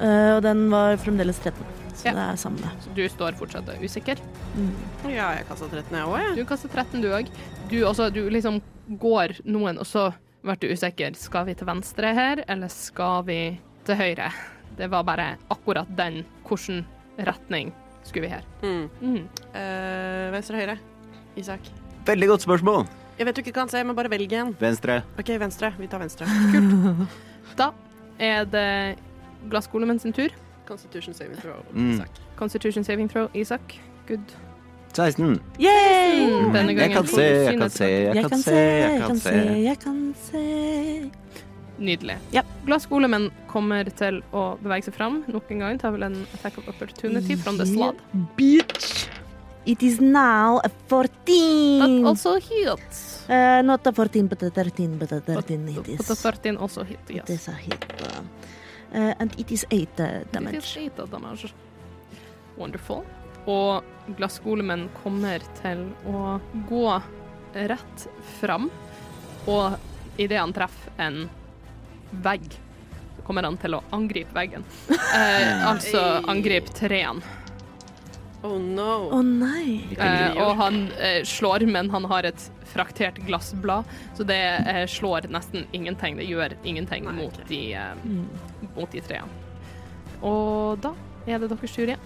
Speaker 3: Eh, og den var fremdeles 13. så
Speaker 1: Ja.
Speaker 3: det er samme.
Speaker 1: Så du står fortsatt usikker.
Speaker 3: Mm.
Speaker 4: Ja, jeg kasta 13, jeg òg, jeg.
Speaker 1: Du kaster 13, du òg. Du, også- du liksom går noen, og så ble du usikker. Skal vi til venstre her, eller skal vi til høyre? Det var bare akkurat den. Hvilken retning skulle vi her?
Speaker 4: Mm.
Speaker 1: Mm.
Speaker 4: Eh, venstre høyre? Isak.
Speaker 2: Veldig godt spørsmål.
Speaker 4: Jeg vet du ikke kan se, men bare velg en.
Speaker 2: Venstre.
Speaker 4: OK, venstre. Vi tar venstre.
Speaker 1: Da er det glassgolemen sin tur.
Speaker 4: Constitution saving throw.
Speaker 2: Mm.
Speaker 4: Isak.
Speaker 1: Constitution saving throw, Isak. Good.
Speaker 2: 16.
Speaker 3: Yay!
Speaker 1: Mm. Denne
Speaker 2: Jeg
Speaker 1: gangen
Speaker 2: kan
Speaker 1: får
Speaker 2: se,
Speaker 1: du
Speaker 2: jeg kan
Speaker 1: synet
Speaker 2: se,
Speaker 1: tilbake.
Speaker 2: jeg kan se, jeg kan se.
Speaker 3: jeg kan se.
Speaker 1: Nydelig.
Speaker 3: Ja.
Speaker 1: Glassgolemen kommer til å bevege seg fram nok en gang. Tar vel en attack of opportunity from the slab.
Speaker 3: Bitch! It is now a 14.
Speaker 1: But also hit.
Speaker 3: Eh, not a 14, but a 13, but a 13 it
Speaker 1: But
Speaker 3: is.
Speaker 1: the 13 also hit, yes.
Speaker 3: It is a hit. uh, eh, and it is 8 uh,
Speaker 1: It
Speaker 3: damage.
Speaker 1: is eight of damage. Wonderful. Og glassgolemen kommer til å gå rett fram, og idet han treffer en vegg, så kommer han til å angripe veggen. Eh, altså angripe trærne.
Speaker 4: Oh no.
Speaker 3: Å nei.
Speaker 1: Eh, og han eh, slår, men han har et fraktert glassblad, så det eh, slår nesten ingenting. Det gjør ingenting
Speaker 4: Nei,
Speaker 1: mot,
Speaker 4: ok. Mm.
Speaker 1: de, eh, mot de trærne. Og da er det deres tur igjen.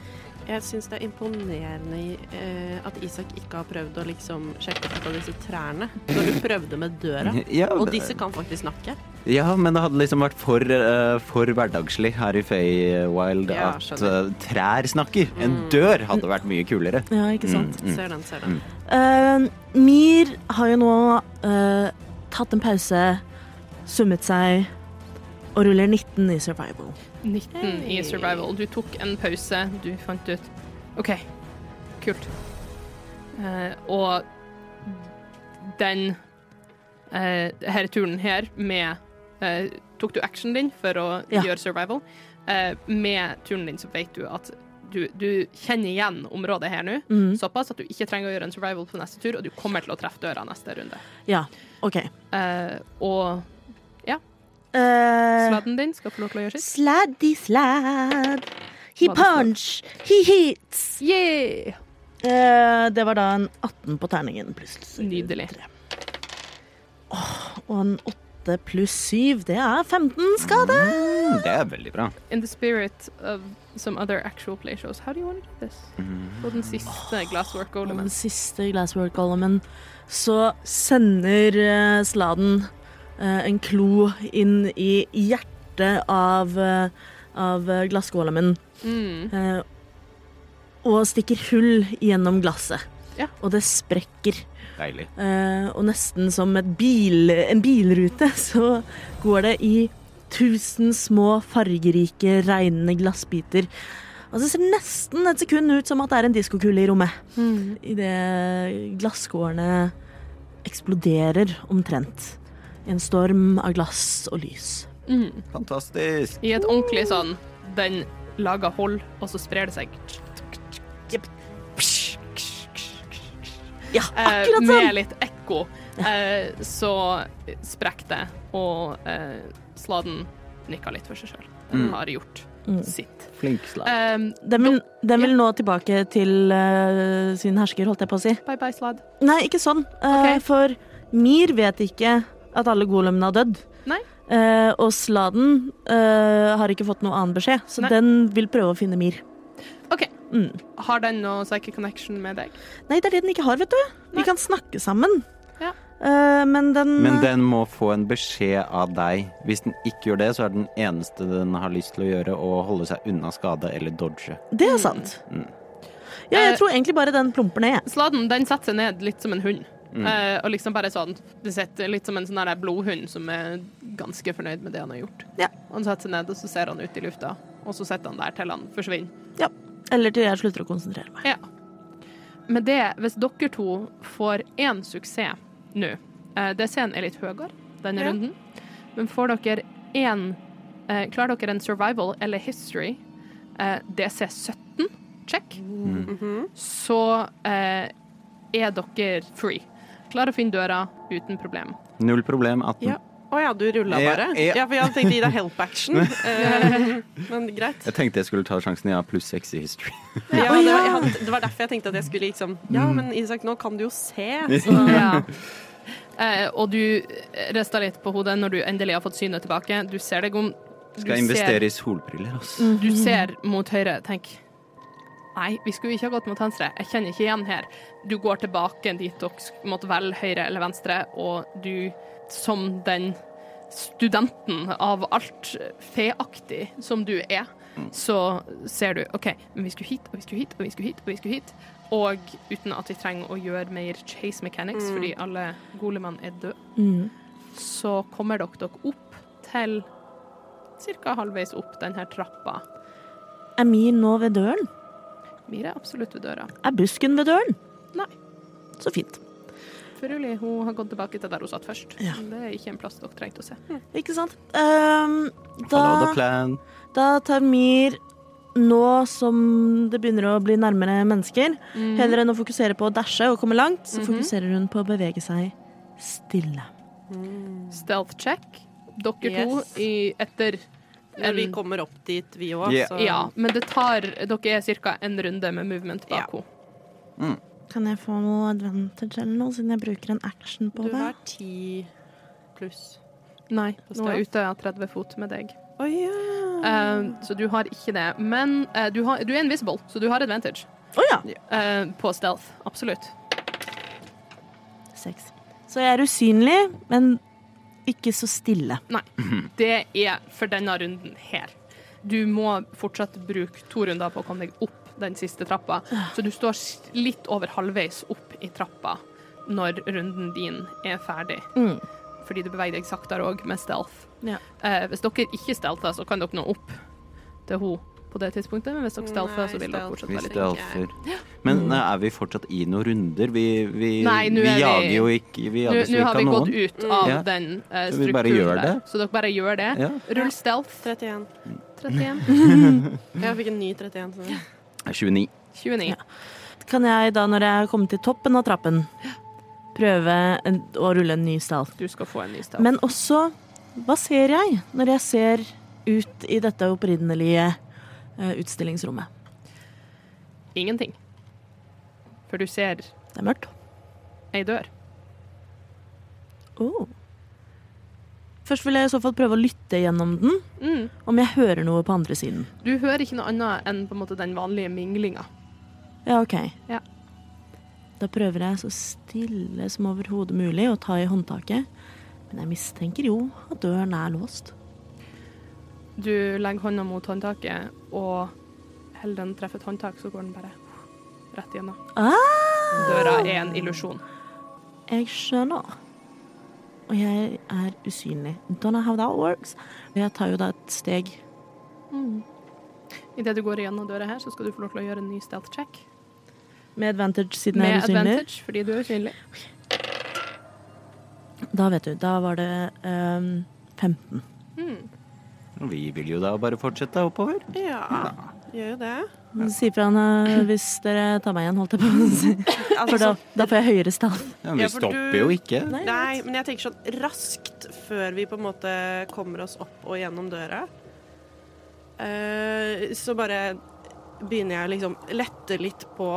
Speaker 4: Jeg syns det er imponerende eh, at Isak ikke har prøvd å liksom sjekke ut av disse trærne. Når du prøvde med døra.
Speaker 2: Ja,
Speaker 4: Og
Speaker 2: det-
Speaker 4: disse kan faktisk snakke.
Speaker 2: Ja, men det hadde liksom vært for, eh, for hverdagslig her i Feywild
Speaker 4: Ja,
Speaker 2: at
Speaker 4: skjønner.
Speaker 2: eh, trær snakker. En dør hadde vært mye kulere.
Speaker 3: Ja, ikke sant.
Speaker 2: Mm.
Speaker 4: Ser den, ser den.
Speaker 3: Eh, Mir har jo nå eh, tatt en pause, summet seg og ruller 19 i survival.
Speaker 1: 19 Mm, i survival. Du tok en pause. Du fant ut OK, kult. Eh, og den eh, her turen her med eh, Tok du actionen din for å
Speaker 3: Ja.
Speaker 1: gjøre survival? Eh, med turen din så vet du at du, du kjenner igjen området her nå.
Speaker 3: Mm.
Speaker 1: Såpass at du ikke trenger å gjøre en survival på neste tur, og du kommer til å treffe døra neste runde.
Speaker 3: Ja, OK.
Speaker 1: Eh, og
Speaker 3: Eh,
Speaker 1: sladden din skal få lov til å gjøre sitt.
Speaker 3: Sladdy slad. He
Speaker 1: Hva er det for?
Speaker 3: punch, he hits.
Speaker 1: Yeah!
Speaker 3: Eh, det var da en 18 på terningen pluss
Speaker 1: Nydelig.
Speaker 3: tre. Åh, og en 8 pluss 7, det er 15 skade.
Speaker 2: Mm, det er veldig bra.
Speaker 1: In the spirit of some other actual play shows, how do you want to do this? På den siste glasswork
Speaker 3: Og
Speaker 1: golemen.
Speaker 3: den siste glasswork-golemen så sender eh, sladen eh, en klo inn i hjertet av, eh, av eh, glassgolemen.
Speaker 1: Mm.
Speaker 3: Eh, og stikker hull gjennom glasset.
Speaker 1: Ja.
Speaker 3: Og det sprekker.
Speaker 2: Deilig.
Speaker 3: Eh, og nesten som et bil, en bilrute så går det i tusen små, fargerike, regnende glassbiter. Og det ser nesten et sekund ut som at det er en diskokule i rommet.
Speaker 1: Mm.
Speaker 3: Idet glasskårene eksploderer omtrent. I en storm av glass og lys.
Speaker 1: Mm.
Speaker 2: Fantastisk.
Speaker 1: I et ordentlig sånn Den lager hold, og så sprer det seg.
Speaker 3: Ja,
Speaker 1: Eh,
Speaker 3: akkurat sånn!
Speaker 1: med litt ekko. Eh, så sprekker det, og eh, sladen nikker litt for seg sjøl. Den
Speaker 2: Mm.
Speaker 1: har gjort sitt.
Speaker 2: Flink slag.
Speaker 1: Eh,
Speaker 3: Den vil, den vil nå tilbake til eh, sin hersker, holdt jeg på å si.
Speaker 1: bye bye, slad.
Speaker 3: Nei, ikke sånn. Eh,
Speaker 1: Ok.
Speaker 3: For Mir vet ikke at alle golemene har dødd.
Speaker 1: Nei.
Speaker 3: Eh, og Sladen eh, har ikke fått noe annen beskjed, så
Speaker 1: Nei.
Speaker 3: den vil prøve å finne Mir.
Speaker 1: OK.
Speaker 3: Mm.
Speaker 1: Har den noe psychic connection med deg?
Speaker 3: Nei, det er det den ikke har, vet du.
Speaker 1: Nei.
Speaker 3: Vi kan snakke sammen.
Speaker 1: Ja.
Speaker 3: Eh, men den,
Speaker 2: Men den må få en beskjed av deg. Hvis den ikke gjør det, så er den eneste den har lyst til å gjøre, å holde seg unna skade eller dodge.
Speaker 3: Det er sant.
Speaker 2: Mm.
Speaker 3: Ja, jeg
Speaker 1: Eh,
Speaker 3: tror egentlig bare den plumper ned. jeg.
Speaker 1: Sladden den setter seg ned litt som en hund.
Speaker 2: Mm.
Speaker 1: Eh, og liksom bare sånn Det sitter litt som en sånn der blodhund som er ganske fornøyd med det han har gjort.
Speaker 3: Ja.
Speaker 1: Han setter seg ned, og så ser han ut i lufta, og så sitter han der til han forsvinner.
Speaker 3: Ja. Eller til jeg slutter å konsentrere meg.
Speaker 1: Ja. Med det, hvis dere to får én suksess nå eh, DC-en er litt høyere denne
Speaker 4: Ja.
Speaker 1: runden, men får dere én eh, Klarer dere en survival eller history, eh, DC 17, check,
Speaker 4: Mhm.
Speaker 1: så eh, er dere free. Klarer å finne døra uten problem.
Speaker 2: Null problem, 18.
Speaker 4: Ja. Å ja, du rulla
Speaker 2: Ja,
Speaker 4: bare?
Speaker 2: ja.
Speaker 4: Ja, for jeg hadde tenkt å gi deg help action. eh, Men greit.
Speaker 2: Jeg tenkte jeg skulle ta sjansen. Jeg har pluss seks i history.
Speaker 4: Ja, det, var, jeg hadde, det var derfor jeg tenkte at jeg skulle liksom Ja, men Isak, nå kan du jo se. Så
Speaker 1: Ja. Eh, og du rister litt på hodet når du endelig har fått synet tilbake. Du ser deg om. Du Mm.
Speaker 2: Skal jeg investere i solbriller, altså.
Speaker 1: Ser, du
Speaker 3: Mm.
Speaker 1: ser mot høyre. Tenk. Nei, vi skulle ikke ha gått mot venstre. Jeg kjenner ikke igjen her. Du går tilbake dit dere sk- måtte velge høyre eller venstre, og du, som den studenten av alt feaktig som du er, så ser du OK, men vi skulle hit, og vi skulle hit, og vi skulle hit, og vi skulle hit. Og uten at vi trenger å gjøre mer chase mechanics, fordi alle golemene er døde
Speaker 3: Mm.
Speaker 1: så kommer dere dere opp til ca. halvveis opp denne trappa.
Speaker 3: Er Mir nå ved døren?
Speaker 1: Mira er absolutt ved døra.
Speaker 3: Er busken ved døren?
Speaker 1: Nei.
Speaker 3: Så fint.
Speaker 1: Furuli hun har gått tilbake til der hun satt først.
Speaker 3: Ja.
Speaker 1: Det er ikke en plass dere trengte å se.
Speaker 3: Ikke sant? Ehm,
Speaker 2: Follow the
Speaker 3: da,
Speaker 2: plan.
Speaker 3: da tar Mir nå som det begynner å bli nærmere mennesker,
Speaker 4: Mhm.
Speaker 3: heller enn å fokusere på å dashe og komme langt, så fokuserer hun på å bevege seg stille.
Speaker 1: Stealth check. Dere
Speaker 4: Yes.
Speaker 1: to i, etter
Speaker 4: Når vi kommer opp dit, vi òg,
Speaker 2: Ja.
Speaker 4: så
Speaker 1: Ja, men det tar Dere er ca. en runde med movement bak henne.
Speaker 3: Kan jeg få noe advantage eller noe, siden jeg bruker en action på
Speaker 4: Du
Speaker 3: det?
Speaker 4: har ti pluss.
Speaker 1: Nei, nå er
Speaker 4: stealth?
Speaker 1: jeg ute av 30 fot med deg.
Speaker 4: Å ja.
Speaker 1: Eh, så du har ikke det. Men eh, du, har, du er invisible, så du har advantage
Speaker 3: Å ja!
Speaker 1: eh, på stealth. Absolutt.
Speaker 3: Seks. Så jeg er usynlig, men ikke så stille.
Speaker 1: Det er for denne runden her. Du må fortsatt bruke to runder på å komme deg opp den siste trappa. Så du står s- litt over halvveis opp i trappa når runden din er ferdig.
Speaker 3: Mm.
Speaker 1: Fordi du beveger deg saktere òg med stealth.
Speaker 3: Ja.
Speaker 1: Eh, hvis dere ikke stealther, så kan dere nå opp til hun på det tidspunktet. Men hvis dere stealther,
Speaker 4: Nei,
Speaker 1: så vil dere
Speaker 4: stealth.
Speaker 1: fortsatt
Speaker 2: Vi
Speaker 1: være litt
Speaker 2: stealther. Men eh, er vi fortsatt i noen runder? Vi, vi,
Speaker 1: Nei, nå
Speaker 2: vi
Speaker 1: er vi-
Speaker 2: jager jo ikke Vi
Speaker 1: Nå
Speaker 2: jages jo
Speaker 1: nå har
Speaker 2: ikke
Speaker 1: vi
Speaker 2: av
Speaker 1: gått
Speaker 2: noen. Mm.
Speaker 1: ut av
Speaker 2: Ja.
Speaker 1: den eh,
Speaker 2: Så vi bare
Speaker 1: strukturen
Speaker 2: gjør
Speaker 1: der.
Speaker 2: det?
Speaker 1: Så dere bare gjør det.
Speaker 2: Ja.
Speaker 1: Rull stealth.
Speaker 4: 31.
Speaker 1: 31.
Speaker 4: Jeg fikk en ny 31. Så.
Speaker 2: 29.
Speaker 1: 29.
Speaker 3: Ja. Kan jeg da, når jeg har kommet til toppen av trappen, prøve en, å rulle en ny stealth?
Speaker 1: Du skal få en ny stealth.
Speaker 3: Men også, hva ser jeg når jeg ser ut i dette opprinnelige eh, utstillingsrommet?
Speaker 1: Ingenting. For du ser
Speaker 3: Det er mørkt.
Speaker 1: ei dør.
Speaker 3: Oh. Først vil jeg i så fall prøve å lytte gjennom den, om jeg hører noe på andre siden.
Speaker 1: Du hører ikke noe annet enn på en måte den vanlige minglinga.
Speaker 3: Ja, ok.
Speaker 1: Ja.
Speaker 3: Da prøver jeg så stille som overhodet mulig å ta i håndtaket. Men jeg mistenker jo at døren er låst.
Speaker 1: Du legger hånda mot håndtaket, og holder den treffer et håndtak, så går den bare rett igjennom. Døra er en illusjon.
Speaker 3: Jeg skjønner. Og jeg er usynlig. Don't know how that works. Og jeg tar jo da et steg
Speaker 1: Idet du går igjennom døra her, så skal du få lov til å gjøre en ny stealth check.
Speaker 3: med advantage siden jeg
Speaker 1: Med
Speaker 3: er usynlig.
Speaker 1: advantage, fordi du er usynlig.
Speaker 3: Da vet du, da var det ehm, 15.
Speaker 2: Vi vil jo da bare fortsette oppover.
Speaker 4: Ja, gjør jo det.
Speaker 3: Si fra henne hvis dere tar meg igjen, holdt jeg på å si. For da,
Speaker 4: Altså,
Speaker 3: da får jeg høyere stall.
Speaker 2: Ja, men
Speaker 4: Ja,
Speaker 2: vi
Speaker 4: for
Speaker 2: stopper
Speaker 4: du-
Speaker 2: jo ikke.
Speaker 3: Nei,
Speaker 4: Nei, men jeg tenker sånn raskt før vi på en måte kommer oss opp og gjennom døra. eh, så bare begynner jeg å liksom lette litt på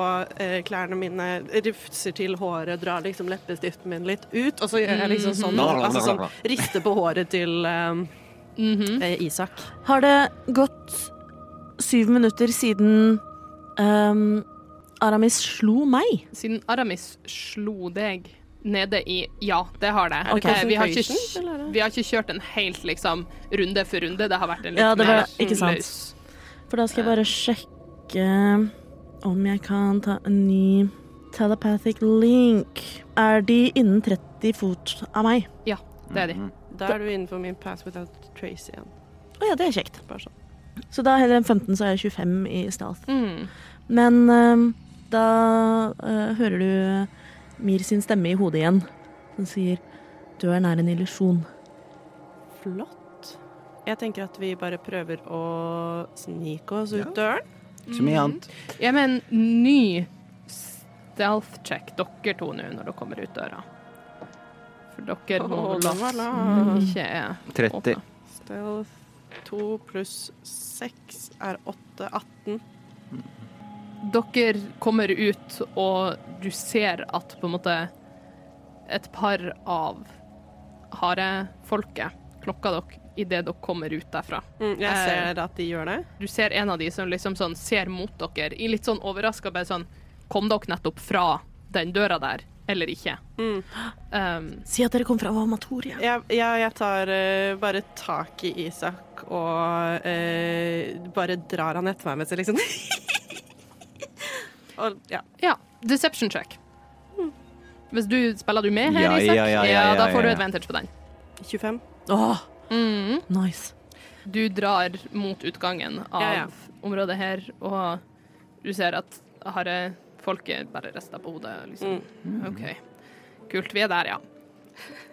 Speaker 4: eh, klærne mine, rufser til håret, drar liksom leppestiften min litt ut, og så gjør jeg liksom sånn, altså sånn rister på håret til eh, eh, Isak.
Speaker 3: Har det gått syv minutter siden ehm, Aramis slo meg?
Speaker 1: Siden Aramis slo deg nede i Ja, det har det.
Speaker 3: Ok.
Speaker 1: Eh, Vi, har ikke,
Speaker 4: concentration, eller er det?
Speaker 1: vi har ikke kjørt en helt liksom, runde for runde. Det har vært en litt
Speaker 3: Ja, det var-
Speaker 1: mer
Speaker 3: ikke sant.
Speaker 1: løs
Speaker 3: For da skal jeg
Speaker 4: Eh.
Speaker 3: bare sjekke om jeg kan ta en ny telepathic link. Er de innen 30 fot av meg?
Speaker 1: Ja, Mm. det er
Speaker 4: Mhm.
Speaker 1: de.
Speaker 4: Da er du innenfor min pass without trace igjen.
Speaker 3: Å ja, det er kjekt.
Speaker 4: Bare sånn.
Speaker 3: Så da heller enn 15, så er jeg 25 i stealth.
Speaker 1: Mm.
Speaker 3: Men ehm, da eh, hører du Mir sin stemme i hodet igjen, som sier Døren er en illusjon.
Speaker 4: Flott. Jeg tenker at vi bare prøver å snike oss ut døren.
Speaker 2: Så
Speaker 1: Mm.
Speaker 2: mye annet.
Speaker 1: Jeg med en ny stealth check, dere to nå, når dere kommer ut døra. for dere må
Speaker 4: Åh, la, la,
Speaker 1: last
Speaker 4: la.
Speaker 1: ikke er
Speaker 2: 30.
Speaker 1: åpne.
Speaker 4: Stealth 2 pluss 6 er 8, 18.
Speaker 1: Dere kommer ut, og du ser at på en måte et par av harefolket klokker dere idet dere kommer ut derfra.
Speaker 4: Mm, jeg
Speaker 1: Eh,
Speaker 4: ser at de gjør det.
Speaker 1: Du ser en av de som liksom sånn ser mot dere, i litt sånn overraska bare sånn Kom dere nettopp fra den døra der, eller ikke?
Speaker 4: Mm.
Speaker 1: Um,
Speaker 3: Si at dere kom fra Vamatoria.
Speaker 4: Jeg, jeg, jeg tar eh, bare tak i Isak og eh, bare drar han etter meg med seg, liksom. og ja.
Speaker 1: ja, deception check. Hvis du spiller du med her,
Speaker 2: Ja,
Speaker 1: Isak,
Speaker 2: ja, ja, ja, ja,
Speaker 1: da får du
Speaker 2: ja.
Speaker 1: advantage på den.
Speaker 4: 25.
Speaker 3: Åh,
Speaker 1: Mm.
Speaker 3: nice.
Speaker 1: Du drar mot utgangen av
Speaker 4: Ja, ja.
Speaker 1: området her, og du ser at harde folket bare rister på hodet.
Speaker 4: Mm.
Speaker 1: Liksom. OK. Kult. Vi er der, ja.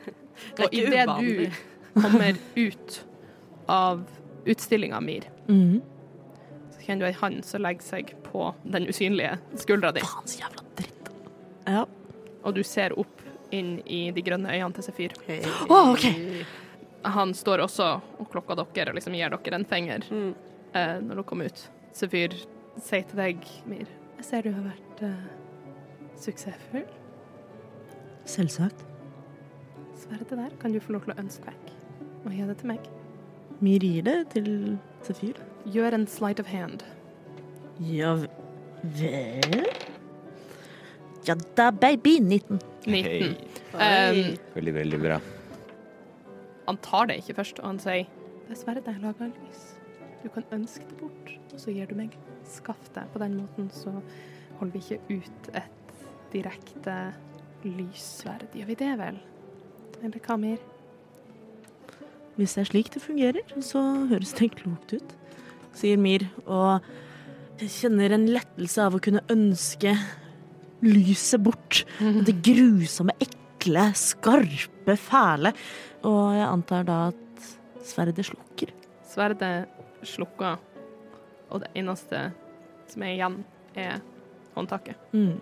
Speaker 4: er
Speaker 1: Og
Speaker 4: ikke
Speaker 1: idet du
Speaker 4: uvanlig.
Speaker 1: kommer ut av utstillinga, Mir,
Speaker 3: Mhm.
Speaker 1: så kjenner du ei hand som legger seg på den usynlige skuldra di,
Speaker 3: Faen, så jævla dritt. Ja.
Speaker 1: og du ser opp inn i de grønne øynene til Sefir.
Speaker 3: Åh, OK.
Speaker 1: Han står også og klokker dere og liksom gir dere en finger
Speaker 4: Mm.
Speaker 1: eh, når dere kommer ut. Sefyr sier til deg, Mir, jeg ser du har vært eh, suksessfull.
Speaker 3: Selvsagt.
Speaker 1: Sverdet der kan du få lov til å ønske vekk og gi det til meg.
Speaker 3: Vi rir det til Sefir.
Speaker 1: Gjør en sleight of hand.
Speaker 3: Ja v- vel Ja da, baby. 19.
Speaker 1: 19.
Speaker 2: Hei.
Speaker 1: Um,
Speaker 2: Veldig, veldig bra.
Speaker 1: han tar det ikke først, og han sier, det er sverdet jeg lager lys. Du kan ønske det bort, og så gir du meg. Skaff deg. På den måten så holder vi ikke ut et direkte lyssverd. Gjør vi det vel? Eller hva, Mir?
Speaker 3: Hvis det er slik det fungerer, så høres det klokt ut, sier Mir. Og jeg kjenner en lettelse av å kunne ønske lyset bort. Det grusomme, ekle, skarpe, fæle. Og jeg antar da at sverdet slukker.
Speaker 1: Sverdet slukker, og det eneste som er igjen, er håndtaket.
Speaker 3: Mm.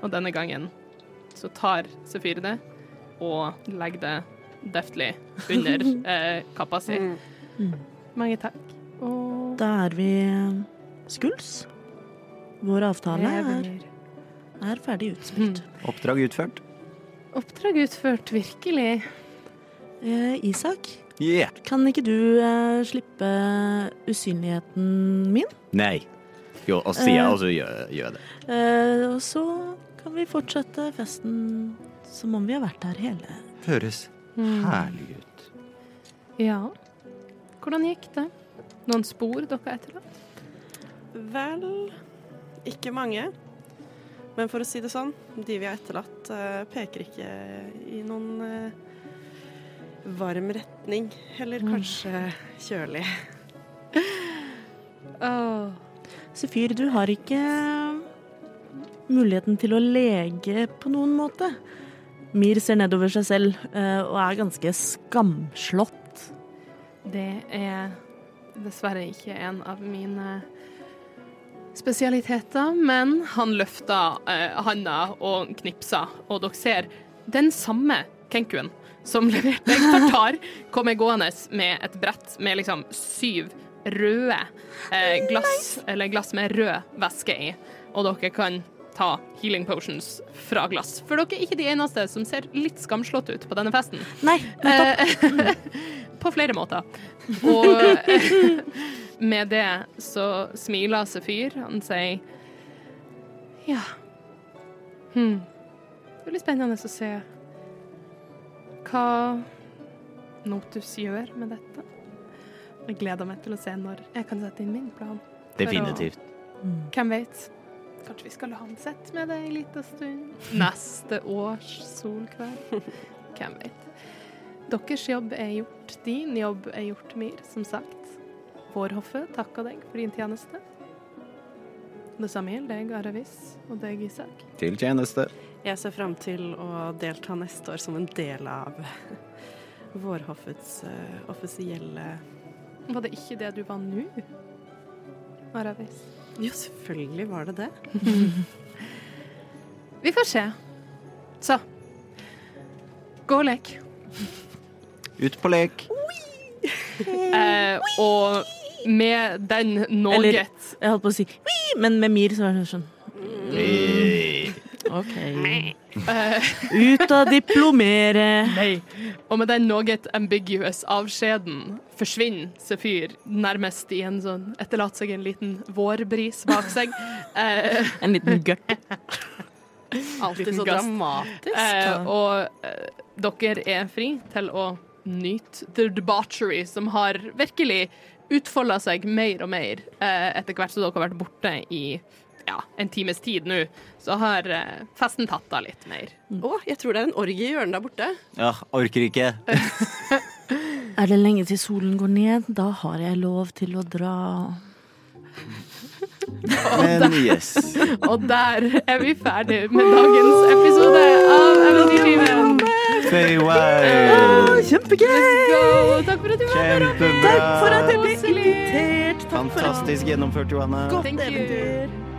Speaker 1: Og denne gangen så tar Sefir det og legger det deftlig under eh, kappa si.
Speaker 4: Mm.
Speaker 1: Mange takk. Og
Speaker 3: Da er vi skuls. Vår avtale er,
Speaker 1: lever.
Speaker 3: er ferdig utspilt.
Speaker 2: Oppdrag utført.
Speaker 1: Oppdrag utført, virkelig.
Speaker 3: Eh, Isak,
Speaker 2: Yeah.
Speaker 3: kan ikke du eh, slippe usynligheten min?
Speaker 2: Nei. Jo, og sier jeg, og så gjør gjør jeg det.
Speaker 3: Eh, og så kan vi fortsette festen som om vi har vært her hele.
Speaker 2: Høres Mm. herlig ut.
Speaker 1: Mm. Ja. Hvordan gikk det? Noen spor dere etterlatt?
Speaker 4: Vel ikke mange. Men for å si det sånn, de vi har etterlatt, eh, peker ikke i noen eh, varm retning. Heller kanskje kjølig.
Speaker 3: Sefyr, du har ikke eh, muligheten til å lege på noen måte. Mir ser nedover seg selv eh, og er ganske skamslått.
Speaker 1: Det er dessverre ikke en av mine spesialiteter, men han løfter eh, handa og knipser, og dere ser den samme kenkuen som leverte deg tartar, kommer gående med et brett med liksom syv røde eh, glass, eller glass med rød væske i, og dere kan ta healing potions fra glass. For dere er ikke de eneste som ser litt skamslått ut på denne festen.
Speaker 3: Nei, nettopp.
Speaker 1: Eh, På flere måter. Og eh, med det så smiler Sefyr. Han sier Ja. Hm. Det blir spennende å se hva Notus gjør med dette. Jeg gleder meg til å se når jeg kan sette inn min plan.
Speaker 2: Definitivt.
Speaker 1: Hvem vet? Kanskje vi skal la han sette med det en liten stund? Neste års solkveld? Hvem vet? Deres jobb er gjort. Din jobb er gjort, Mir, som sagt. Vår hoffe takker deg for din tjeneste. Det samme gjelder deg, Aravis, og deg, Isak.
Speaker 2: Til tjeneste.
Speaker 4: Jeg ser fram til å delta neste år som en del av Vårhoffets eh, offisielle
Speaker 1: Var det ikke det du var nå, Aravis?
Speaker 4: Jo, selvfølgelig var det det.
Speaker 1: Vi får se. Så. gå og lek.
Speaker 2: Ut på lek.
Speaker 1: Eh, og med den
Speaker 3: Eller-
Speaker 1: noget
Speaker 3: Jeg holdt på å si «Wii», men med Mir så var det sånn OK. Ut og diplomere.
Speaker 1: Nei. Og med den noe ambiguous avskjeden forsvinner Sefyr nærmest i en sånn Etterlater seg en liten vårbris bak seg. Eh,
Speaker 3: En liten gørt.
Speaker 4: Alltid så
Speaker 1: Liten gass.
Speaker 4: dramatisk.
Speaker 1: eh, og eh, dere er fri til å nyte the debauchery som har virkelig utfolda seg mer og mer eh, etter hvert som dere har vært borte i ja, en times tid nå. Så har eh, festen tatt av litt mer.
Speaker 4: Å, jeg tror det er en orgie i hjørnet der borte.
Speaker 2: Ja, orker ikke.
Speaker 3: Er det lenge til solen går ned? Da har jeg lov til å dra.
Speaker 2: Men yes.
Speaker 1: Og der er vi ferdig med dagens episode av Eventyrlivet.
Speaker 2: Feywild.
Speaker 3: Kjempegøy!
Speaker 1: Go! Takk for at du var med, Robin.
Speaker 2: Kjempebra. Takk for at
Speaker 3: Jeg ble invitert. Takk for alt.
Speaker 2: Fantastisk gjennomført, Johanne.
Speaker 1: Thank you.
Speaker 3: eventyr.